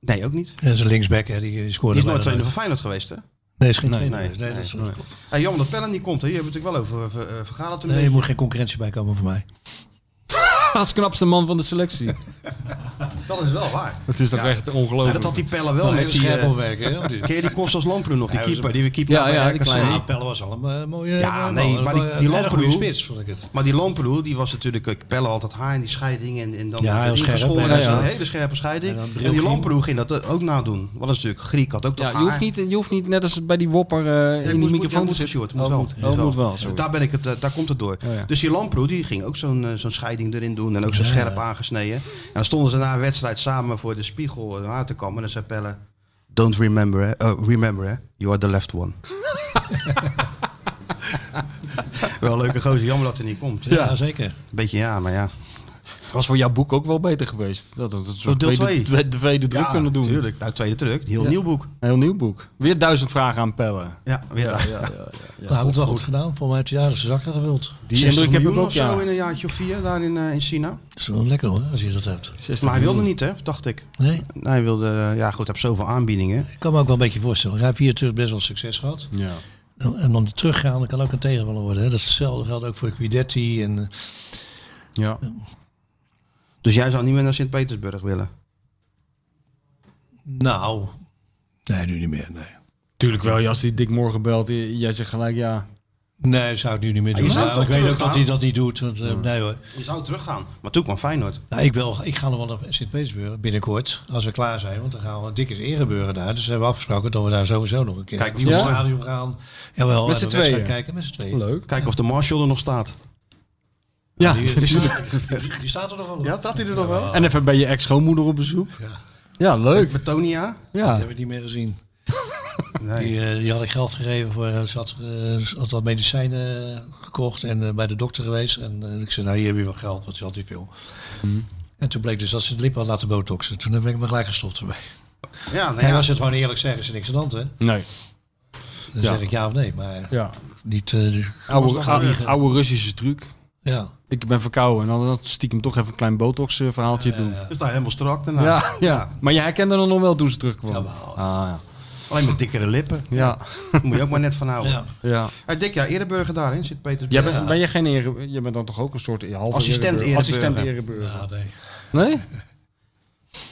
Speaker 2: Nee, ook niet.
Speaker 3: Dat is een linksback, hè, die, die
Speaker 2: Die
Speaker 3: scoorde
Speaker 2: is nooit
Speaker 3: bijna
Speaker 2: trainer
Speaker 4: dus.
Speaker 2: van Feyenoord geweest, hè?
Speaker 3: nooit. Nee, is geen trainer.
Speaker 2: nee,
Speaker 3: Nee, dat is-
Speaker 2: nee. Ja, jammer dat Pelle niet komt, hè? Hier hebben we het natuurlijk wel over eh, ver- eh, vergaderd een
Speaker 3: nee, er
Speaker 2: beetje.
Speaker 3: moet geen concurrentie bij komen voor mij.
Speaker 4: (laughs) Als knapste man van de selectie.
Speaker 2: Dat is wel waar.
Speaker 4: (laughs) Het is toch
Speaker 2: Ja.
Speaker 4: echt
Speaker 2: Ja,
Speaker 4: ongelooflijk.
Speaker 2: dat had die Pelle wel met die... eh, (laughs)
Speaker 3: hè?
Speaker 2: Ken je die Kostas Lamproen nog? Die
Speaker 3: Hij was
Speaker 2: keeper die we keeper
Speaker 4: Ja,
Speaker 2: bij
Speaker 4: ja, die
Speaker 2: RKC.
Speaker 4: kleine.
Speaker 3: Ja, Pelle was al een eh, mooie.
Speaker 2: Ja,
Speaker 3: eh,
Speaker 2: nee,
Speaker 3: man.
Speaker 2: maar die-
Speaker 3: Een
Speaker 2: die
Speaker 3: erg goede
Speaker 2: Lamproe-
Speaker 3: spits, vond ik het.
Speaker 2: Maar die Lamproe, die was natuurlijk... eh, Pelle had dat haar en die scheiding en, en dan...
Speaker 3: Ja, heel scherp,
Speaker 2: ingeschoren
Speaker 3: hè?
Speaker 2: en
Speaker 4: Ja,
Speaker 2: zo,
Speaker 4: ja.
Speaker 2: Hele scherpe scheiding.
Speaker 3: En dan
Speaker 2: En,
Speaker 3: bril
Speaker 2: die
Speaker 3: ging.
Speaker 2: Lamproe ging dat eh, ook nadoen. Wat is natuurlijk... Griek had ook dat
Speaker 4: Ja,
Speaker 2: haar.
Speaker 4: je hoeft, niet, je hoeft niet net als bij die wopper eh,
Speaker 2: Ja,
Speaker 4: in
Speaker 2: moet-
Speaker 4: die
Speaker 2: moet- ja,
Speaker 4: microfoon te
Speaker 2: moet,
Speaker 4: zitten.
Speaker 2: Sjoerd, moet
Speaker 4: Oh,
Speaker 2: wel.
Speaker 4: moet- oh, moet wel, sorry. Oh,
Speaker 2: Daar, ben ik het, eh, daar komt het door.
Speaker 4: Ja, ja.
Speaker 2: Dus die Lamproe die ging ook zo'n eh, zo'n scheiding erin doen. En ook zo scherp aangesneden. En dan stonden ze na een wedstrijd samen voor de spiegel eh, haar te kammen. En dan zei Pelle... Don't remember, hè? Oh, remember, hè? You are the left one. (laughs) wel een leuke gozer. Jammer dat hij niet komt.
Speaker 3: Ja, zeker.
Speaker 2: Beetje ja, maar ja.
Speaker 4: was voor jouw boek ook wel beter geweest. Dat het een soort
Speaker 2: deel
Speaker 4: tweede,
Speaker 2: twee.
Speaker 4: tweede, tweede druk
Speaker 2: ja,
Speaker 4: kunnen doen.
Speaker 2: Tuurlijk. Nou, tweede druk. Heel
Speaker 4: Ja.
Speaker 2: nieuw boek.
Speaker 4: Een heel nieuw boek. Weer duizend vragen aan pellen.
Speaker 2: Ja, weer.
Speaker 4: Ja, ja, ja, ja.
Speaker 3: nou, hij heeft het wel goed gedaan. Volgens mij heeft hij aardig zijn zakken gevuld.
Speaker 4: Die
Speaker 2: 60
Speaker 4: indruk heb ik
Speaker 2: miljoen
Speaker 4: ook,
Speaker 2: of zo
Speaker 4: ja.
Speaker 2: in een jaartje of vier daar in, eh, in China.
Speaker 3: Dat is wel lekker hoor, als je dat hebt.
Speaker 4: 60
Speaker 2: Maar hij wilde
Speaker 4: miljoen.
Speaker 2: niet, hè? Dacht ik.
Speaker 3: Nee,
Speaker 2: Nou, hij wilde, eh, ja goed, hij heeft zoveel aanbiedingen.
Speaker 3: ik kan me ook wel een beetje voorstellen. Hij heeft hier natuurlijk best wel succes gehad.
Speaker 4: Ja.
Speaker 3: En dan teruggaan, dat kan ook een tegenvaller worden. Hè. Dat is hetzelfde geldt ook voor Quidetti. En, eh,
Speaker 4: Ja.
Speaker 2: Dus jij zou niet meer naar Sint-Petersburg willen.
Speaker 3: nou, nee, nu niet meer. Nee,
Speaker 4: Tuurlijk wel, ja, als die Dick morgen belt, j- jij zegt gelijk ja.
Speaker 3: nee zou ik nu niet meer
Speaker 2: Maar
Speaker 3: doen.
Speaker 2: Ah, je zou
Speaker 3: Nou,
Speaker 2: toch
Speaker 3: ik weet ook
Speaker 2: teruggaan?
Speaker 3: dat hij dat niet doet. Want, eh, Nee hoor.
Speaker 2: Je zou teruggaan. Maar toen kwam Feyenoord.
Speaker 3: Nou, ik, wil, ik ga nog wel naar Sint-Petersburg binnenkort, als we klaar zijn. Want dan gaan we dikke ereburen daar. Dus we hebben afgesproken dat we daar sowieso nog een keer
Speaker 2: Kijk,
Speaker 3: naar het
Speaker 4: ja?
Speaker 3: stadion gaan. Jawel,
Speaker 4: Met
Speaker 3: en
Speaker 4: z'n
Speaker 3: een wedstrijd
Speaker 4: tweeën.
Speaker 3: kijken met z'n tweeën.
Speaker 4: Leuk.
Speaker 2: Kijk of de Marshall er nog staat.
Speaker 4: Ja.
Speaker 3: Die, die, die- die staat er nog wel op.
Speaker 2: staat hij er nog wel?
Speaker 4: (laughs) En even bij je ex-schoonmoeder op bezoek.
Speaker 3: Ja.
Speaker 4: Ja, leuk.
Speaker 2: Betonia?
Speaker 3: Die
Speaker 4: Ja.
Speaker 3: hebben we niet meer gezien.
Speaker 2: Ah. (laughs) Nee.
Speaker 3: Die, eh, die had ik geld gegeven voor, eh, ze had, eh, ze had wat medicijnen eh, gekocht en eh, bij de dokter geweest. En eh, ik zei, nou hier heb je wel geld, want ze had niet veel.
Speaker 2: Mhm.
Speaker 3: En toen bleek dus dat ze het lip had laten botoxen. Toen ben ik me gelijk gestopt ermee.
Speaker 2: Ja, nou
Speaker 3: Hij
Speaker 2: ja.
Speaker 3: was het gewoon eerlijk zeggen, is er niks aan de hand hè.
Speaker 4: Nee.
Speaker 3: Dan
Speaker 4: Ja.
Speaker 3: zeg ik ja of nee, maar
Speaker 4: Ja.
Speaker 3: niet... eh,
Speaker 4: Oude,
Speaker 2: gaan we
Speaker 4: oude, oude Russische truc.
Speaker 3: ja.
Speaker 4: Ik ben verkouden. En dan dan stiekem toch even een klein botox eh, verhaaltje doen.
Speaker 2: Hij staat helemaal strak daarna.
Speaker 4: Ja, ja, Maar jij herkende hem nog wel toen ze terugkwam. Ja, ah,
Speaker 2: Alleen met dikkere lippen.
Speaker 4: ja.
Speaker 2: Daar moet je ook maar net van houden.
Speaker 3: ja.
Speaker 4: ja. ja.
Speaker 2: Hij dik ja, Ereburger daarin zit Peter.
Speaker 4: Jij bent, ben jij geen ere, je bent dan toch ook een soort e- halve
Speaker 2: Assistent
Speaker 4: ereburger? Assistent
Speaker 2: ereburger.
Speaker 4: ereburger.
Speaker 3: Ja, nee.
Speaker 4: Nee?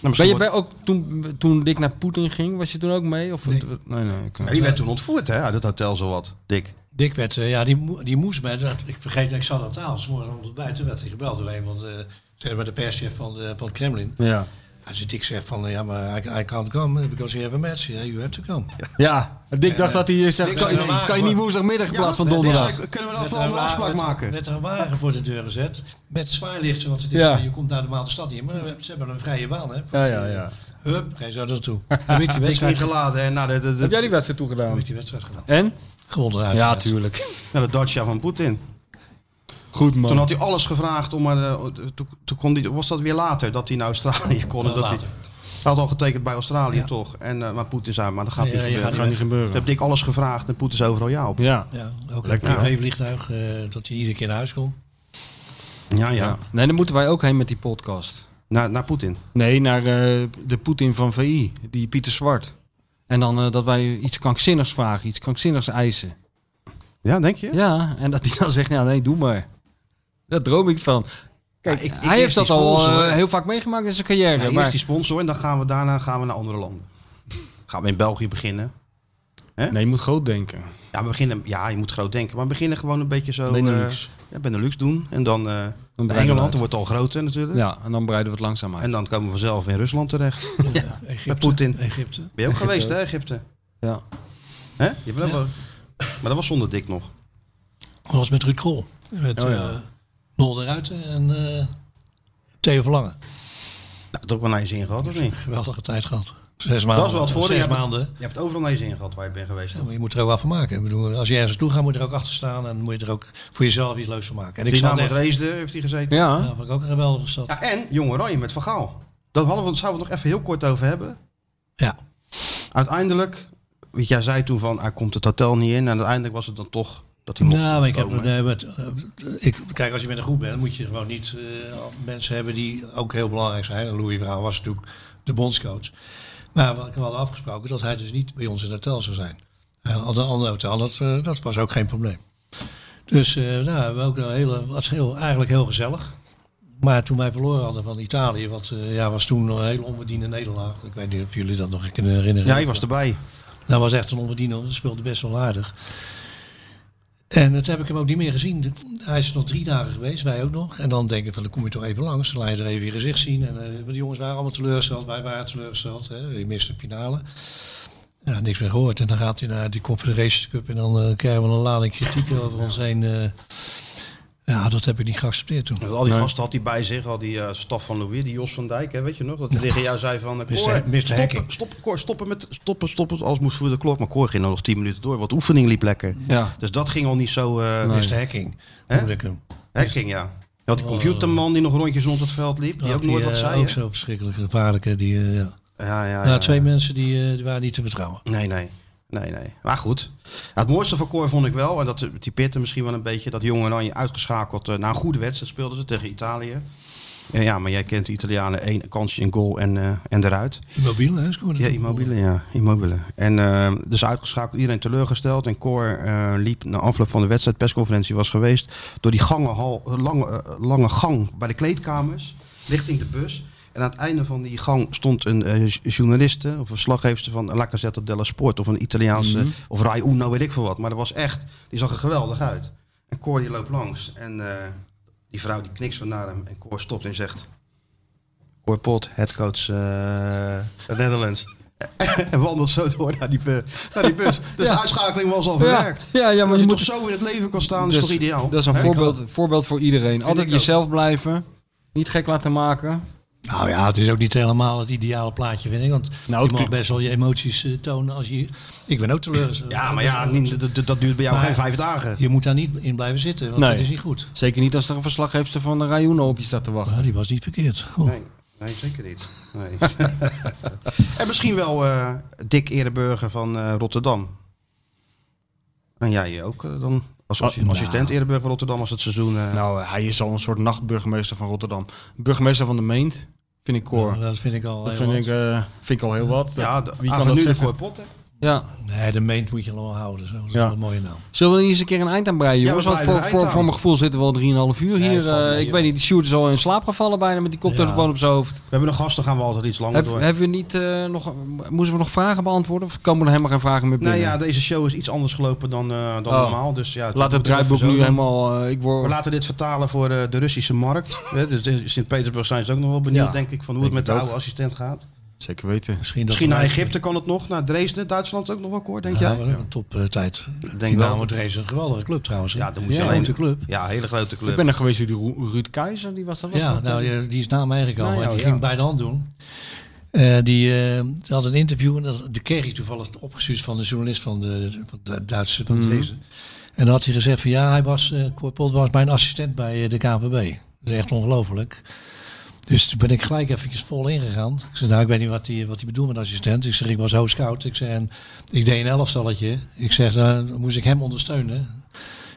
Speaker 2: nou,
Speaker 4: Ben je
Speaker 2: misschien wordt-
Speaker 4: bij, ook toen, toen Dick naar Poetin ging, was je toen ook mee? Of nee, nee. nee, ik-
Speaker 2: Ja, die werd toen ontvoerd, hè? Uit het hotel zowat. Dik.
Speaker 3: Dick werd, eh, ja, die, mo- die moest mij, dat, ik vergeet, ik zat aan tafel, 's morgen om het buiten werd hij gebeld door een van de, zeg maar de perschef van, de, van het Kremlin.
Speaker 4: Ja.
Speaker 3: Als je Dick zegt van, eh, ja, maar I, I can't come because you have a match, yeah, you have to come.
Speaker 4: ja, Dick dacht dat hij eh, zegt,
Speaker 2: Dick
Speaker 4: kan,
Speaker 2: zei
Speaker 4: je-
Speaker 3: normaal,
Speaker 4: kan je niet
Speaker 3: hoor.
Speaker 4: woensdagmiddag in
Speaker 2: Ja,
Speaker 4: plaats van
Speaker 2: Dick
Speaker 4: donderdag?
Speaker 2: zei, kunnen we dan
Speaker 3: Met
Speaker 2: van een andere
Speaker 3: wa-
Speaker 2: afspraak
Speaker 3: met-
Speaker 2: maken?
Speaker 3: Met een wagen voor de deur gezet, met zwaarlichten, want het is,
Speaker 4: Ja.
Speaker 3: eh, je komt naar de normale stad in, maar we- ze hebben een vrije baan, hè.
Speaker 4: Ja, ja, ja.
Speaker 3: Hup, ga je zo naartoe.
Speaker 4: (laughs)
Speaker 3: Dan weet die
Speaker 2: Dik
Speaker 3: wedstrijd, dan
Speaker 2: ingeladen en naar Nou, de, de, de,
Speaker 4: Heb jij die wedstrijd toegedaan?
Speaker 3: werd die wedstrijd gedaan.
Speaker 4: En?
Speaker 3: Gewonnen uit.
Speaker 4: Ja, tuurlijk.
Speaker 2: naar de Dacia van Poetin.
Speaker 4: Goed man.
Speaker 2: Toen had hij alles gevraagd om. maar, eh, toen, toen kon die, was dat weer later dat hij naar Australië kon? en dat hij,
Speaker 3: later.
Speaker 2: Hij had al getekend bij Australië
Speaker 3: Ja.
Speaker 2: toch? En, eh, maar Poetin zei, maar dat gaat
Speaker 3: Nee,
Speaker 2: niet
Speaker 3: ja, je
Speaker 2: gebeuren.
Speaker 3: gaat
Speaker 4: kan niet gebeuren.
Speaker 2: Toen heb ik alles gevraagd en Poetin is overal ja op.
Speaker 4: Ja.
Speaker 3: Ja, ook een privévliegtuig, eh, dat hij iedere keer naar huis komt.
Speaker 2: Ja,
Speaker 4: ja. Nee, dan moeten wij ook heen met die podcast.
Speaker 2: Naar, naar Poetin.
Speaker 4: Nee, naar eh, de Poetin van VI, die Pieter Zwart. En dan eh, dat wij iets krankzinnigs vragen, iets krankzinnigs eisen.
Speaker 2: Ja, denk je?
Speaker 4: Ja, en dat die dan zegt, ja nee, doe maar. Daar droom ik van.
Speaker 2: Kijk, ik- ik
Speaker 4: Hij heeft
Speaker 2: eerst die
Speaker 4: dat al
Speaker 2: sponsor.
Speaker 4: eh, heel vaak meegemaakt in zijn carrière.
Speaker 2: Ja,
Speaker 4: maar-
Speaker 2: eerst die sponsor en dan gaan we daarna gaan we naar andere landen. Gaan we in België beginnen?
Speaker 4: Nee, je moet groot denken.
Speaker 2: Ja, we beginnen, ja je moet groot denken. Maar we beginnen gewoon een beetje zo...
Speaker 4: Benelux.
Speaker 2: eh, ja, Benelux doen. En dan eh,
Speaker 4: Dan breiden we
Speaker 2: Engeland
Speaker 4: het uit.
Speaker 2: wordt al groter natuurlijk.
Speaker 4: Ja, en dan breiden we het langzaam uit.
Speaker 2: En dan komen we vanzelf in Rusland terecht. Met Poetin.
Speaker 3: Egypte.
Speaker 2: Ben je
Speaker 3: (laughs)
Speaker 2: ook geweest, hè, Egypte?
Speaker 4: Ja.
Speaker 2: Hè? Je bent ook wel- Maar dat was zonder dik nog. Nou,
Speaker 3: Dat was met Ruud Krol. Met
Speaker 4: Oh,
Speaker 3: oh,
Speaker 4: ja.
Speaker 3: Nol de Ruiten en eh, Theo Verlangen.
Speaker 2: Nou, dat ook wel naar je zin gehad, of niet?
Speaker 3: Geweldige tijd gehad. Zes maanden.
Speaker 2: Dat is wel het voordeel. Je
Speaker 3: Oh, Zes
Speaker 2: hebt,
Speaker 3: maanden.
Speaker 2: je hebt overal naar je zin gehad waar je bent geweest.
Speaker 3: Ja, maar je moet er ook wel van maken. Ik bedoel, als je ergens naartoe gaat, moet je er ook achter staan. En moet je er ook voor jezelf iets leuks van maken. En ik zat
Speaker 2: Dynamo
Speaker 3: echt...
Speaker 2: Dresden eh, heeft hij gezeten.
Speaker 4: Ja,
Speaker 3: Ja, vond ik ook een geweldige stad.
Speaker 2: Ja, en Jong Oranje met Van Gaal. Dat hadden we, zouden we het nog even heel kort over hebben.
Speaker 3: Ja.
Speaker 2: Uiteindelijk, want jij zei toen van, hij komt het hotel niet in. En uiteindelijk was het dan toch dat hij mocht
Speaker 3: Nou, maar ik heb,
Speaker 2: komen.
Speaker 3: nee, maar het, eh, ik, kijk, als je met een groep bent, moet je gewoon niet eh, mensen hebben die ook heel belangrijk zijn. En Louis Verhaal was natuurlijk de bondscoach. Maar wat ik had afgesproken, dat hij dus niet bij ons in het hotel zou zijn. Hij had een ander hotel, dat, eh, dat was ook geen probleem. Dus eh nou, we hebben ook een hele, was heel, eigenlijk heel gezellig. Maar toen wij verloren hadden van Italië, wat eh, ja, was toen een hele onverdiende nederlaag. Ik weet niet of jullie dat nog kunnen herinneren.
Speaker 2: Ja, ik was erbij.
Speaker 3: Dat was echt een onverdiende, want dat speelde best wel aardig. En dat heb ik hem ook niet meer gezien. Hij is nog drie dagen geweest, wij ook nog. En dan denk ik van, dan kom je toch even langs. Dan laat je er even je gezicht zien. En eh, want die jongens waren allemaal teleurgesteld, wij waren teleurgesteld. Hè. Je mist de finale. Ja, niks meer gehoord. En dan gaat hij naar die Confederations Cup en dan eh, krijgen we een lading kritiek over ons heen. eh. ja, dat heb ik niet geaccepteerd toen.
Speaker 2: Met al die gasten had hij bij zich, al die eh, staf van Louis, die Jos van Dijk, hè, weet je nog? Dat hij tegen jou zei van, eh,
Speaker 3: Mr.
Speaker 2: Cor,
Speaker 3: Mr.
Speaker 2: stoppen,
Speaker 3: Hacking.
Speaker 2: stoppen, Cor, stoppen met, stoppen, stoppen, alles moest voor de klok. Maar Cor ging dan nog 10 minuten door, want de oefening liep lekker.
Speaker 4: ja.
Speaker 2: Dus dat ging al niet zo, eh
Speaker 4: Nee.
Speaker 3: Mr. Hacking
Speaker 2: Hè?
Speaker 3: noemde ik hem.
Speaker 2: hacking, ja. Je had die computerman die nog rondjes rond het veld liep, die
Speaker 3: Had
Speaker 2: ook nooit
Speaker 3: Oh. die,
Speaker 2: wat
Speaker 3: eh,
Speaker 2: zei.
Speaker 3: Ook
Speaker 2: hè?
Speaker 3: zo verschrikkelijk gevaarlijk. hè, Die, eh, ja.
Speaker 2: Ja, ja,
Speaker 3: Ja,
Speaker 2: ja.
Speaker 3: twee mensen die, eh, die waren niet te vertrouwen.
Speaker 2: Nee, nee. Nee, nee. Maar goed. Ja, het mooiste van Cor vond ik wel, en dat typeert hem misschien wel een beetje, dat Jong Oranje uitgeschakeld eh, na een goede wedstrijd speelden ze tegen Italië. En ja, maar jij kent de Italianen één kansje, een goal en, eh, en eruit.
Speaker 3: Immobile, hè? scoorde
Speaker 2: Ja,
Speaker 3: die.
Speaker 2: Immobile, ja. Immobile. En eh, dus uitgeschakeld, iedereen teleurgesteld. En Cor eh, liep na afloop van de wedstrijd, persconferentie was geweest, door die gangenhal, eh, lange, eh, lange gang bij de kleedkamers, richting de bus. En aan het einde van die gang stond een eh, j- journaliste of verslaggeefster van La Gazzetta della Sport of een Italiaanse, of Rai Uno, weet ik veel wat. Maar dat was echt, die zag er geweldig uit. En Cor die loopt langs en eh, die vrouw die knikt zo naar hem en Cor stopt en zegt... Cor Pot, headcoach eh Netherlands. (laughs) en wandelt zo door naar die, bu- naar die
Speaker 4: (laughs)
Speaker 2: bus. Dus de uitschakeling was al
Speaker 4: Ja,
Speaker 2: verwerkt.
Speaker 4: ja, ja, maar
Speaker 2: Als
Speaker 4: je
Speaker 2: je
Speaker 4: moet
Speaker 2: toch zo in het leven kan staan, is
Speaker 4: Dus
Speaker 2: toch ideaal?
Speaker 4: Dat is een
Speaker 2: Hè?
Speaker 4: voorbeeld, voorbeeld voor iedereen. Altijd
Speaker 2: ik ook.
Speaker 4: jezelf blijven. Niet gek laten maken.
Speaker 3: Nou ja, het is ook niet helemaal het ideale plaatje, vind ik. Want
Speaker 4: Nou,
Speaker 3: je mag
Speaker 4: tuurlijk.
Speaker 3: best wel je emoties eh, tonen als je... Ik ben ook teleurgesteld.
Speaker 2: Ja, maar ja, niet- dat- dat- dat duurt bij jou
Speaker 3: Maar-
Speaker 2: geen vijf dagen.
Speaker 3: Je moet daar niet in blijven zitten, want
Speaker 4: Nee.
Speaker 3: dat is niet goed.
Speaker 4: Zeker niet als er een verslaggeefster van de Rayuno op je staat te wachten.
Speaker 3: Ja, die was niet verkeerd. Oh.
Speaker 2: Nee, nee zeker niet.
Speaker 4: (laughs)
Speaker 2: Nee. en misschien wel eh Dick Ereburger van eh, Rotterdam. En jij ook eh, dan als
Speaker 4: Oh,
Speaker 2: assi- assistent Ereburger van Rotterdam als het seizoen... eh,
Speaker 4: Nou, eh, hij is al een soort nachtburgemeester van Rotterdam. Burgemeester van de Meent, vind ik koor.
Speaker 3: Ja, Nou, dat vind ik al
Speaker 4: dat
Speaker 3: heel
Speaker 4: vind ik,
Speaker 3: wat.
Speaker 4: eh, vind ik al heel wat.
Speaker 2: ja,
Speaker 4: Dat-
Speaker 2: de,
Speaker 4: wie kan dat
Speaker 2: aanvangen nu de
Speaker 4: zeggen?
Speaker 2: Cor Pot, hè?
Speaker 4: Ja.
Speaker 3: Nee, de meent moet je wel houden. Zo. Dat is
Speaker 4: eh, Ja.
Speaker 3: wel een mooie naam.
Speaker 4: Zullen we hier eens een keer een eind aan breien,
Speaker 2: Ja,
Speaker 4: jongens?
Speaker 2: we
Speaker 4: Want
Speaker 2: breien
Speaker 4: voor,
Speaker 2: een
Speaker 4: voor,
Speaker 2: eind
Speaker 4: voor
Speaker 2: aan.
Speaker 4: mijn gevoel zitten we al 3,5 uur
Speaker 3: Nee,
Speaker 4: hier.
Speaker 3: valt wel
Speaker 4: eh,
Speaker 3: mee,
Speaker 4: ik
Speaker 3: joh.
Speaker 4: weet niet, die Sjoerd is al in slaap gevallen bijna met die koptelefoon
Speaker 3: Ja.
Speaker 4: op zijn hoofd.
Speaker 2: We hebben een gast, dan gaan we altijd iets langer
Speaker 4: Heb,
Speaker 2: door.
Speaker 4: hebben we niet, eh, nog, moesten we nog vragen beantwoorden? Of komen er helemaal geen vragen meer binnen?
Speaker 2: Nou ja, deze show is iets anders gelopen dan, eh, dan
Speaker 4: Oh.
Speaker 2: normaal. Dus ja,
Speaker 4: Laat
Speaker 2: moet
Speaker 4: het draaiboek
Speaker 2: even zo
Speaker 4: nu
Speaker 2: doen.
Speaker 4: helemaal... eh, ik
Speaker 2: We
Speaker 4: word,
Speaker 2: laten dit vertalen voor eh, de Russische markt. (laughs) hè. dus in Sint-Petersburg zijn ze ook nog wel benieuwd,
Speaker 4: Ja,
Speaker 2: denk ik, van hoe het met
Speaker 4: denk
Speaker 2: de
Speaker 4: ik
Speaker 2: oude assistent gaat.
Speaker 4: Zeker weten.
Speaker 3: Misschien, dat
Speaker 2: Misschien
Speaker 3: we-
Speaker 2: naar Egypte kan het nog, naar Dresden, Duitsland ook nog wel, hoor, denk
Speaker 3: Ja,
Speaker 2: jij?
Speaker 3: maar ook een top eh, tijd.
Speaker 2: wel.
Speaker 3: die naam is een geweldige club trouwens. hè.
Speaker 2: Ja, dan moet je
Speaker 3: een
Speaker 2: alleen-
Speaker 3: grote club.
Speaker 2: Ja, hele grote club.
Speaker 4: Ik ben er geweest door die Ru- Ruud Keizer, die was dat was
Speaker 3: Ja,
Speaker 4: dat,
Speaker 3: nou,
Speaker 4: eh?
Speaker 3: die- die is na mij gekomen.
Speaker 4: Nou ja,
Speaker 3: en die
Speaker 4: ja.
Speaker 3: ging bij de hand doen. Eh, die, eh, die had een interview en dat, die kreeg hij toevallig opgestuurd van de journalist van de, van de Duitse van
Speaker 4: Mhm.
Speaker 3: Dresden. En dan had hij gezegd van ja, hij was, eh Korpot was mijn assistent bij eh, de KVB. Dat is echt ongelooflijk. Dus toen ben ik gelijk eventjes vol ingegaan. Ik zei, nou, ik weet niet wat hij wat die bedoelt met assistent. Ik zeg, ik was hoofdscout. Ik zeg, en ik deed een elftalletje. Ik zeg, dan moest ik hem ondersteunen.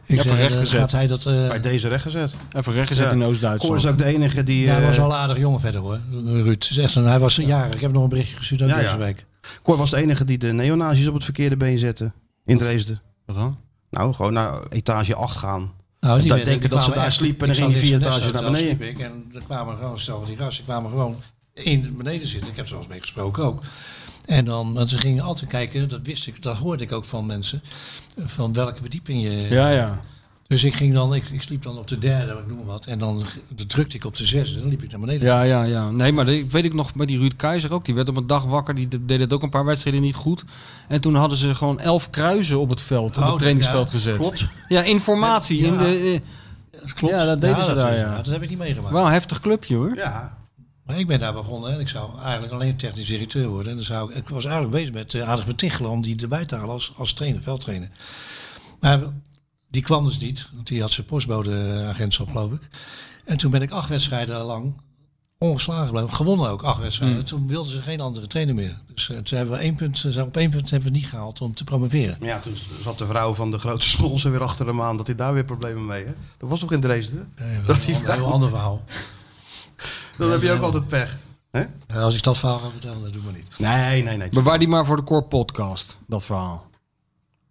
Speaker 3: Ik
Speaker 4: Ja,
Speaker 3: zeg,
Speaker 4: van recht
Speaker 3: eh,
Speaker 4: gezet.
Speaker 3: gaat hij dat... eh,
Speaker 2: Bij deze rechtgezet.
Speaker 4: Even rechtgezet
Speaker 2: Ja.
Speaker 4: in
Speaker 2: Cor is
Speaker 4: Oost-Duitsland.
Speaker 2: ook de enige die...
Speaker 3: ja, hij
Speaker 2: eh,
Speaker 3: was al een aardig jongen verder hoor, Ruud. Is echt een, hij was jarig. Ik heb nog een berichtje gestuurd ook
Speaker 2: Ja, ja.
Speaker 3: deze week.
Speaker 2: Cor was de enige die de neonazis op het verkeerde been zette in Dresden.
Speaker 4: Wat dan?
Speaker 2: Nou, gewoon naar etage 8 gaan.
Speaker 3: Nou,
Speaker 2: Dat denken dat ze daar sliepen en dan gingen die vier etages naar beneden.
Speaker 3: Ik, en er kwamen gewoon, stel die gasten kwamen gewoon in beneden zitten. Ik heb er zelfs mee gesproken ook. En dan, want ze gingen altijd kijken, dat wist ik, dat hoorde ik ook van mensen, van welke verdieping je...
Speaker 4: Ja, ja.
Speaker 3: Dus ik ging dan, ik, ik sliep dan op de derde, ik noem maar wat. En dan g- dan drukte ik op de zesde en dan liep ik naar beneden.
Speaker 4: Ja, ja, ja. Nee, maar die- weet ik nog bij die Ruud Keizer ook. Die werd op een dag wakker. Die de- deed het ook een paar wedstrijden niet goed. En toen hadden ze gewoon elf kruizen op het veld, op
Speaker 3: Oh,
Speaker 4: het trainingsveld
Speaker 3: ja,
Speaker 4: gezet.
Speaker 3: klopt.
Speaker 4: Ja, informatie.
Speaker 3: Ja.
Speaker 4: In de, eh,
Speaker 3: Dat klopt.
Speaker 4: Ja, dat deden ze
Speaker 3: dat,
Speaker 4: daar,
Speaker 3: eh,
Speaker 4: ja.
Speaker 3: nou, dat heb ik niet meegemaakt.
Speaker 4: wel een heftig clubje hoor.
Speaker 2: Ja,
Speaker 3: Maar ik ben daar begonnen en ik zou eigenlijk alleen technisch directeur worden. En dan zou ik, ik was eigenlijk bezig met eh, Aardig van Tichelen om die erbij te halen als, als trainer, veldtrainer. Maar die kwam dus niet, want die had zijn postbodeagentschap geloof ik. En toen ben ik acht wedstrijden lang ongeslagen gebleven. Gewonnen ook acht wedstrijden.
Speaker 2: Hmm.
Speaker 3: Toen wilden ze geen andere trainer meer. Dus eh, toen hebben we één punt, eh, op één punt hebben we het niet gehaald om te promoveren.
Speaker 2: maar ja, toen zat de vrouw van de grootste sponsor weer achter hem aan dat hij daar weer problemen mee hè? Dat was toch in Dresden?
Speaker 3: Eh,
Speaker 2: Dat
Speaker 3: dat
Speaker 2: die
Speaker 3: is een
Speaker 2: vrouw-
Speaker 3: heel ander
Speaker 2: (laughs)
Speaker 3: verhaal.
Speaker 2: Dan heb je ook altijd pech. hè?
Speaker 3: En eh, als ik dat verhaal ga vertellen, dat doen we niet.
Speaker 2: Nee, nee, nee.
Speaker 4: Bewaar die maar voor de core podcast, dat verhaal.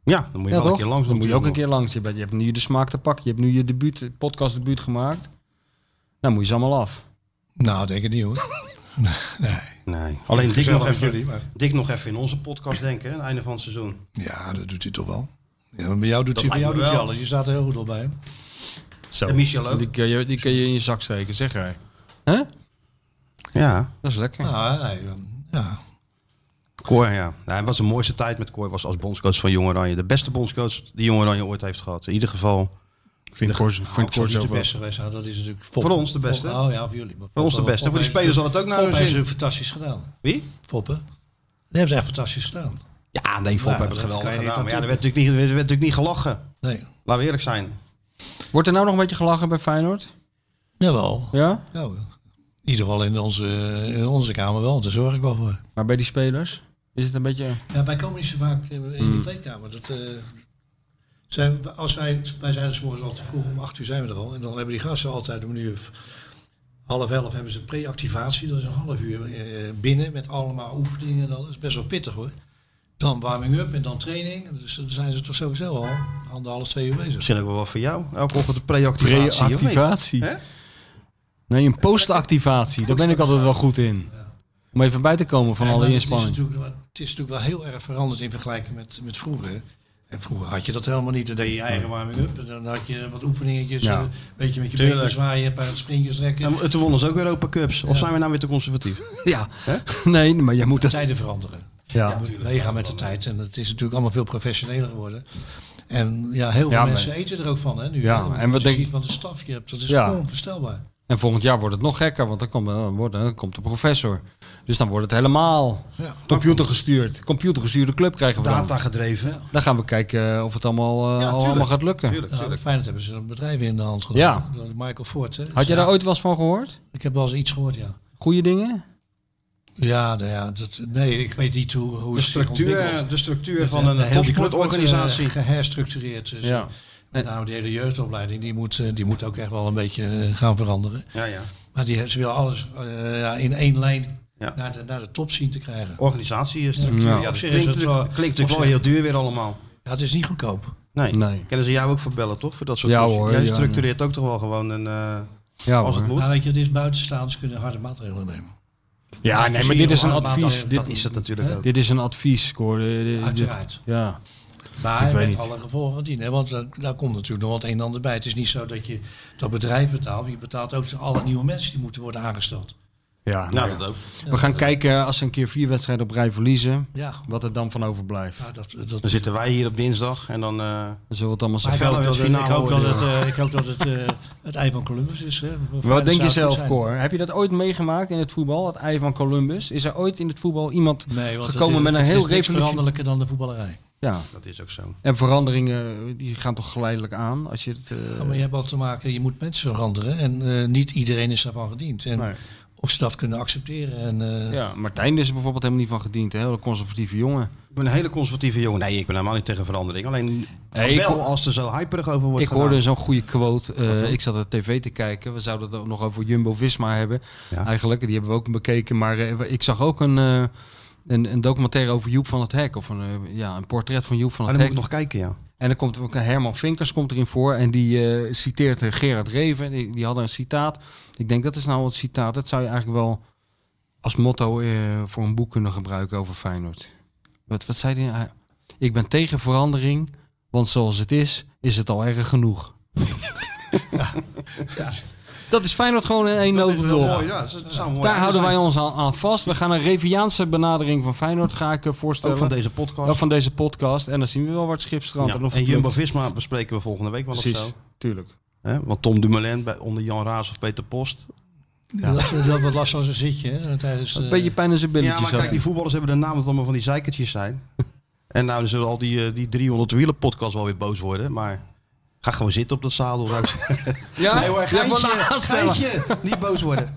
Speaker 2: Ja, dan moet je
Speaker 4: Ja,
Speaker 2: wel een
Speaker 4: toch?
Speaker 2: keer langs.
Speaker 4: Dan moet je ook een
Speaker 2: natuurlijk
Speaker 4: keer langs. Je, bent- je hebt nu de smaak te pakken. Je hebt nu je debuut, podcast debuut gemaakt. Nou, moet je ze allemaal af.
Speaker 3: Nou, denk ik niet hoor. nee.
Speaker 2: nog. Nee. Alleen Dick nog,
Speaker 3: Gezellig
Speaker 2: even,
Speaker 3: met jullie, maar-
Speaker 2: Dick nog even in onze podcast denken, hè, aan het einde van het seizoen.
Speaker 3: Ja, dat doet hij toch wel. Ja, maar bij jou doet,
Speaker 2: Dat
Speaker 3: hij, bij
Speaker 2: lijkt
Speaker 3: jou
Speaker 2: me
Speaker 3: doet hij
Speaker 2: wel.
Speaker 3: alles. Je staat er heel goed op bij hem.
Speaker 4: Zo.
Speaker 2: En Michel ook.
Speaker 4: Die kun je, die kun je in je zak steken, zeg hij.
Speaker 2: Ja,
Speaker 4: Dat is lekker.
Speaker 2: Ah,
Speaker 3: Nou,
Speaker 2: eh,
Speaker 3: nee, ja.
Speaker 2: Cor, ja. Nou, het was de mooiste tijd met Cor. was als bondscoach van Jong Oranje. De beste bondscoach die Jong Oranje ooit heeft gehad. In ieder geval
Speaker 4: Ik vind Cor- ik vind
Speaker 3: Ook zo
Speaker 4: Cor
Speaker 3: niet de
Speaker 4: zelf wel.
Speaker 3: beste geweest. Nou, dat is natuurlijk Fop.
Speaker 2: Voor ons de beste.
Speaker 3: Fop- oh ja, voor jullie. Maar
Speaker 2: Voor ons de
Speaker 3: Fop-
Speaker 2: beste. Voor die
Speaker 3: Fop heeft-
Speaker 2: spelers zal het ook naar
Speaker 3: Fop
Speaker 2: hun
Speaker 3: heeft
Speaker 2: zin.
Speaker 3: het fantastisch gedaan.
Speaker 2: Wie?
Speaker 3: Foppen. Die heeft het echt fantastisch gedaan.
Speaker 2: Ja, nee, Fop
Speaker 3: Ja,
Speaker 2: hebben het
Speaker 3: dat
Speaker 2: geweldig
Speaker 3: kan je niet
Speaker 2: gedaan. Maar ja,
Speaker 3: aan
Speaker 2: er werd natuurlijk niet, er werd natuurlijk niet gelachen.
Speaker 3: Nee.
Speaker 2: Laten we eerlijk zijn.
Speaker 4: Wordt er nou nog een beetje gelachen bij Feyenoord?
Speaker 3: Jawel.
Speaker 4: Ja?
Speaker 3: Ja, hoor. Nou, in ieder geval in onze, in onze kamer wel. want Daar zorg ik wel voor.
Speaker 4: Maar bij die spelers? Is het een beetje...
Speaker 3: Ja, wij komen niet zo vaak eh, in de kleedkamer. Dat, eh, zijn, we- als wij, wij zijn dus morgens al te vroeg, om 8 uur zijn we er al. En dan hebben die gasten altijd om een uur of half elf hebben ze pre-activatie. Dat is een half uur eh, binnen met allemaal oefeningen en alles. Best wel pittig hoor. Dan warming up en dan training. Dus dan zijn ze toch sowieso al anderhalf, twee uur bezig.
Speaker 2: Misschien ook wel wat voor jou. Elke ochtend de pre-activatie. of niet? Hè?
Speaker 4: Nee, een postactivatie. Daar ben ik altijd wel goed in. Om even bij te komen van
Speaker 3: Ja,
Speaker 4: alle
Speaker 3: maar het is
Speaker 4: inspanning.
Speaker 3: natuurlijk wel- Het is natuurlijk wel heel erg veranderd in vergelijking met, met vroeger. En vroeger had je dat helemaal niet. Dan deed je je eigen warming-up. En Dan had je wat oefeningetjes.
Speaker 4: Ja.
Speaker 3: eh, Een beetje met je
Speaker 2: Tuurlijk.
Speaker 3: benen zwaaien, een paar sprintjes rekken.
Speaker 2: Ja, maar toen wonnen ze ook weer Europa Cups. Of zijn we nou weer te conservatief?
Speaker 4: Ja. (laughs) Nee, maar je moet
Speaker 3: de
Speaker 4: het...
Speaker 3: tijden veranderen.
Speaker 4: Ja.
Speaker 3: Meegaan met de tijd. En het is natuurlijk allemaal veel professioneler geworden. En ja, heel veel
Speaker 4: Ja, maar-
Speaker 3: mensen eten er ook van. Hè, nu,
Speaker 4: Ja,
Speaker 3: hè.
Speaker 4: en
Speaker 3: Als
Speaker 4: wat
Speaker 3: je
Speaker 4: denk-
Speaker 3: ziet wat een staf je hebt. Dat is
Speaker 4: Ja.
Speaker 3: onvoorstelbaar.
Speaker 4: En volgend jaar wordt het nog gekker, want dan komt, dan wordt- dan komt de professor. Dus dan wordt het helemaal
Speaker 3: Ja.
Speaker 4: computergestuurd. Computergestuurde club krijgen we dan.
Speaker 2: Data gedreven.
Speaker 4: Dan gaan we kijken of het allemaal, eh, allemaal
Speaker 2: tuurlijk.
Speaker 4: gaat lukken.
Speaker 2: Tuurlijk,
Speaker 3: Nou,
Speaker 2: tuurlijk.
Speaker 3: Feyenoord hebben ze een bedrijf in de hand genomen.
Speaker 4: Ja.
Speaker 3: Dat is Michael Ford. Hè.
Speaker 4: Had
Speaker 3: Dus,
Speaker 4: jij daar
Speaker 3: ja,
Speaker 4: ooit wel eens van gehoord?
Speaker 3: Ik heb wel eens iets gehoord, ja.
Speaker 4: Goeie dingen?
Speaker 3: Ja, nou ja dat, nee, ik weet niet hoe, hoe
Speaker 2: De
Speaker 3: het zich
Speaker 2: structuur,
Speaker 3: ontwikkelt.
Speaker 2: de structuur
Speaker 3: De-
Speaker 2: van
Speaker 3: de
Speaker 2: een
Speaker 3: hele club wordt, eh,
Speaker 2: topsportorganisatie.
Speaker 3: geherstructureerd. Dus
Speaker 4: Ja.
Speaker 3: met name de hele jeugdopleiding, die moet, eh, die moet ook echt wel een beetje eh, gaan veranderen.
Speaker 2: Ja, ja.
Speaker 3: Maar die, ze willen alles eh, ja, in één lijn
Speaker 2: Ja.
Speaker 3: naar, de, naar de top zien te krijgen.
Speaker 2: Organisatie is structuur.
Speaker 4: Ja.
Speaker 2: Ja,
Speaker 3: Op
Speaker 2: dat
Speaker 3: zich
Speaker 2: klinkt,
Speaker 3: is het wel-
Speaker 2: natuurlijk- klinkt natuurlijk
Speaker 3: op
Speaker 2: wel heel duur weer allemaal.
Speaker 3: Ja, het is niet goedkoop.
Speaker 2: Nee.
Speaker 4: Nee.
Speaker 2: Kennen ze jou ook voor bellen, toch? Voor dat soort
Speaker 4: Ja,
Speaker 2: opties?
Speaker 4: hoor,
Speaker 2: Jij
Speaker 4: ja,
Speaker 2: structureert ook toch wel gewoon een, eh,
Speaker 4: Ja,
Speaker 2: als het moet.
Speaker 4: hoor.
Speaker 3: Maar Nou, weet je, het is buitenstaanders kunnen harde maatregelen nemen.
Speaker 4: ja nee, maar dit is een advies.
Speaker 2: dat,
Speaker 4: Dit,
Speaker 2: is het natuurlijk ook.
Speaker 4: dit is een advies, hoor. Dit-
Speaker 3: Uiteraard.
Speaker 4: Ja.
Speaker 3: Maar
Speaker 4: Ik weet
Speaker 3: met
Speaker 4: niet.
Speaker 3: alle gevolgen van dien. Hè? Want daar, daar komt natuurlijk nog wat een en ander bij. Het is niet zo dat je dat bedrijf betaalt. maar Je betaalt ook alle nieuwe mensen die moeten worden aangesteld.
Speaker 4: Ja, nou,
Speaker 2: Nou, dat ook.
Speaker 4: we gaan kijken eh, als ze een keer vier wedstrijden op rij verliezen,
Speaker 3: Ja,
Speaker 4: wat er dan van overblijft.
Speaker 3: nou, dat, dat,
Speaker 2: Dan zitten wij hier op dinsdag en dan... eh,
Speaker 4: Dan zullen we het allemaal
Speaker 3: Maar ik
Speaker 4: zeggen.
Speaker 3: hoop
Speaker 2: Verder
Speaker 3: dat
Speaker 2: wil
Speaker 3: het-
Speaker 2: het
Speaker 3: ik hoop dat
Speaker 2: finale
Speaker 3: het, eh, ik hoop dat het eh, het ei van Columbus is. Hè. Voor
Speaker 4: Wat
Speaker 3: Feyenoord
Speaker 4: denk
Speaker 3: zou
Speaker 4: je
Speaker 3: het goed
Speaker 4: zelf,
Speaker 3: zijn.
Speaker 4: Cor? Heb je dat ooit meegemaakt in het voetbal, het ei van Columbus? Is er ooit in het voetbal iemand
Speaker 3: Nee, want
Speaker 4: gekomen
Speaker 3: het,
Speaker 4: met een
Speaker 3: het
Speaker 4: heel
Speaker 3: is niks
Speaker 4: revolutie?
Speaker 3: veranderlijker dan de voetballerij.
Speaker 4: Ja,
Speaker 2: dat is ook zo.
Speaker 4: en veranderingen eh, die gaan toch geleidelijk aan? Als je het, eh,
Speaker 3: Ja, maar je hebt wel te maken, je moet mensen veranderen en eh, niet iedereen is daarvan gediend. En
Speaker 4: nee.
Speaker 3: of ze dat kunnen accepteren. En, eh,
Speaker 4: ja, Martijn is er bijvoorbeeld helemaal niet van gediend. Een hele conservatieve jongen.
Speaker 2: Ik ben een hele conservatieve jongen. Nee, ik ben helemaal niet tegen verandering. Alleen
Speaker 4: Hey, ik
Speaker 2: wel
Speaker 4: hoor-
Speaker 2: als er zo hyperig over wordt
Speaker 4: Ik hoorde
Speaker 2: gedaan.
Speaker 4: zo'n goede quote. eh, ik zat op tv te kijken. We zouden het ook nog over Jumbo-Visma hebben.
Speaker 2: Ja.
Speaker 4: Eigenlijk, die hebben we ook bekeken. Maar eh, ik zag ook een, eh, een, een documentaire over Joep van het Hek. Of een, eh, ja, een portret van Joep van
Speaker 2: Maar
Speaker 4: het
Speaker 2: dan moet
Speaker 4: Hek.
Speaker 2: ik nog kijken, ja.
Speaker 4: En dan komt ook een Herman Vinkers komt erin voor. En die eh, citeert eh, Gerard Reven. Die, die hadden een citaat. Ik denk, dat is nou het citaat. Dat zou je eigenlijk wel als motto eh, voor een boek kunnen gebruiken over Feyenoord.
Speaker 2: (laughs)
Speaker 4: Wat, wat zei hij? nou? ik ben tegen verandering, want zoals het is, is het al erg genoeg. Dat is Feyenoord gewoon in één
Speaker 2: Dat is wel
Speaker 4: notendop.
Speaker 2: mooi, ja. Dat zou mooi
Speaker 4: Daar houden
Speaker 2: zijn.
Speaker 4: wij ons aan, aan vast. We gaan een Reviaanse benadering van Feyenoord ga ik eh, voorstellen.
Speaker 2: Ook van deze podcast.
Speaker 4: Ook van deze podcast. En dan zien we wel wat schipstrand.
Speaker 2: Ja,
Speaker 4: en of
Speaker 2: en
Speaker 4: het lukt.
Speaker 2: Jumbo-Visma bespreken we volgende week wel of
Speaker 4: Precies,
Speaker 2: zo.
Speaker 4: tuurlijk.
Speaker 2: Hè? Want Tom Dumoulin bij, onder Jan Raas of Peter Post.
Speaker 3: Dat, eh, dat wat last van zijn zitje. Hè, tijdens,
Speaker 4: Een
Speaker 3: eh,
Speaker 4: beetje pijn in zijn
Speaker 2: Ja,
Speaker 4: billetjes.
Speaker 2: maar
Speaker 4: had
Speaker 2: kijk,
Speaker 4: hij.
Speaker 2: die voetballers hebben de naam dat allemaal van die zeikertjes zijn.
Speaker 4: (laughs)
Speaker 2: en nou dan zullen al die, eh, die 300 wielen podcast wel weer boos worden. Maar ga gewoon zitten op dat zadel. zou ik (laughs) zeggen.
Speaker 4: ja?
Speaker 2: Nee hoor,
Speaker 4: Ja,
Speaker 2: geintje,
Speaker 4: voilà, aanstellen.
Speaker 2: geintje. (laughs) Niet boos worden.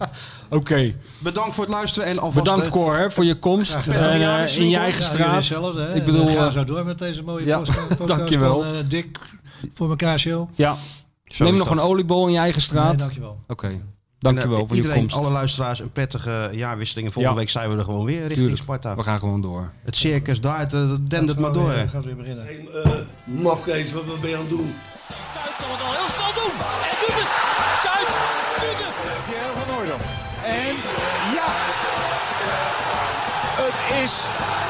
Speaker 4: Oké,
Speaker 2: Bedankt voor het luisteren en alvast...
Speaker 4: bedankt
Speaker 2: eh,
Speaker 4: Cor hè, voor je komst.
Speaker 2: gedaan.
Speaker 4: En, eh,
Speaker 2: Ja,
Speaker 4: in
Speaker 2: jullie
Speaker 4: je eigen
Speaker 3: Ja,
Speaker 4: straat.
Speaker 3: jullie hetzelfde, hè.
Speaker 4: Ik bedoel,
Speaker 3: we gaan
Speaker 4: eh,
Speaker 3: zo door met deze mooie
Speaker 4: ja,
Speaker 3: podcast.
Speaker 4: (laughs) dankjewel.
Speaker 3: Van, eh, Dick, voor elkaar, show.
Speaker 4: ja.
Speaker 2: zo
Speaker 4: neem
Speaker 2: is
Speaker 4: nog
Speaker 2: dat.
Speaker 4: een oliebol in je eigen straat.
Speaker 3: Nee, dankjewel.
Speaker 4: Oké,
Speaker 2: En, eh,
Speaker 4: dankjewel voor je
Speaker 2: iedereen,
Speaker 4: komst.
Speaker 2: alle luisteraars, een prettige eh, jaarwisseling. En volgende
Speaker 4: Ja.
Speaker 2: week zijn we er gewoon weer richting
Speaker 4: Tuurlijk,
Speaker 2: Sparta.
Speaker 4: we gaan gewoon door.
Speaker 2: Het circus draait, eh, dat
Speaker 3: Gaat
Speaker 2: dendert maar
Speaker 3: gewoon
Speaker 2: door.
Speaker 3: weer- Gaat weer beginnen.
Speaker 1: Eh mafkees, wat ben je aan het doen?
Speaker 8: Kuit kan het al heel snel doen. En doet het. Kuit doet het.
Speaker 9: Pierre van Hooydonk. En ja! Het is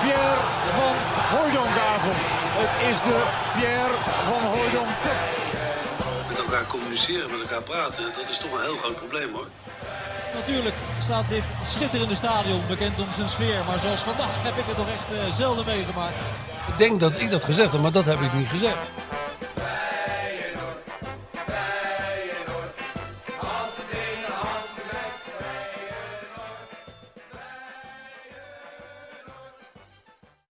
Speaker 9: Pierre van Hooydonkavond. Het is de Pierre van Hooydonk Cup.
Speaker 1: Met elkaar communiceren, met elkaar praten, dat is toch een heel groot probleem hoor.
Speaker 8: Natuurlijk staat dit schitterende stadion bekend om zijn sfeer. Maar zoals vandaag heb ik het toch echt eh, zelden meegemaakt.
Speaker 10: Ik denk dat ik dat gezegd heb, maar dat heb ik niet gezegd.